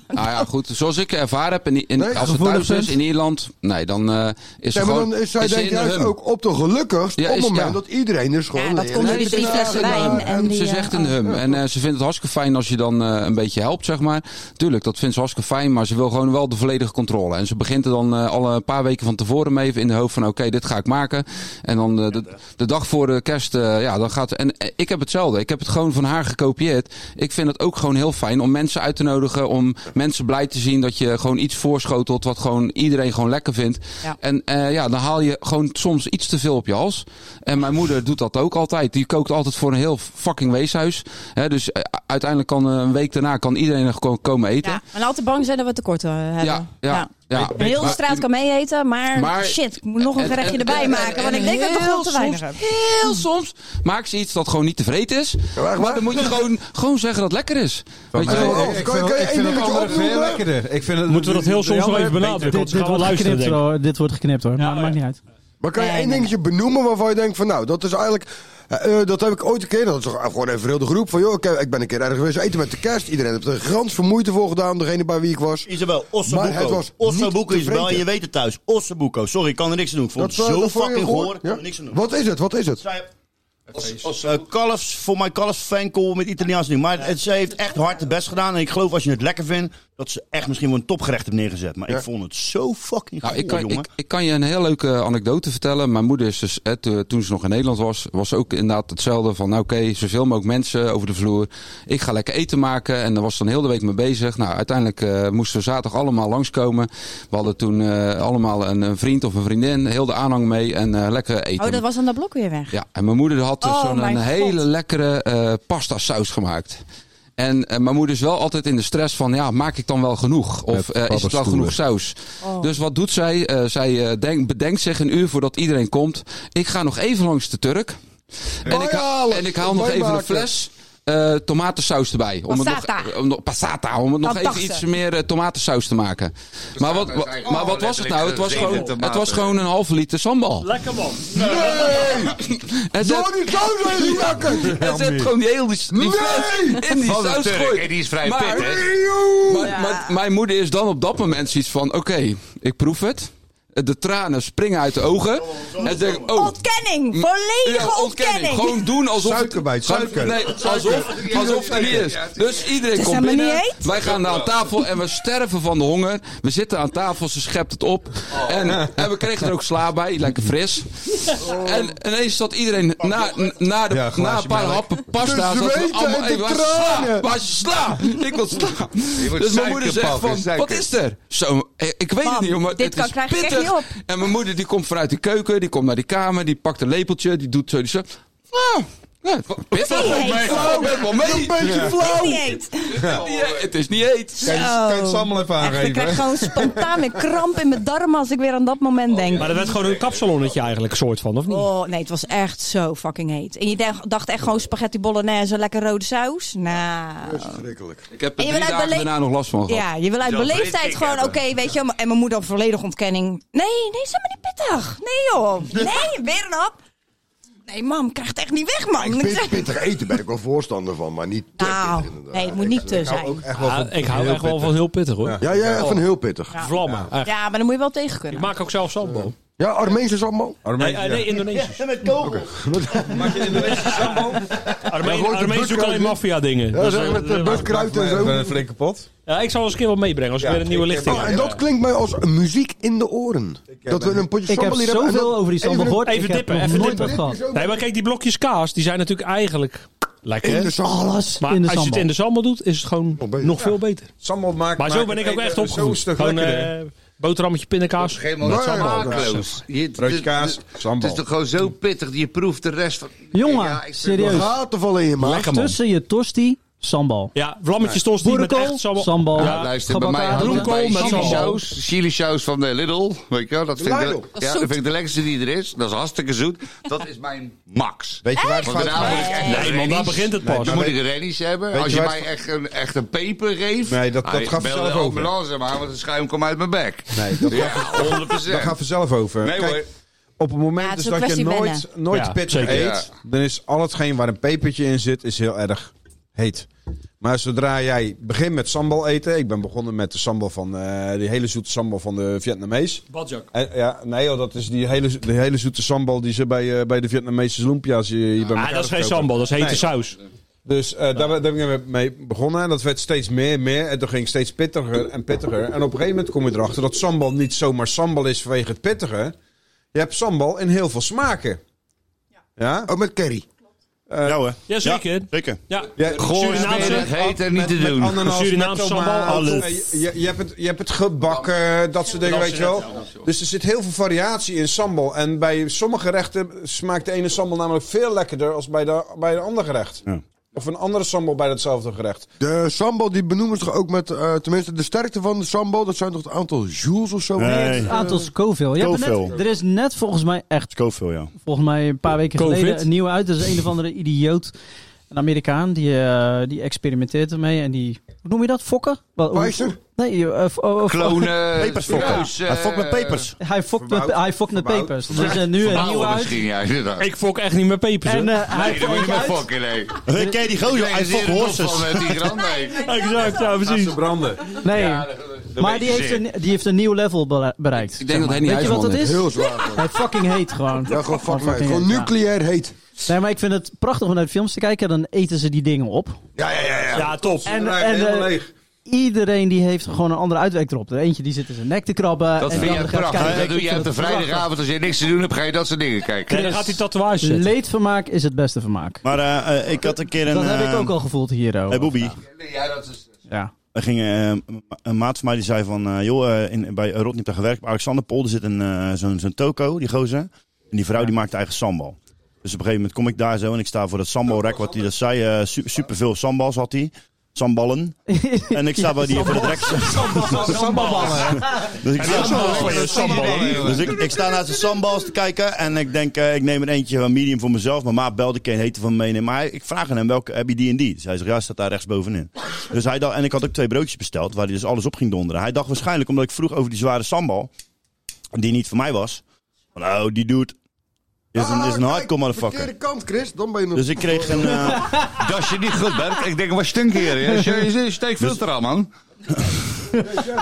S11: Nou ja, goed. Zoals ik ervaren heb, in, in, als ze thuis is in Ierland, nee, dan eh, is ze
S6: Nee, maar
S11: gewoon...
S6: dan is zij
S11: ze
S6: denk
S11: in
S6: ik
S11: de
S6: juist
S11: hum.
S6: ook op de gelukkigst
S11: Ja,
S6: op het
S11: is-
S6: moment
S11: ja.
S6: dat iedereen is gewoon...
S8: dat komt door die drie flessen wijn en die,
S11: Ze
S8: eh,
S11: zegt in de hum. En eh, ze vindt het hartstikke fijn als je dan eh, een beetje helpt, zeg maar. Tuurlijk, dat vindt ze hartstikke fijn, maar ze wil gewoon wel de volledige controle. En ze begint er dan eh, al een paar weken van tevoren mee in de hoofd van oké, dit ga ik maken. En dan eh, de, de dag voor de kerst, eh, ja, dan gaat... En eh, ik heb hetzelfde. Ik heb het gewoon van haar gekopieerd. Ik vind het ook gewoon heel fijn om mensen uit te nodigen, om mensen blij te zien dat je gewoon iets voorschotelt wat gewoon iedereen gewoon lekker vindt.
S8: Ja.
S11: En eh, ja, dan haal je gewoon soms iets te veel op je hals. En mijn moeder doet dat ook altijd. Die kookt altijd voor een heel fucking weeshuis. Hè, dus eh, uiteindelijk kan eh, een week daarna kan iedereen er gewoon komen eten.
S8: Ja, en altijd bang zijn dat we tekorten hebben.
S11: Ja, ja, ja.
S8: De hele
S11: Maar-
S8: straat kan mee eten, maar,
S11: Maar-
S8: shit, ik moet nog een
S11: en-
S8: gerechtje
S11: en-
S8: erbij
S11: en-
S8: maken.
S11: en
S8: Want ik denk dat ik toch
S11: heel
S8: wel te weinig heb.
S11: soms- Heel soms maakt ze iets dat gewoon niet tevreden is. maar dan moet je gewoon, gewoon zeggen dat het lekker is. Weet je
S1: Nee,
S11: wel?
S1: ik- ik vind- ik vind het andere veel lekkerder. Ik
S5: eh,
S1: vind het-
S2: Moeten we dat heel
S1: de
S2: soms nog
S1: andere
S2: even
S1: beter.
S2: benadrukken? Want ze gaan wel
S5: wordt
S2: luisteren,
S5: geknipt,
S2: denk ik.
S5: hoor. Dit wordt geknipt hoor, maar maakt niet uit.
S6: Maar kan je één dingetje benoemen waarvan je denkt van nou, dat is eigenlijk... eh, eh, dat heb ik ooit een keer, dat is gewoon even heel de groep van joh, ik, heb- ik ben een keer ergens geweest eten met de kerst. Iedereen heeft er grans vermoeite voor gedaan, degene bij wie ik was.
S10: Isabel,
S6: Maar het
S10: Ossobuco.
S6: was
S10: Ossobuco,
S6: niet
S10: Isabel,
S6: tevreden.
S10: je weet het thuis. Ossobuco. Sorry, ik kan er niks aan doen. Ik vond
S6: eh,
S10: het zo
S6: vond je
S10: fucking
S6: gehoor?
S10: goor. Ik kan
S6: Ja?
S10: er niks aan doen.
S6: Wat is het? Wat is het?
S10: Zij- Als, als, eh, kalfs, voor mijn kalfs fancool met Italiaans nu. Maar het, ze heeft echt hard de best gedaan. En ik geloof als je het lekker vindt, dat ze echt misschien wel een topgerecht heeft neergezet. Maar ik vond het zo fucking
S11: Nou,
S10: goed,
S11: ik, kan,
S10: jongen.
S11: ik, ik kan je een heel leuke anekdote vertellen. Mijn moeder is dus, hè, to- toen ze nog in Nederland was, was ook inderdaad hetzelfde. Van nou, oké, zoveel mogelijk mensen over de vloer. Ik ga lekker eten maken. En daar was ze dan heel de week mee bezig. Nou, uiteindelijk eh, moesten we zaterdag allemaal langskomen. We hadden toen eh, allemaal een, een vriend of een vriendin. Heel de aanhang mee en eh, lekker eten.
S8: Oh, dat was aan dat blok weer weg.
S11: Ja, en mijn moeder had dus
S8: Oh,
S11: zo'n
S8: mijn
S11: een
S8: God.
S11: hele lekkere eh pasta saus gemaakt. En eh, mijn moeder is wel altijd in de stress van, ja, maak ik dan wel genoeg? Of eh, is het wel
S1: paddenstoelen.
S11: genoeg saus?
S1: Oh.
S11: Dus wat doet zij? Eh, zij eh, denk- bedenkt zich een uur voordat iedereen komt. Ik ga nog even langs de Turk. En, ik, ha- en ik haal nog even een fles eh, tomatensaus erbij. Om het nog, eh,
S8: Passata.
S11: om nog- passata. Om het nog even
S8: Fantastisch.
S11: iets meer eh, tomatensaus te maken. Maar wat,
S3: is eigenlijk
S11: maar wat
S3: gewoon
S11: was het nou? Het was,
S3: letterlijk
S11: gewoon,
S3: gezeten
S11: het was gewoon een halve liter sambal.
S2: Lekker man.
S11: Het
S6: Zo die saus in die jakken!
S11: Hij zet gewoon die hele die, die
S6: Nee!
S11: fles in die
S3: Van de
S11: saus
S3: Turk,
S11: gegooid.
S3: en die is vrij
S11: maar,
S3: pit, hè?
S11: Maar, maar mijn moeder is dan op dat moment zoiets van... Oké, ik proef het. De tranen springen uit de ogen. en denk, ik, oh,
S8: Ontkenning! Volledige
S11: ja,
S8: ontkenning!
S11: Gewoon doen alsof... het-
S4: Suiker bij het suiker.
S11: Nee, alsof, alsof het niet is. Dus iedereen
S8: Het is
S11: komt
S8: helemaal
S11: binnen.
S8: niet heet.
S11: Wij gaan naar aan tafel en we sterven van de honger. We zitten aan tafel, ze schept het op. En, en we kregen er ook sla bij, lekker fris. En ineens zat iedereen
S4: Oh,
S11: na, na, de, na een paar happen pasta...
S6: De
S11: zat er
S6: zweet
S11: allemaal
S6: en de
S11: even, waar is je
S6: tranen.
S11: sla? Waar is je sla? Ik wil sla. Dus
S3: wordt
S11: mijn
S3: suiker
S11: moeder zegt
S3: pakken,
S11: van,
S3: suiker.
S11: wat is er? Zo, eh, ik weet het
S8: Mam,
S11: niet, jongen,
S8: dit
S11: het
S8: kan-
S11: is
S8: krijg ik echt
S11: pittig.
S8: niet op.
S11: En mijn moeder die komt vanuit de keuken, die komt naar die kamer, die pakt een lepeltje, die doet zo, die zo. Ah, ja, pittig.
S8: Niet heet.
S11: Oh, ben wel mee.
S6: Een beetje flauw!
S8: Niet heet.
S11: Niet heet. Het is niet heet.
S1: Kan je- kan je het samen even
S8: Echt, ik krijg
S1: aangeven?
S8: gewoon spontaan weer kramp in mijn darmen als ik weer aan dat
S10: Oh,
S8: moment denk.
S2: Maar dat werd gewoon een kapsalonnetje eigenlijk, soort van, of niet?
S8: Oh, nee, het was echt zo fucking heet. En je dacht- dacht echt gewoon spaghetti bolognese, lekker rode saus? Nou...
S6: Schrikkelijk.
S11: Ik heb
S8: En
S11: er
S8: je
S11: drie
S8: wil uit
S11: dagen
S8: bele-
S11: daarna nog last van gehad.
S8: Ja, je wil uit
S3: Zelf
S8: beleefdheid
S3: ritkick
S8: gewoon, oké,
S3: hebben.
S8: weet je, en mijn moeder op volledige ontkenning. Nee, nee, zeg maar niet pittig. Nee joh, nee, weer een hap. Nee mam, krijg het echt niet weg man. Ik
S6: Pit,
S8: zeg,
S6: pittig eten ben ik wel voorstander van, maar niet te
S8: nou,
S6: pittig inderdaad.
S8: nee, het moet niet te zijn.
S1: Echt wel
S2: Ah,
S1: van-
S2: ik
S1: van
S2: hou
S1: heel
S2: echt wel
S1: pittig.
S2: van heel pittig, hoor.
S6: Ja, ja, van heel pittig.
S8: Ja.
S2: Vlammen, echt.
S8: Ja, maar dan moet je wel tegen
S2: Ik
S8: kunnen.
S2: maak ook zelf sambal.
S6: Ja, Armeense sambal.
S2: Nee,
S1: Armenië.
S2: eh, nee, Indonesisch.
S10: Ja, met kogel.
S1: Maak je Indonesische sambal?
S6: Ja, gooit de
S2: Armeen zoeken
S6: bukkruid
S2: alleen
S6: in.
S2: maffia-dingen.
S6: Ja,
S2: Dat is,
S6: zeg met
S2: eh,
S6: eh, buskruid en
S1: Ik ben
S6: zo.
S1: een flinke pot.
S2: Ja, ik zal eens een keer wat meebrengen als ik
S1: Ja,
S2: weer een nieuwe
S1: ik-
S2: lichting
S1: ik-
S2: heb.
S6: Oh, En dat klinkt mij als muziek in de oren.
S10: eh,
S6: Dat we een potje
S5: Ik heb
S6: sambal hier hebben. en
S5: zoveel
S6: dat-
S5: over die sambal
S6: even-
S5: gehoord.
S2: even
S5: ik heb
S2: dippen,
S5: nog
S2: even
S5: nooit
S2: dippen.
S5: wat gehad.
S2: Nee, maar kijk, die blokjes kaas, die zijn natuurlijk eigenlijk lekker.
S6: In de sambal.
S5: Alles
S2: maar
S5: in de
S2: als je het
S5: sambal.
S2: in de sambal doet, is het gewoon nog,
S6: beter.
S2: veel beter.
S1: Sambal maakt
S2: Maar zo
S1: maakt
S2: ben ik
S1: het
S2: ook echt
S1: eten Zo'n
S2: opgevoed.
S1: stuk
S2: Gewoon,
S1: lekkerder.
S2: eh, Boterhammetje pindakaas.
S3: Geen smaakloos. Je-
S1: Broodje kaas,
S3: het- Het
S1: sambal.
S3: is toch gewoon zo pittig. Je proeft de rest van...
S5: Jongen,
S3: Ja, ik-
S5: serieus.
S3: Wat gaat
S5: er vallen in je
S3: maag? Lekker, man.
S5: Tussen je tosti, sambal.
S2: Ja, vlammetjes tosti met
S5: Boerenkool,
S2: echt sambal.
S5: sambal.
S3: Ja, luister, bij mij hadden we
S5: Bloemkool
S3: bij
S5: met
S3: chili
S5: sambal.
S3: saus, chili saus van de Lidl. Weet je wel, dat vind, ik de,
S5: Lidl.
S3: ja, dat vind ik de lekkerste die er is. Dat is hartstikke zoet. Dat is mijn max.
S6: Weet je waar het
S3: Want
S6: fout
S3: daarna
S6: gaat?
S3: moet ik echt
S6: Nee,
S3: een
S6: man,
S3: Rennies.
S6: daar begint het
S3: Nee,
S6: pas.
S3: Dan moet
S6: Weet-
S3: ik een Rennies hebben.
S6: Weet
S3: Als
S6: je
S3: je
S6: waar
S3: mij echt een, echt een peper geeft...
S1: Nee, dat- dat
S3: Ah, ik
S1: gaat
S3: bel
S1: vanzelf
S3: de
S1: over.
S3: ambulance maar, want het schuim komt uit mijn bek.
S1: Nee, dat
S3: ja,
S1: gaat-
S3: 100%.
S1: Dat gaat vanzelf over.
S3: Nee,
S1: Kijk,
S3: hoor.
S1: op het moment
S3: Ja, het is
S1: dus
S3: een
S1: dat je
S3: kwestie
S1: nooit,
S3: wennen.
S1: nooit
S3: Ja,
S1: pittig
S3: zeker.
S1: eet, dan is al hetgeen waar een pepertje in zit, is heel erg heet. Maar zodra jij begint met sambal eten, ik ben begonnen met de sambal van, eh, die hele zoete sambal van de Vietnamees.
S2: Badjak.
S1: En, ja, nee joh, dat is die hele, zo- die hele zoete sambal die ze bij, eh, bij de Vietnamese lumpia's hier bij elkaar
S2: Ah, dat is geen
S1: verkopen.
S2: sambal, dat is hete
S1: Nee.
S2: saus.
S1: Dus eh, daar, ben- daar ben ik mee begonnen. En dat werd steeds meer en meer. En toen ging het steeds pittiger en pittiger. En op een gegeven moment kom je erachter dat sambal niet zomaar sambal is vanwege het pittige. Je hebt sambal in heel veel smaken. Ja? Eh, Ook met curry. ja hoor.
S2: Ja, zeker. zeker. Ja.
S1: Ja,
S2: Goor, smerig, heet en niet te doen. Surinaams sambal,
S1: alles.
S2: alles.
S1: Je, je, hebt het, je hebt het gebakken, dat soort dingen,
S2: Dat
S1: weet je
S2: is
S1: wel.
S2: het,
S1: Dus er zit heel veel variatie in sambal. En bij sommige gerechten smaakt de ene sambal namelijk veel lekkerder... als bij de, bij een ander gerecht. Of een andere sambal bij datzelfde gerecht.
S6: De sambal die benoemen ze toch ook met, eh, tenminste de sterkte van de sambal, dat zijn toch het aantal joules of zo?
S5: Het aantal Scoville. Je hebt er net-
S6: Scoville.
S5: er is net volgens mij echt...
S10: Scoville, Oh ja.
S5: Volgens mij een paar weken
S10: Covid?
S5: geleden een nieuwe uit. Dat is een of andere idioot. Een Amerikaan. Die, eh, die experimenteert ermee. En die... Hoe noem je dat? Fokken? Wat- hoe-
S6: Wijzer?
S5: Nee. eh, f- oh, oh,
S3: Klonen,
S5: Pepers fokken.
S3: saus, eh, Hij fokt met pepers.
S5: Hij fokt met,
S3: Verbouwd.
S5: hij fokt met
S3: Verbouwd.
S5: pepers. Dus
S3: Verbouwd.
S5: er is nu een
S3: Verbouwen
S5: nieuwe uit.
S3: misschien, ja, inderdaad.
S2: Ik fok echt niet met pepers.
S5: En,
S2: hoor.
S5: eh, hij
S3: Nee, dat moet je niet meer fokken, nee.
S10: Hey, Eh, ken je die gozer?
S3: Ik kreeg
S10: Hij
S3: dus hier
S10: fokt
S3: een kop
S10: horses.
S3: van, eh, die grand, nee.
S2: Exact, ja, precies.
S1: ze branden.
S5: Nee,
S3: dat
S5: maar
S3: weet
S5: die
S3: je
S5: heeft,
S3: zeker.
S5: een, die heeft een nieuw level bele- bereikt.
S6: Ik denk
S5: zeg
S6: dat
S5: maar.
S6: Henny
S5: Weet je wat dat
S6: IJsselman
S5: is?
S6: het heel zwaar vond.
S5: Hij fucking heet gewoon.
S6: Ja, gewoon fucking heet.
S5: fucking
S6: Gewoon
S5: heet, ja.
S6: nucleair heet.
S5: Nee, maar ik vind het prachtig om naar de films te kijken. Dan eten ze die dingen op.
S6: Ja, ja, ja. ja.
S2: Ja, top.
S5: En, en eh, iedereen die heeft gewoon een andere uitweg erop. De eentje die zit in zijn nek te krabben.
S3: Dat
S5: en die
S3: vind je
S5: andere gaat
S3: prachtig.
S5: kijken.
S3: Dat doe je
S5: Ik
S3: op de
S5: vind het
S3: vrijdagavond. Als je niks te doen hebt, ga je dat soort dingen kijken.
S5: prachtig. Leedvermaak is het beste vermaak.
S10: Maar eh, eh, ik had een keer een...
S5: dat heb ik
S10: eh,
S5: ook al gevoeld hier. oh.
S10: Hey, Bobby.
S3: Ja, dat is...
S5: Ja.
S10: Er ging, eh, een maat van mij die zei van... eh, joh, eh, in, bij Rot heeft daar gewerkt. Bij Alexander Polder zit een, eh, zo'n zo'n toko, die gozer. En die vrouw die maakt eigen sambal. Dus op een gegeven moment kom ik daar zo en ik sta voor dat sambalrek wat hij dat zei. eh, su- superveel sambals had hij. Samballen. En ik sta bij die voor het rek. Dus ik sta- Dus ik, ik sta naar zijn sambals te kijken en ik denk, eh, ik neem er eentje van medium voor mezelf. Mijn maat belde, ik een hete van meenemen. Maar hij- ik vraag aan hem, welke heb je die en die? Dus hij zegt, ja, staat daar rechts bovenin. Dus hij dacht, en ik had ook twee broodjes besteld, waar hij dus alles op ging donderen. Hij dacht waarschijnlijk, omdat ik vroeg over die zware sambal, die niet voor mij was. Van, oh, die dude is een, is een hardcore motherfucker.
S6: Verkeerde kant, Chris. Dan ben je nog...
S10: Dus ik kreeg een... eh,
S3: Dat is je niet goed bent. Ik denk, wat stunk hier? hè? Je- Je steekt filter aan, man.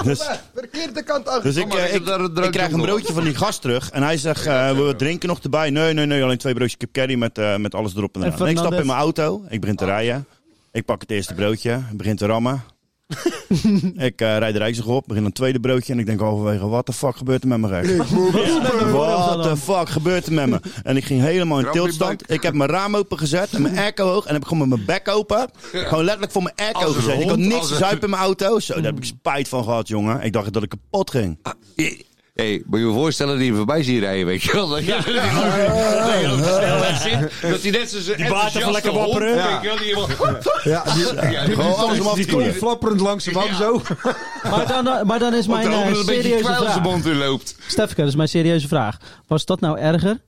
S10: dus,
S6: Verkeerde kant aan.
S10: Dus ik, eh, ik, ik krijg een broodje van die gast terug. En hij zegt, eh wil je drinken nog erbij? Nee, nee, nee. Alleen twee broodjes kip curry met, eh, met alles erop en
S5: En
S10: eraan. En ik stap in
S5: Fernandez.
S10: mijn auto. Ik begin te rijden. Ik pak het eerste broodje. Ik begin te rammen. ik eh rijd de Rijksdag op. Begin een tweede broodje. En ik denk halverwege, wat de fuck gebeurt er met mijn rek? What the fuck gebeurt er met me? En ik ging helemaal in
S3: Krap in je
S10: tiltstand. Ik heb mijn raam open gezet en mijn airco hoog. En heb ik gewoon met mijn bek open. Gewoon letterlijk voor mijn airco
S3: Als een
S10: gezet. Ik had
S3: hond,
S10: niks
S3: als een- Hmm.
S10: zuipen in mijn auto. Zo, daar heb ik spijt van gehad, jongen. Ik dacht dat ik kapot ging.
S3: Ah, Hé, moet je je voorstellen die je voorbij ziet rijden, weet je wel? Dat je dat je op de snelweg zit, dat hij net zo
S2: Die baard even lekker wapperen.
S3: Ja. Weet je wel, die helemaal-
S1: Ja, die,
S3: Ja, die-
S1: gewoon alles om af te
S3: die-
S1: koelen. Flapperend langs de wand zo.
S5: Maar dan, maar dan is
S3: Want
S5: mijn
S3: er ook
S5: eh,
S3: nog een beetje
S5: serieuze
S3: kwijl in zijn
S5: vraag.
S3: mond in loopt.
S5: Stefke, dat is mijn serieuze vraag. Was dat nou erger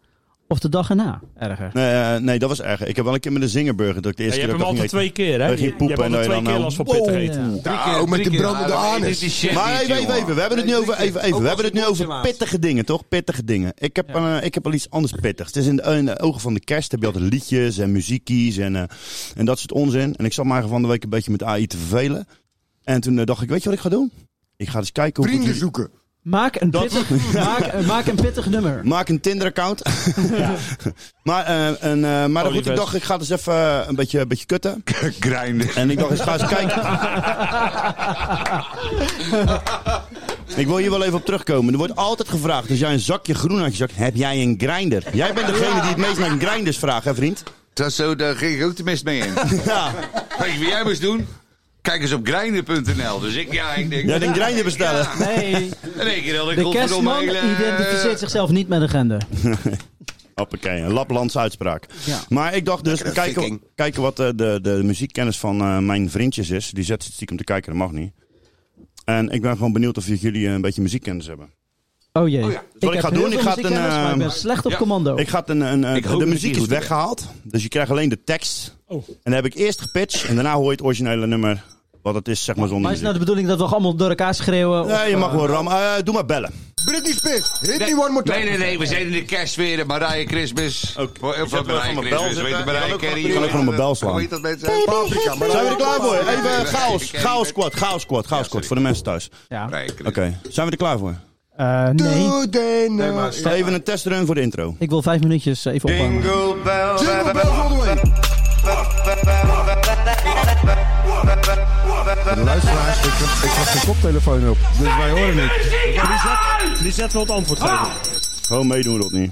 S5: of de dag erna erger?
S10: Nee, eh, nee, dat was erg. Ik heb wel een keer met de zingerburger. Dat ik de eerste
S2: Ja, je
S10: keer
S2: hebt hem
S10: dat ik ging
S2: altijd twee
S10: eten.
S2: keer, hè?
S10: Dat ik
S2: Je-
S10: ging
S2: je
S10: poepen
S2: hebt
S10: en dat je
S2: altijd
S10: dan nou-
S2: twee keer last van pittig
S10: Wow.
S2: eten. Ja.
S10: Drie
S2: Ja,
S10: keer-
S2: ook met
S10: drie
S2: die
S10: keer.
S2: brandende
S10: Ah, dat
S2: anus.
S10: is die shit
S2: Maar
S10: niet,
S2: hey, wait,
S10: jongen.
S2: wait, we
S10: hebben het nu over, even, even. We
S2: als
S10: hebben het nu
S2: het
S10: over
S2: mondje
S10: pittige dingen, toch? Pittige dingen. Ik heb, eh, ik heb wel iets anders pittigs. Het is in de, in de ogen van de kerst heb je altijd liedjes en muziekies en, eh, en dat soort onzin. En ik zat me eigenlijk van de week een beetje met AI te vervelen. En toen eh, dacht ik, weet je wat ik ga doen? Ik ga eens kijken hoe...
S6: Vrienden
S10: goed-
S6: zoeken.
S5: Maak een pittig, maak, eh, maak een pittig nummer.
S10: Maak een Tinder-account. maar eh, en, eh, maar goed, ik
S5: Olieves.
S10: dacht, ik ga dus even eh, een, beetje, een beetje kutten.
S3: Grinden.
S10: En ik dacht, ik ga eens kijken. ik wil hier wel even op terugkomen. Er wordt altijd gevraagd, als jij een zakje groen uit je zak, heb jij een grinder? Jij bent degene die het meest naar grinders vraagt, hè vriend?
S3: Dat is zo, daar ging ik ook de mist mee in.
S10: Ja.
S3: Weet je wat jij moest doen? Kijk eens op grinder.nl. Dus ik, ja, ik denk...
S10: Jij denkt Grindr bestellen?
S5: Nee.
S3: In één keer had ik eh,
S5: De
S3: godverdomme
S5: kerstman
S10: eh,
S3: hele...
S5: identificeert zichzelf niet met een gender.
S10: Oh Hoppakee, een Laplandse uitspraak. Maar ik dacht dus,
S5: Lekkere
S10: kijken,
S5: viking.
S10: kijken wat eh, de, de muziekkennis van eh, mijn vriendjes is. Die zet het stiekem te kijken, dat mag niet. En ik ben gewoon benieuwd of jullie eh, een beetje muziekkennis hebben.
S5: Oh jee.
S10: Dus wat ik,
S5: heb
S10: ga
S5: heel
S10: doen, ik
S5: veel
S10: ga het een...
S5: muziekkennis, maar ik ben
S10: eh,
S5: slecht op
S10: ja.
S5: commando.
S10: Ik ga het een... een eh,
S5: Ik hoop
S10: de
S5: dat
S10: muziek
S5: die
S10: is
S5: goed Oh.
S10: weggehaald, dus je krijgt alleen de tekst. En dan heb ik eerst gepitcht en daarna hoor je het originele nummer. Wat het is, zeg maar, zonder
S5: Maar is het
S10: muziek.
S5: nou de bedoeling dat we allemaal door elkaar schreeuwen?
S10: Nee, je mag
S5: wel
S10: wel rammen. Eh, doe maar bellen.
S6: Britney Spears, hit
S3: Nee,
S6: me one more time.
S3: nee, nee, nee, we zijn in de kerstsfeer. Mariah Christmas. Ook. Of
S10: heb wel
S3: Mariah
S10: van mijn bel
S3: Christmas,
S10: zitten.
S3: weet je,
S10: Ik kan
S3: Mariah
S10: ook
S3: Carey.
S10: wel- ik kan ook wel mijn bel slaan.
S3: Hoe heet dat mensen?
S6: Paprika, maar
S10: Zijn we er klaar voor?
S3: Nee,
S10: Even
S3: nee,
S10: chaos,
S3: nee.
S10: chaos squad, chaos squad, chaos squad voor de mensen thuis. Oké, zijn we er klaar voor?
S5: Eh, nee.
S6: nee,
S10: Even een testrun voor de intro.
S5: Ik wil vijf minuutjes eh, even opwarmen.
S6: Jingle bells all the way.
S4: De luisteraars, ik heb ik had geen koptelefoon op. Dus wij horen niet.
S2: Die zet wel het antwoord geven.
S10: Gewoon Oh, meedoen, Rodney.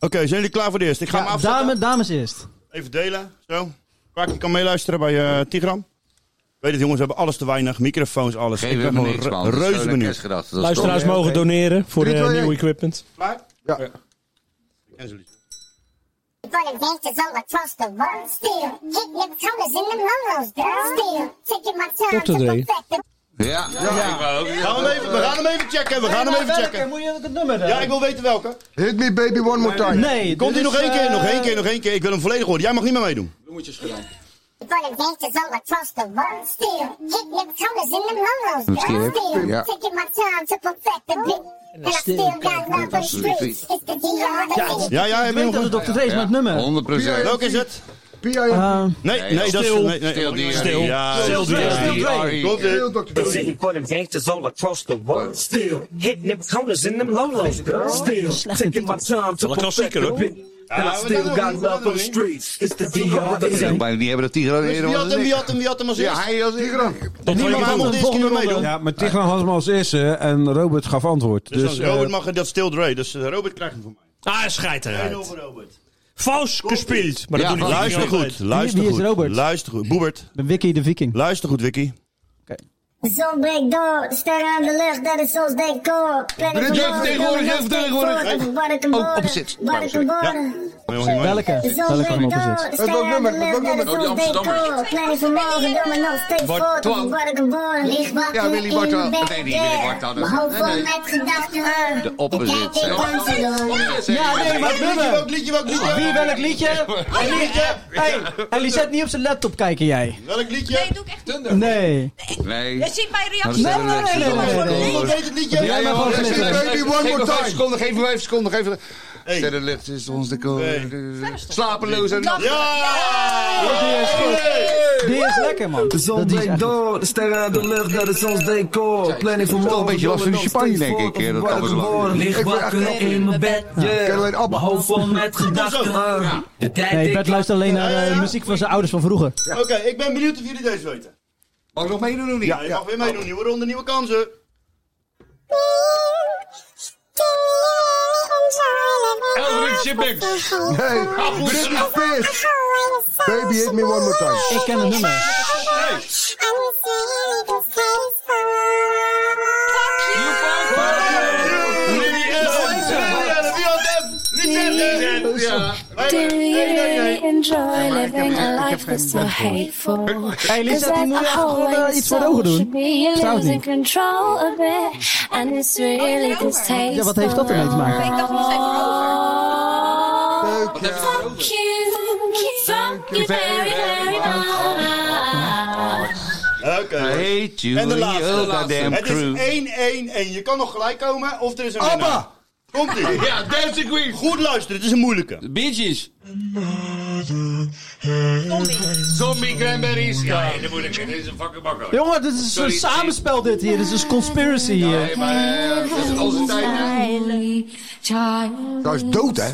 S10: Oké, zijn jullie klaar voor de eerste? Ik ga hem afzetten.
S5: Dames, dames eerst.
S10: Even delen, zo. Vaak je kan meeluisteren bij eh, Tigram. Ik weet het jongens, we hebben alles te weinig. Microfoons, alles.
S3: Geef
S10: ik ben
S3: hem
S10: gewoon
S3: niks,
S10: re-
S3: man. Dat is
S10: reuze
S3: gewoon een
S10: benieuwd.
S3: kerstgedachte. Dat is
S2: Luisteraars
S3: toch-
S2: mogen doneren voor
S3: Drie,
S2: eh,
S3: twee,
S2: nieuw
S3: één.
S2: equipment.
S6: Ja.
S9: Gonna gangsters all across the world. Still hitting the corners in the lolos, girl. Still taking my time
S2: Tot de drie.
S3: Ja, ja. ik wou ook-
S10: Gaan we, hem even, we gaan hem even checken, we gaan hem even checken.
S5: Moet je ook het nummer
S10: Ja, ik wil weten welke.
S6: Hit me baby one more time.
S5: Nee.
S10: Komt
S5: dit
S10: hij nog
S5: is,
S10: één keer,
S5: eh,
S10: nog één keer, nog één keer. Ik wil hem volledig horen. Jij mag niet meer meedoen.
S9: Gonna gangsters all across the world. Still hitting the corners in the lolos,
S10: Let's get
S9: girl.
S10: it.
S9: Still
S10: Yeah.
S9: taking my time to perfect the beat. And I still got love for the streets. It's the DR.
S10: Ja, ja,
S5: ik
S10: heb je
S5: weet
S10: nog een?
S5: dat het Dr. Dre is met het nummer.
S3: 100%.
S10: Welke is het?
S5: Ehm,
S10: Nee, nee, dat is...
S2: stil.
S10: nee, nee.
S3: Stil, die-
S10: Stil. Ja,
S2: Stil, die-
S10: ja,
S2: stil,
S10: ja.
S3: die-
S10: Komt-ie.
S14: Cause if you put them gangsters all across the world, still hitting them corners in them lolos, girl. Still taking my time to
S2: Wel een klassieker, hoor.
S14: perfect the beat. And I still got love for the streets. It's the DR.
S3: Ik zou bijna niet hebben dat Tigran
S10: Dus
S3: eerder
S10: Wie
S3: was dan
S10: had hem,
S3: ik.
S10: wie had hem, wie had hem als
S3: Ja,
S10: eerste?
S3: hij als Tigran.
S2: Tot
S10: Niemand
S2: volgende
S10: mag
S2: ronde.
S10: deze keer meer
S5: volgende
S10: meedoen.
S5: ronde.
S1: Ja, maar Tigran had hem als eerste en Robert gaf antwoord.
S10: Dus,
S1: Dus,
S10: dan-
S1: eh,
S10: Robert mag dat stil Dre, dus eh, Robert krijgt hem van mij.
S2: Ah, schijt eruit.
S10: 1-0 voor Robert.
S2: Vals gespeeld. Maar dat
S10: Ja,
S2: doe ik
S10: luister
S2: niet
S10: goed,
S2: altijd.
S10: luister
S5: wie is
S10: goed.
S5: Robert?
S10: Luister goed, Boebert.
S5: de Wiki de Viking.
S10: Luister goed, Wiki.
S9: De zon breekt door, sterren aan de lucht, dat is ons decor.
S3: Jij vertegenwoordigt, jij vertegenwoordigt. Oh, op zit.
S5: Welke?
S9: De zon
S5: Welke
S9: breekt
S5: van
S9: door,
S5: opposite?
S9: sterren aan de lucht, dat is ons decor. Kleine vermogen, doe me nog steeds
S3: Bart
S9: voort,
S3: Twan.
S9: op waar ik geboren. Lig wakker
S3: Ja,
S9: in
S3: Willy Bart
S9: mijn
S3: Twan.
S9: bed,
S3: Nee, niet Willy Bart Twan.
S9: Mijn hoofd
S3: Nee,
S9: vol
S3: nee.
S9: met gedachten.
S3: De opposite.
S9: Kijk, ik kan ze door.
S5: Ja, nee, maar het nummer.
S10: Welk liedje, welk liedje?
S5: Wie welk liedje? En liedje? Hey, en die zet niet op zijn laptop kijken jij.
S10: Welk liedje?
S7: doe ik echt niet.
S5: Nee.
S3: Nee.
S7: Je ziet mijn
S3: Maar
S7: reactie.
S3: er staat
S5: Nee, nee,
S3: een
S5: nee,
S3: extra door.
S5: nee, nee, nee.
S10: Wie weet het liedje?
S5: Ja, maar gewoon
S3: Geef
S5: glitteren.
S3: me
S6: Baby, one more
S3: vijf
S6: time.
S3: seconden, geef me vijf seconden, geef me...
S10: Hey.
S3: Sterrenlucht is ons decor. Slapeloos en nacht.
S5: Die is goed. Die is lekker, man.
S14: De zon
S5: Dat is
S14: breekt
S5: echt-
S14: door, de sterren aan de lucht, dat is ons decor. Planning voor morgen.
S3: Toch een beetje last van die champagne, denk ik, eh, dat alles wel.
S14: Licht wakker in mijn bed, yeah.
S6: Caroline Abba.
S14: Mijn hoofd vol met gedachten. De tijd
S5: Nee,
S14: tikt
S5: Bert luistert alleen naar eh, muziek van zijn ouders van vroeger.
S10: Oké, ik ben benieuwd of jullie deze weten.
S3: Mag ik nog meedoen of niet?
S10: Ja, je mag weer meedoen. Nieuwe ronde, nieuwe kansen.
S3: Elric Chipmunks.
S6: Nee, Britney Spears. Baby, hit me one more time.
S5: Ik ken het nummer.
S10: Lily Allen. Lily Allen, wie had hem? Lily Allen.
S3: Ja.
S18: enjoy
S3: living a life
S18: that's so hateful?
S5: Hey, Lisa, die moet je even gewoon, eh, iets voor de ogen doen. Vertrouwt niet.
S18: control of it. And it's really distasteful.
S5: Ja, wat heeft dat ermee te maken?
S7: Oh, Ik dacht nog even over.
S18: Fuck
S3: Wat hebben we erover?
S18: you, fuck you very, very much.
S10: Oké.
S3: I hate you.
S10: En de laatste.
S3: you
S10: de laatste.
S3: goddamn
S10: Het
S3: crew.
S10: is 1-1-1. Je kan nog gelijk komen of er is een
S6: Abba.
S10: winnaar. Komt ie.
S3: Ja, Dancing Queen.
S10: Goed luisteren, dit is een moeilijke.
S2: Bee Gees.
S3: Zombie cranberries. Ja, dat moet ik. Dit is een fucking makkelijk.
S5: Jongen, dit is een
S3: Sorry.
S5: samenspel dit hier. Dit is een conspiracy hier.
S3: Nee, maar eh, dat is onze tijd. hè.
S6: Dat is dood, hè?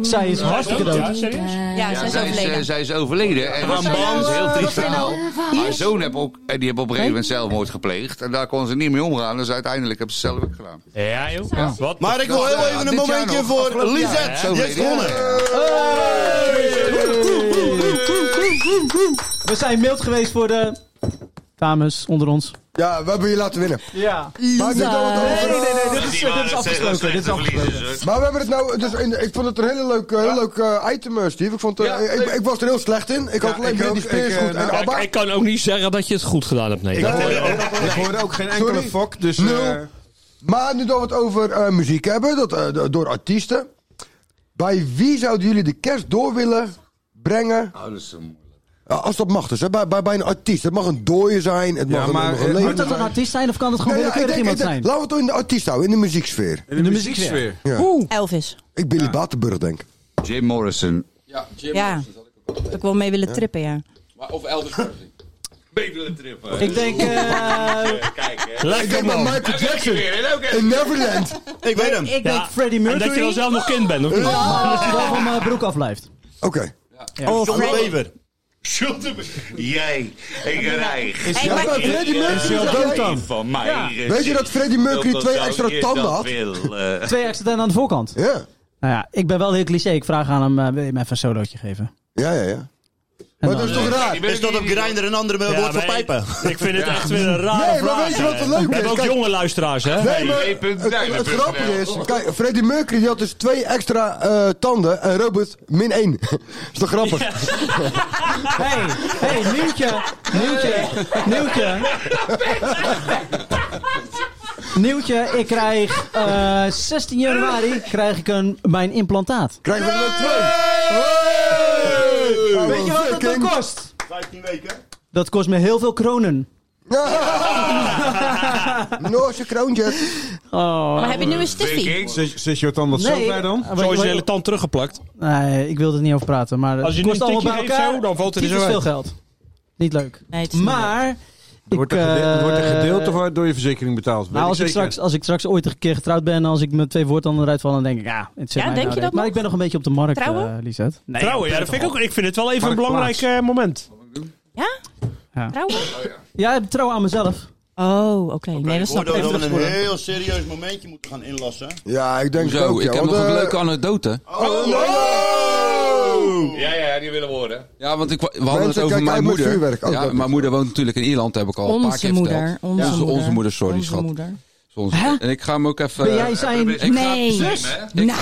S5: Zij is hartstikke dood.
S7: Ja, ze
S3: Ja,
S7: is
S3: zij, is, eh,
S7: overleden.
S3: zij is overleden. En dat is heel triest verhaal. Haar zoon heeft ook, en die heeft op een gegeven moment zelfmoord gepleegd. En daar kon ze niet mee omgaan. Dus uiteindelijk hebben ze het zelf ook gedaan.
S2: Ja, joh. Wat?
S10: Maar ik wil heel
S3: Ja,
S10: even een
S3: dit jaar
S10: momentje
S3: nog.
S10: voor
S3: Afgelopen jaar,
S10: Lisette.
S3: hè?
S10: Die heeft gewonnen.
S5: We zijn mild geweest voor de Dames onder ons.
S6: Ja, we hebben je laten winnen.
S5: Ja.
S6: Maar, dit hebben we het over-
S5: Nee, nee, nee, dit is, dit is afgesproken. Dit is afgesproken.
S1: eh,
S6: maar we hebben het nou. Dus in, ik vond het een hele leuk, eh, heel leuk eh, item, eh, Steve. Ik, vond, eh,
S2: Ja,
S6: ik,
S2: leuk.
S6: ik, was er heel slecht in. Ik had alleen Brandy's Pears goed. en Abba.
S2: ik kan ook niet zeggen dat je het goed gedaan hebt. Nee,
S6: Nee,
S2: dat hoor
S6: nee,
S2: je ook.
S6: nee.
S1: Ik eh, nou, hoorde ook geen enkele
S6: Sorry.
S1: fok, dus...
S6: Nul.
S1: eh,
S6: Maar nu dat we het over eh, muziek hebben, dat, eh, do- door artiesten. Bij wie zouden jullie de kerst door willen brengen?
S19: Oh,
S6: Ja, als dat mag dus, hè? Bij, bij, bij een artiest. Het mag een dooier zijn, het
S1: Ja,
S6: mag, een-
S1: maar,
S6: mag
S1: eh,
S6: een
S5: Moet dat een artiest zijn of kan het gewoon
S6: Nee,
S5: willekeurig
S6: ik
S5: iemand
S6: denk- ik
S5: zijn?
S6: denk- Laten we het toch in de artiest houden, in de muzieksfeer.
S1: In de muzieksfeer.
S6: Ja.
S8: Elvis.
S6: Ik Billy Batenburg denk.
S3: Jim Morrison.
S11: Ja, Jim
S8: Ja. Dat ik wel mee willen
S11: Ja.
S8: trippen, ja.
S11: Maar, of Elvis Presley.
S19: Babelen trippen.
S5: Ik denk, eh,
S19: Kijk, hè.
S2: Lekker, Ik denk man. bij
S6: Michael
S19: Jackson.
S6: In Neverland.
S10: Ik weet hem.
S5: Ik denk Freddie Mercury. Oh.
S2: En dat je wel zelf nog kind bent, of niet?
S5: Maar dat hij wel van mijn broek afblijft.
S6: Oké.
S10: Oh, John Weber.
S19: Jij, ik rijg.
S6: Is Ja, maar dat- Freddie Mercury is al dood dan.
S19: Van mij
S6: Ja.
S19: gezien.
S6: Weet je dat Freddie Mercury
S19: Ook
S6: twee
S19: al
S6: extra
S19: zou je dat
S6: tanden had?
S19: willen.
S5: Twee extra tanden aan de voorkant.
S6: Ja.
S5: Nou ja, ik ben wel heel cliché. Ik vraag aan hem, eh, wil je me even een solootje geven?
S6: Ja, ja, ja. Maar dat is toch raar?
S10: Is dat op Grindr een andere
S2: Ja,
S10: woord voor
S2: maar ik-
S10: pijpen?
S2: Ik vind het echt weer een rare
S6: Nee, maar
S2: vraag,
S6: weet je wat
S2: hè.
S6: het leuke
S2: We
S6: is?
S2: hebben ook
S6: Kijk-
S2: jonge luisteraars, hè?
S6: Nee, maar het, het grappige is, kijk, Freddie Mercury die had dus twee extra eh, tanden en Robert min één. is toch grappig?
S5: Hey, hey, nieuwtje, nieuwtje, nieuwtje. Nieuwtje, ik krijg eh, 16 januari krijg ik een, mijn implantaat.
S6: Krijgen we er nog twee?
S5: Hey!
S6: Oh,
S5: Weet je wat dat dan
S6: fucking-
S5: kost?
S10: 15 weken.
S5: Dat kost me heel veel kronen.
S6: Noorse kroontjes.
S5: Oh.
S8: Maar heb je nu een stiffie?
S1: Zit, zit je het dan wat
S5: Nee.
S1: zo ver dan?
S5: Zo is je hele
S2: tand teruggeplakt.
S5: Nee, ik wil er niet over praten. Maar het
S2: Als je nu
S5: eh, kost
S2: een
S5: allemaal bij
S2: tikje
S5: elkaar.
S2: geeft zo, dan valt het er zo
S5: tyfus
S2: uit.
S5: veel geld. Niet leuk.
S8: Nee, het is niet
S5: Maar... ik,
S1: Wordt een gede-
S5: eh,
S1: wordt een gedeelte van- door je verzekering betaald? Weet
S5: Nou, als ik,
S1: zeker.
S5: straks, als ik straks ooit een keer getrouwd ben en als ik met twee voortanden eruit val, dan denk ik, ja, het zit
S8: Ja,
S5: mij
S8: denk
S5: nou
S8: je dat
S5: reet. Maar
S8: nog?
S5: ik ben nog een beetje op de markt,
S8: Trouwen?
S5: eh Lisette. Nee,
S2: Trouwen,
S5: op
S2: ja, dat vind ik ook. Ik vind het wel even een
S5: Marktplaats.
S2: belangrijk eh, moment.
S8: Trouwen?
S5: Ja, trouwen aan mezelf.
S8: Oh, oké. Nee, dat
S10: Ik
S8: snap
S10: hoorde
S8: ik.
S10: dat we een heel serieus momentje moeten gaan inlassen.
S6: Ja, ik denk het
S11: Zo,
S6: ook, ja,
S11: ik heb
S6: want,
S11: nog een
S6: eh,
S11: leuke anekdote.
S10: Oh!
S19: Ja, ja, die willen we horen.
S11: Ja, want ik, we hadden
S6: Mensen,
S11: het over
S6: kijk
S11: mijn
S6: uit met
S11: moeder.
S6: vuurwerk. Oh,
S11: ja,
S6: dat
S11: mijn moeder woont natuurlijk in Ierland, heb ik al een paar
S8: Onze
S11: keer
S8: moeder.
S11: verteld.
S8: Onze,
S11: onze,
S8: moeder.
S11: onze moeder, sorry
S8: Onze
S11: schat.
S8: moeder.
S11: Onze- En ik ga hem ook even...
S5: Ben jij zijn...
S11: Ik ga-
S8: Nee.
S5: Zus? Nou.
S11: Ik,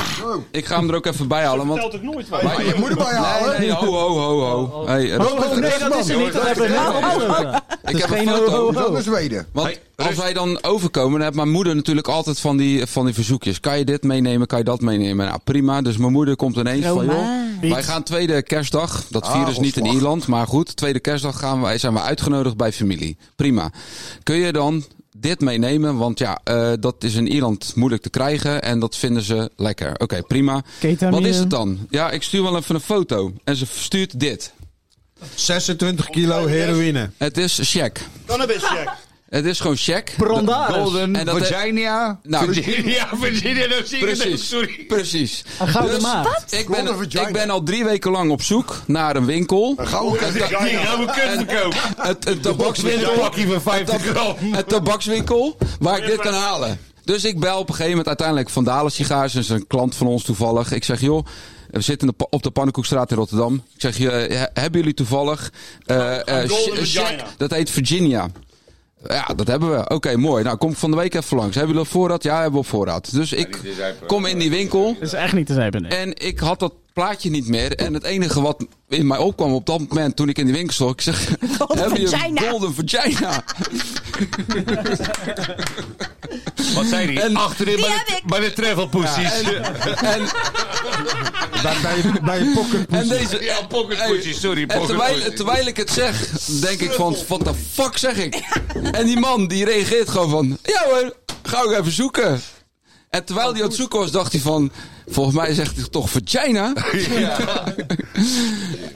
S11: ik ga hem er ook even bij halen, want...
S2: het nooit wat.
S6: Maar je moeder bij je
S11: Nee,
S6: halen.
S11: nee, ho, ho, ho, ho. Hey,
S5: Oh, oh, nee, dat is er niet. Dat hebben we net afgesproken.
S11: ik heb een
S5: geen ho,
S11: foto.
S5: ho,
S6: Dat
S5: ho.
S6: is Zweden.
S11: Want als wij dan overkomen, dan heeft mijn moeder natuurlijk altijd van die, van die verzoekjes. Kan je dit meenemen, kan je dat meenemen? Nou, prima. Dus mijn moeder komt ineens
S5: Oh,
S11: van, joh, wij gaan tweede kerstdag. Dat
S6: Ah,
S11: vieren is niet in
S6: ontslag.
S11: Ierland, maar goed. Tweede kerstdag gaan wij, zijn we uitgenodigd bij familie. Prima. Kun je dan dit meenemen? Want ja, eh, dat is in Ierland moeilijk te krijgen en dat vinden ze lekker. Oké, prima.
S5: Ketamine.
S11: Wat is het dan? Ja, ik stuur wel even een foto. En ze stuurt dit.
S1: 26 kilo heroïne.
S11: Het is check.
S10: Cannabis check.
S11: Het is gewoon check.
S5: Prondaris.
S11: En
S3: Golden,
S11: dat-
S3: Virginia.
S11: Nou,
S19: Ja, Virginia, dat zie ik het ook,
S11: Precies.
S19: sorry.
S11: Precies.
S5: Een gouden
S11: Dus
S5: maat.
S11: Ik
S6: Golden
S11: ben,
S6: vagina.
S11: ik ben al drie weken lang op zoek naar een winkel. Een
S6: gouden
S19: Die gaan we kunnen verkopen.
S11: het, een tabakswinkel.
S19: pakje van 50 gram.
S11: Een tabakswinkel waar ik dit kan halen. Dus ik bel op een gegeven moment uiteindelijk Van Dalen Sigaars. Dat is een klant van ons toevallig. Ik zeg, joh, we zitten in de pa- op de Pannenkoekstraat in Rotterdam. Ik zeg, je, eh, hebben jullie toevallig... eh, eh,
S10: Golden
S11: sh- een
S10: Vagina.
S11: check? Dat heet Virginia. Ja, dat hebben we. Oké, mooi. Nou, kom ik van de week even langs. Hebben jullie op voorraad? Ja, hebben we op voorraad. Dus ik
S19: die zijn pro-
S11: kom in die winkel.
S5: Dat is echt niet te zijn, nee.
S11: En ik had dat plaatje niet meer. En het enige wat in mij opkwam op dat moment toen ik in die winkel stond, ik zeg: Heb je een
S8: vagina."
S11: golden vagina?
S19: Wat zei die?
S11: En-
S19: Achterin
S8: Die
S19: bij
S8: heb
S19: de,
S8: ik.
S19: bij de travel pussies.
S11: En,
S1: Bij, bij, je- bij je pocket
S11: en deze.
S19: Ja, pocket pussies, sorry.
S11: En
S19: Pocket
S11: terwijl,
S19: pussies.
S11: terwijl ik het zeg, denk ik van, wat de fuck zeg ik? En die man die reageert gewoon van, ja hoor, ga ik even zoeken. En terwijl hij aan het zoeken was, dacht hij van, volgens mij zegt hij toch vagina?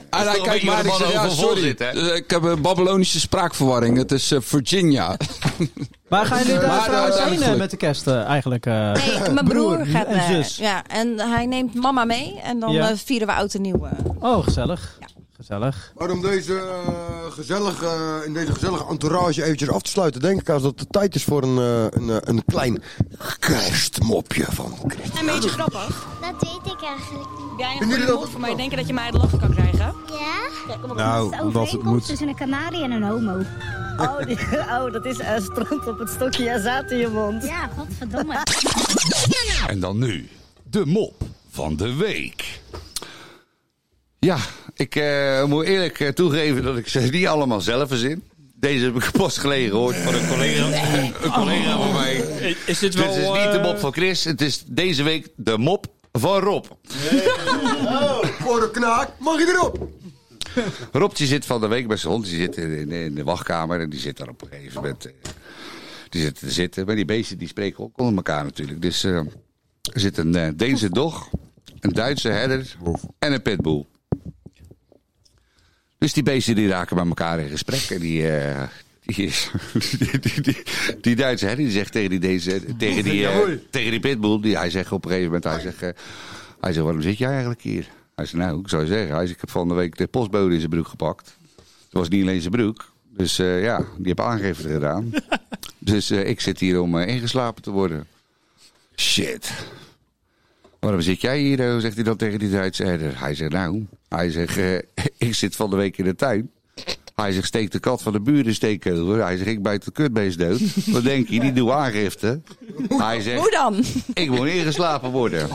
S11: En hij
S19: toch
S11: kijkt
S19: een
S11: nou, maar en ik
S19: beetje waar
S11: zeg, ja
S19: de mannen
S11: sorry,
S19: overvol zitten, hè?
S11: eh, ik heb een Babylonische spraakverwarring, het is eh, Virginia.
S5: Waar gaan jullie daar
S11: Maar,
S5: trouwens
S11: eh,
S5: heen eh,
S11: eigenlijk-
S5: met de kerst eh, eigenlijk? eh?
S8: Nee, mijn broer,
S5: Broer
S8: gaat eh,
S5: en
S8: naar.
S5: zus.
S8: Ja, en hij neemt mama mee. En dan
S5: Ja.
S8: eh, vieren we oud en nieuw. eh.
S5: Oh, gezellig. Gezellig.
S6: Waarom deze eh, gezellige, eh, in deze gezellige entourage eventjes af te sluiten, denk ik als dat het tijd is voor een, eh, een, eh, een klein kerstmopje van Chris.
S8: Een beetje grappig.
S18: Dat weet ik ik eigenlijk niet.
S7: Heb jij een goede mond voor mij? Denk je dat je mij uit de lachen kan krijgen?
S18: Ja? Kijk, kom
S1: Nou,
S20: de
S1: omdat het
S20: overeenkomst
S1: moet.
S20: tussen een kanarie en een homo.
S18: Oh, die- oh, dat is eh, stront op het stokje azaat in je mond.
S20: Ja, godverdomme.
S19: En dan nu, de mop van de week.
S3: Ja, ik eh, moet eerlijk eh, toegeven dat ik ze niet allemaal zelf verzin. Deze heb ik pas geleden gehoord van een collega, een collega van mij.
S2: Is dit wel... eh,
S3: Dit is niet de mop van Chris, het is deze week de mop van Rob.
S6: Oh, Voor de knaak, mag ik erop?
S3: Rob die zit van de week bij zijn hond. Die zit in, in- in de wachtkamer en die zit daar op een gegeven moment. eh, Die zit te zitten. Maar die beesten die spreken ook onder elkaar natuurlijk. Dus eh, er zit een eh, Deense dog, een Duitse herder en een pitbull. Dus die beesten die raken bij elkaar in gesprek. En die, eh, die, is- die, die, die, die Duitse herder die zegt tegen die, deze, tegen die, eh, tegen die pitbull. Die, hij zegt op een gegeven moment, hij zegt, eh, hij zegt, waarom zit jij eigenlijk hier? Hij zegt, nou, ik zou zeggen, hij zegt, ik heb van de week de postbode in zijn broek gepakt. Het was niet alleen zijn broek. Dus eh, ja, die heb aangifte gedaan. dus eh, ik zit hier om eh, ingeslapen te worden. Shit. Waarom zit jij hier? eh, Zegt hij dan tegen die Duitse herder. Hij zegt, nou, hij zegt, eh, ik zit van de week in de tuin. Hij zegt, steek de kat van de buren steek over. Hij zegt, ik bijt de kutbeest dood. Wat denk je, die doe aangifte. Hij zegt,
S7: Hoe dan?
S3: ik moet ingeslapen worden.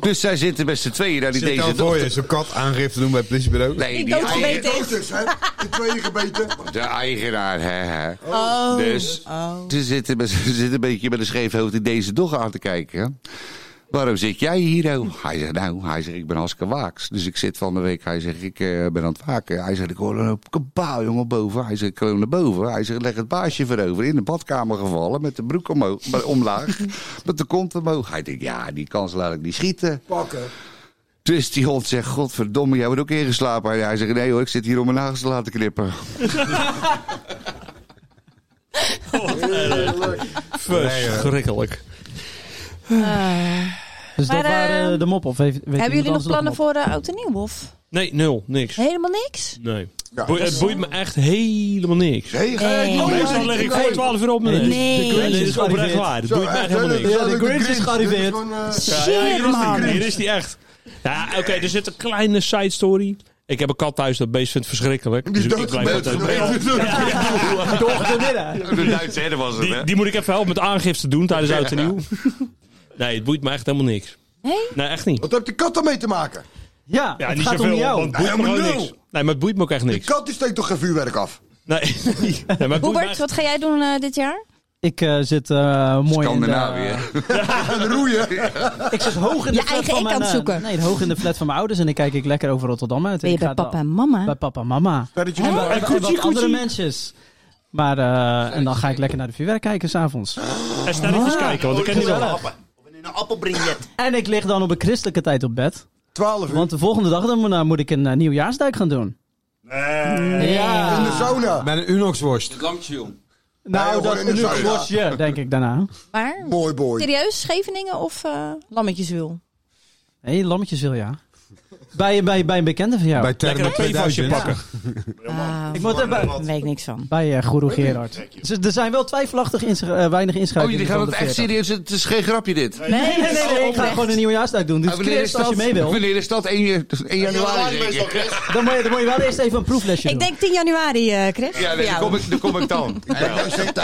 S3: Dus zij zitten met z'n tweeën naar die
S1: Zit
S3: deze
S1: dan voor
S3: dochter.
S1: je zo'n kat aangifte doen bij het politiebureau?
S3: Nee, die eigen-
S7: doodgebeten is.
S6: De tweede gebeten.
S3: de eigenaar, hè. hè.
S7: Oh.
S3: Dus ze zitten, met- ze zitten een beetje met een scheef hoofd in deze dog aan te kijken. Waarom zit jij hier? oh? Hij zegt, nou, hij zegt, ik ben hartstikke waaks. Dus ik zit van de week, hij zegt, ik eh, ben aan het waken. Hij zegt, ik hoor een kabaal, jongen, boven. Hij zegt, ik loop naar boven. Hij zegt, leg het baasje voorover. In de badkamer gevallen, met de broek omhoog, maar omlaag. met de kont omhoog. Hij denkt, ja, die kans laat ik niet schieten.
S6: Pakken.
S3: Dus die hond zegt, godverdomme, jij wordt ook ingeslapen. Hij zegt, nee hoor, ik zit hier om mijn nagels te laten knippen.
S2: Verschrikkelijk.
S5: Dus
S7: Maar,
S5: dat waren
S7: eh,
S5: de mop of heeft, weet iemand
S7: Hebben jullie nog
S5: anders
S7: plannen voor
S5: mop?
S7: eh, oud en nieuw? Of
S2: Nee, nul. Niks.
S7: helemaal niks?
S2: Nee. Boe- het boeit me echt helemaal niks.
S6: Nee,
S7: ga je niet
S2: Meestal
S7: doen.
S2: leg ik voor 12 uur op
S7: Nee.
S2: mijn neus.
S7: Nee. De Grinch
S2: dit
S7: is
S2: is oprecht
S7: gearriveerd.
S2: waar. Het
S7: Zo,
S2: boeit me
S7: echt
S2: echt helemaal
S7: helemaal
S2: niks.
S7: niks. Ja, de Grinch is gearriveerd.
S2: Ja, ja, hier is die
S7: man.
S2: Grinch. Hier is die echt. Ja, oké, er zit een kleine side story. Ik heb een kat thuis, dat beest vindt het verschrikkelijk. Dus ik- ik blijf altijd
S3: De Duitse herder was het,
S2: Die,
S3: hè?
S2: die moet ik even helpen met aangifte doen tijdens oud en nieuw. Nee, het boeit me echt helemaal niks.
S7: Nee?
S2: Nee, echt niet.
S6: Wat heeft de kat daarmee te maken?
S5: Ja,
S2: Ja,
S5: het
S2: niet
S5: gaat
S2: zoveel,
S5: om jou.
S2: want het boeit me
S6: Helemaal
S2: gewoon
S6: nul.
S2: niks. Nee, maar het boeit me ook echt niks.
S6: Kat die steekt toch geen vuurwerk af?
S2: Nee, nee maar het boeit me
S7: Hubert,
S2: echt-
S7: wat ga jij doen eh, dit jaar?
S5: Ik eh, zit eh, mooi
S11: nou
S5: in de...
S3: Scandinavië.
S6: En roeien.
S5: Ik zit hoog in de
S7: Je
S5: flat
S7: eigen
S5: van mijn...
S7: ik aan het
S5: eh,
S7: zoeken.
S5: Nee, hoog in de flat van mijn ouders en dan kijk ik lekker over Rotterdam uit.
S7: Ben je
S5: Ik
S7: bij
S5: ga
S7: papa
S5: dan-
S7: en mama?
S5: Bij papa en mama.
S1: Sterretje
S5: En,
S1: van
S5: wat- en
S1: Bergen.
S5: wat andere mensen. Maar, eh, en dan ga ik lekker naar de vuurwerk kijken s'avonds. Ah,
S2: En
S10: Ah.
S2: sterretjes kijken, want ik
S10: Oh,
S2: ken die wel.
S10: In een appelbrinjet.
S5: En ik lig dan op een christelijke tijd op bed.
S6: 12 uur.
S5: Want de volgende dag dan, moet- nou, moet ik een eh, nieuwjaarsduik gaan doen. Ja.
S6: In de sauna.
S1: Met een Unox-worst.
S6: Nee,
S5: Nou,
S6: gewoon
S5: dat
S6: in
S5: is
S6: de
S5: een
S6: sauna.
S5: uurtje, denk ik daarna.
S7: Maar
S6: Mooi boy.
S7: serieus, Scheveningen of eh Lammetjeswil?
S5: Hé, hey, lammetjes wil ja. Bij, bij, bij een bekende van jou.
S1: Bij
S2: Lekker
S1: Termen
S2: een PFASje
S1: 2000.
S2: pakken.
S7: Ah,
S5: ik moet er bij,
S7: daar weet ik niks van.
S5: bij eh, Guru Gerard. Dus er zijn wel twijfelachtig insch- eh, weinig
S3: Oh,
S5: inschrijvingen.
S3: jullie gaan
S5: van
S3: het
S5: de
S3: echt
S5: 40.
S3: serieus. Het is geen grapje, dit. Oh,
S5: Nee, nee, nee, nee, ik ga
S7: Oprecht.
S5: gewoon een nieuwjaarsduik doen. Dus
S3: Ah, wanneer, is
S5: Chris, als je
S3: dat?
S5: mee wil,
S3: wanneer is dat? 1 ju- 1 dus januari, zeker?
S5: dan moet, je, dan moet je wel eerst even een proeflesje
S7: Ik
S5: doen.
S7: denk 10 januari, eh, Chris.
S3: Ja,
S7: Voor
S3: nee, daar
S7: jou.
S3: kom ik, daar kom ik dan.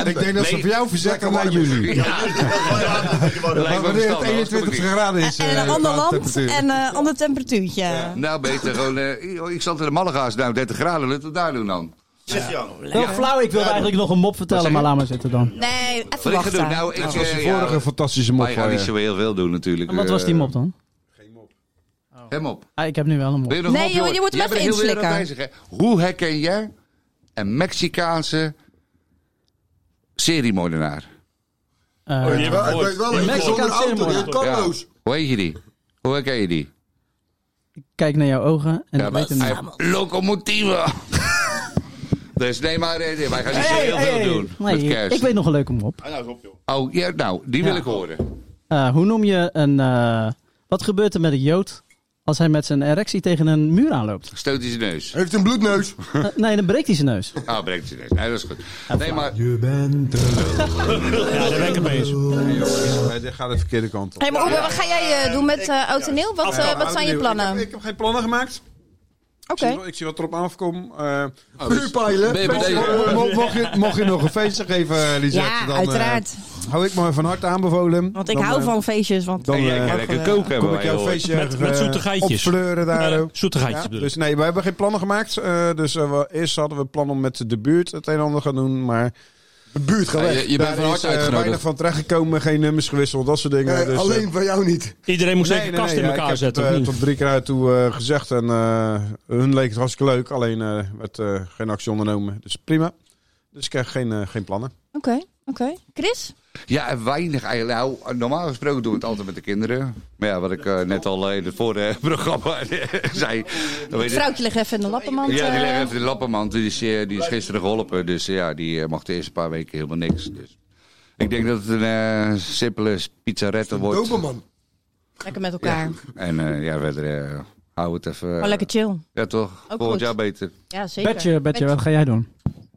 S1: Ik denk dat ze
S3: Nee.
S1: voor jou verzetten naar juli.
S3: Lijkt
S1: Maar
S3: me
S1: wanneer het
S3: verstandig, dat kom ik
S1: 21
S3: niet.
S1: graden is.
S7: En een
S1: eh,
S7: ander
S1: qua
S7: land
S1: temperatuur.
S7: en een ander temperatuurtje.
S3: Nou, beter gewoon... eh, oh, ik zat in de Malaga's, nou, 30 graden, laten we het daar doen dan.
S10: Zeg je al.
S5: Heel flauw, ik wil eigenlijk nog een mop vertellen, maar laat maar zitten dan.
S7: Nee, even
S3: Wat ik ga doen?
S7: wachten.
S3: Nou, ik...
S1: Dat was
S3: eh,
S1: de
S3: ja,
S1: vorige fantastische eh. mop.
S3: Wij gaan niet zo heel veel doen, natuurlijk.
S5: En wat was die mop dan?
S3: Eh,
S10: Oh.
S3: Hem op.
S5: Ah, ik heb nu wel een mop.
S3: Wil je nog
S7: Nee,
S3: een mop,
S7: joh, je
S3: Jorrit?
S7: moet hem
S3: Jij
S7: even
S3: bent heel weer
S7: inslikken.
S3: aanwezig, hè? Hoe herken jij een Mexicaanse seriemoordenaar?
S10: Oh,
S5: Eh,
S6: Ik weet wel- ik weet wel, ik
S5: Mexicaanse
S6: zit zonder auto,
S5: ceremony.
S6: die Carlos.
S3: Hoe heet je die? Hoe herken je die?
S5: Kijk naar jouw ogen en
S3: Ja,
S5: ik
S3: maar
S5: weet hem
S3: hij
S5: niet.
S3: heeft locomotieven. dus nee, maar eh, nee, wij gaan niet zo
S5: Hey,
S3: heel
S5: hey,
S3: veel
S5: hey.
S3: doen
S5: Nee,
S3: met kerst.
S5: ik weet nog een leuke mop.
S10: Ah, nou, op joh.
S3: Oh, ja, nou, die wil
S5: Ja.
S3: ik horen.
S5: Eh, hoe noem je een... eh, wat gebeurt er met een jood Als hij met zijn erectie tegen een muur aanloopt.
S3: Stoot hij zijn neus.
S6: Heeft een bloedneus.
S5: Eh, nee, dan breekt hij zijn neus.
S3: Ah, breekt hij neus. Nee, dat is goed. Nee, maar...
S1: Je bent te
S2: Ja, daar ben ik mee eens.
S1: Dit gaat de verkeerde kant op.
S8: Hey, maar Oebe, wat ga jij eh, doen met eh Oud en Nieuw? Wat, eh,
S1: Ja,
S8: wat zijn je
S1: opnieuw. Ik heb,
S8: plannen?
S1: ik heb geen plannen gemaakt. Ik
S8: Oké.
S1: zie wel- Ik zie wat erop afkomt. eh
S11: Oh, dus
S6: Vuurpijlen.
S1: Mensen, mo- mo- Mocht je, mocht je nog een feestje geven, Lisette?
S8: Ja,
S1: dan, eh,
S8: uiteraard.
S1: hou ik me van harte aanbevolen.
S8: Want ik
S1: Dan,
S8: hou
S1: eh,
S8: van feestjes. Want
S1: Dan, eh,
S8: Ik
S1: kan
S8: hou
S1: ik
S8: van-
S1: ook hebben. Kom ik jouw feestje
S2: Met- met
S1: eh,
S2: zoete geitjes.
S1: opfleuren daar.
S2: Ja,
S1: ook.
S2: zoete geitjes
S1: Ja,
S2: bedoel
S1: dus nee, we hebben geen plannen gemaakt. eh, dus eh, we- eerst hadden we plan om met de buurt het een en ander gaan doen, maar...
S6: De buurt gaat
S1: Daar
S6: weg.
S11: je bent van
S1: is,
S11: harte
S1: eh,
S11: uitgenodigd.
S1: weinig van terechtgekomen, geen nummers gewisseld, dat soort dingen.
S6: Eh,
S1: dus, eh,
S6: alleen van jou niet.
S2: Iedereen moest
S1: Nee,
S2: even
S1: nee,
S2: kast
S1: nee,
S2: in
S1: ja,
S2: elkaar
S1: ik heb
S2: zetten.
S1: het, eh,
S2: of niet?
S1: tot drie keer uit toe eh, gezegd en eh, hun leek het hartstikke leuk. Alleen eh, werd eh, geen actie ondernomen. Dus prima. Dus ik krijg geen, eh, geen plannen.
S8: Oké, oké. Chris?
S3: Ja, en weinig eigenlijk. Nou, normaal gesproken doen we het altijd met de kinderen. Maar ja, wat ik eh, net al eh, in het vorige programma eh, zei. dan weet
S8: Het
S3: ik-
S8: vrouwtje ligt even in de lappenmand.
S3: Ja, die
S8: eh.
S3: leggen even de lappenmand. Die is, eh, die is gisteren geholpen. Dus eh, ja, die eh, mag de eerste paar weken helemaal niks. Dus ik denk dat het een eh, simpele pizzarette wordt.
S6: Doberman.
S8: Lekker met elkaar.
S3: En eh, ja, verder eh, hou het even. eh,
S8: Maar lekker chill.
S3: Ja, toch?
S8: Ook
S3: Volgend
S8: goed.
S3: jaar beter.
S8: Ja, zeker.
S5: Betje, Betje, wat ga jij doen?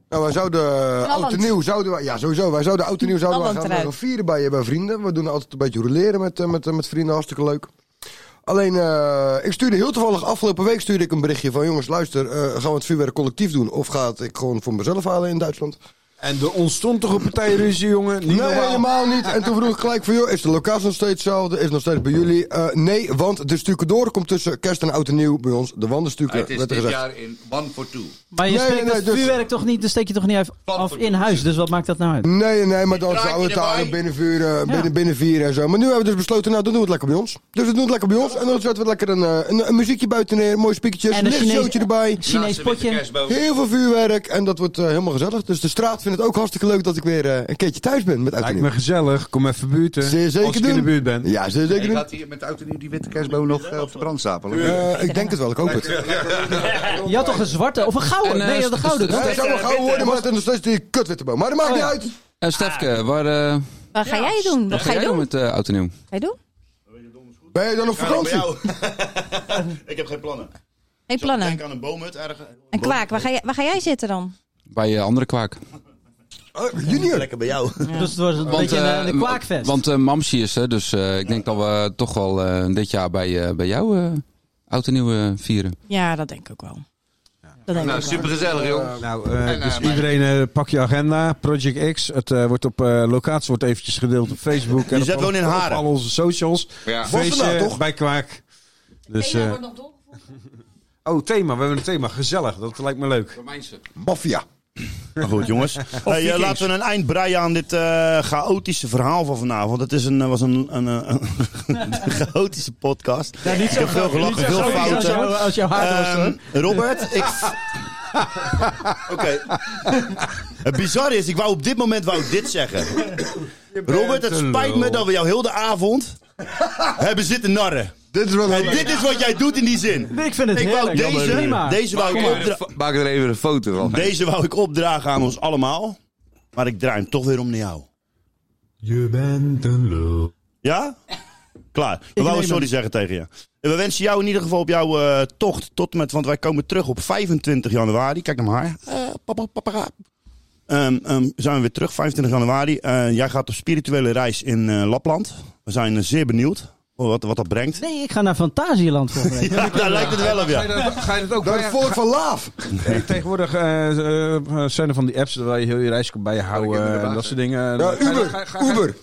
S6: Nou, wij zouden eh,
S8: Holland.
S6: oud en nieuw zouden wij, ja sowieso, wij zouden oud en nieuw zouden wij
S8: Holland
S6: gaan, gaan
S8: eruit.
S6: vieren bij, bij vrienden. We doen altijd een beetje rouleren met, eh, met, eh, met vrienden, hartstikke leuk. Alleen, eh, ik stuurde heel toevallig, afgelopen week stuurde ik een berichtje van jongens, luister, eh, gaan we het vuurwerk collectief doen? Of ga het ik gewoon voor mezelf halen in Duitsland?
S1: En er ontstond toch een partijruzie, jongen? Niet
S6: nee,
S1: normaal.
S6: helemaal niet. En toen vroeg ik gelijk van, joh, is de locatie nog steeds hetzelfde? Is het nog steeds bij jullie? Eh, nee, want de stukendoor komt tussen kerst en oud en nieuw bij ons. De wandenstukken,
S3: het is
S6: werd er
S3: dit
S6: gezegd.
S3: jaar in One for Two.
S5: Maar je
S6: Nee,
S5: steekt
S6: nee,
S5: het
S6: dus-
S5: vuurwerk toch niet, dan steek je toch niet even af in huis. Dus wat maakt dat nou uit?
S6: Nee, nee, maar dan zouden we
S3: draadje
S6: het daar
S3: erbij.
S6: binnenvuren, binnen, binnenvieren en zo. Maar nu hebben we dus besloten, nou, dan doen we het lekker bij ons. Dus we doen het lekker bij ons. En dan zetten we lekker een, eh, een, een muziekje buiten neer, mooie spiekertjes,
S5: En
S6: een
S5: een Nou, Chinees-
S6: lichtshowtje erbij.
S5: Chinees potje.
S6: Heel veel vuurwerk en dat wordt eh, helemaal gezellig. Dus de straat vindt het ook hartstikke leuk dat ik weer eh, een keertje thuis ben met
S1: Lijkt
S6: Uitenieuw.
S1: me gezellig. Kom even buurten.
S6: Zeer zeker
S1: als ik in de
S6: doen.
S1: buurt ben.
S6: Ja, zeker
S3: Ik
S6: zeker doen.
S3: had hier met de auto nu die witte kerstboom nog eh, op de brandstapel.
S6: Eh, ik denk het wel, ik hoop het.
S5: Je had toch een zwarte of een gouden?
S11: En, eh,
S5: nee, dat is een gouden. Oh
S6: Ja,
S5: toch?
S6: het zou wel gauw worden, maar het is nog steeds die kutwitte boom. Maar dat maakt niet uit.
S11: En
S5: Ah.
S11: Stefke, waar, eh,
S8: Wat ga jij doen? Wat
S11: wat
S8: ga je
S11: doen
S8: doen?
S11: met eh Oud en Nieuw?
S8: Ga je doen?
S6: Ben je dan op vakantie?
S10: ik heb geen plannen.
S8: Geen plannen.
S10: Denk aan een boomhut ergens.
S8: En Kwaak, waar ga, jij, waar ga jij zitten dan?
S11: Bij eh, andere kwaak.
S6: Oh, junior.
S10: Lekker bij jou.
S5: Dus het was een beetje een,
S11: eh,
S5: een kwaakfest.
S11: Want eh, Mamsie is er, dus eh, ik denk dat we toch wel eh, dit jaar bij, eh, bij jou eh Oud en Nieuw eh, vieren.
S8: Ja, dat denk ik ook wel. Dat denk
S3: Nou,
S8: ik wel.
S3: supergezellig, joh.
S1: Nou, eh,
S3: En, eh,
S1: dus
S3: maar-
S1: iedereen eh, pak je agenda. Project X. Het eh, wordt op eh, locatie wordt eventjes gedeeld op Facebook. en
S10: Je zet
S1: op,
S10: woont in
S1: op
S10: Haren.
S1: al onze socials.
S3: Ja.
S6: Wassenaar,
S1: Feestje
S6: toch?
S1: bij Kwaak. Dus, eh,
S8: nog doorgevoerd.
S1: oh, thema. We hebben een thema. Gezellig. Dat lijkt me leuk.
S6: Maffia.
S10: Maar goed, jongens. Hey, eh, laten we een eind breien aan dit eh, chaotische verhaal van vanavond. Het is een, eh, was een, een, eh, een chaotische podcast.
S5: Ja, niet zo
S10: ik heb veel gelachen, veel
S5: Sorry,
S10: fouten.
S5: Als jouw, als jouw haar was, hoor.
S10: Ehm, Robert, ik. Oké. Het bizarre is, ik wou op dit moment wou ik dit zeggen. Robert, het spijt me dat we jou heel de avond hebben zitten narren.
S6: Dit is wel
S10: En
S6: heel
S10: dit is wat jij doet in die zin.
S5: Ik vind het
S10: Ik wou
S5: heerlijk.
S10: deze,
S5: Prima.
S10: deze, wou ik opdra-
S3: Maak er even een foto van.
S10: deze wou ik opdragen aan ons allemaal. Maar ik draai hem toch weer om naar jou.
S19: Je bent een lul.
S10: Ja? Klaar. We wouden sorry zeggen tegen je. En We wensen jou in ieder geval op jouw eh, tocht tot en met, want wij komen terug op 25 januari. Kijk naar haar. Eh, papa, papa, ga. Ehm, ehm, zijn we weer terug, 25 januari. Eh, jij gaat op spirituele reis in eh, Lapland. We zijn eh, zeer benieuwd wat, wat dat brengt.
S5: Nee, ik ga naar Fantasieland volgende week.
S10: Ja, daar lijkt het wel op,
S1: Ga je
S10: ja.
S1: dat, ga je dat ook
S6: Dat
S1: bij-
S6: is het volk van Laaf.
S1: Nee, tegenwoordig eh, eh, zijn er van die apps waar je heel je reis kan
S3: Ja, ik heb
S1: bijhouden
S3: er
S1: en dat soort dingen.
S6: Ja,
S1: Ga- ga-
S6: Uber.
S1: ga- ga-
S6: Uber.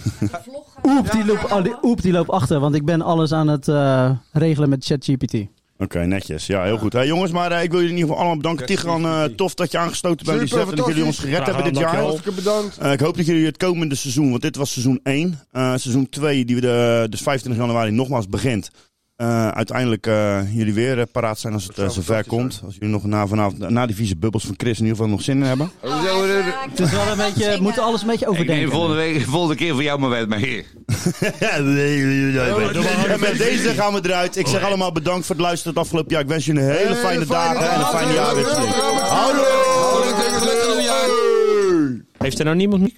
S5: Oep, die loopt, oh, die- oep, die loopt achter, want ik ben alles aan het eh, regelen met ChatGPT.
S10: Oké, netjes. Ja, heel goed. Hey, jongens, maar eh, ik wil jullie in ieder geval allemaal bedanken. Tigran, eh, tof dat je aangesloten bent.
S6: Super,
S10: Lisette, en dat jullie ons
S6: fantastisch.
S10: gered hebben dit jaar.
S2: dankjewel.
S6: Hartstikke bedankt.
S10: Eh, ik hoop dat jullie het komende seizoen, want dit was seizoen 1. eh, seizoen 2, die we de, dus 25 januari nogmaals begint. eh, uiteindelijk eh, jullie weer eh, paraat zijn als het eh, zover komt. Als jullie nog na, vanavond, na die vieze bubbels van Chris in ieder geval nog zin in hebben.
S3: Hoezo? eh,
S5: Het is wel een beetje, we moeten alles een beetje
S3: Ik neem
S5: overdenken.
S3: volgende, week, volgende keer voor jou maar wet mee.
S10: en met deze gaan we eruit. Ik zeg allemaal bedankt voor het luisteren het afgelopen jaar. Ik wens jullie een hele fijne dagen en een fijne jaar weer.
S6: Hallo.
S2: Heeft er nou niemand...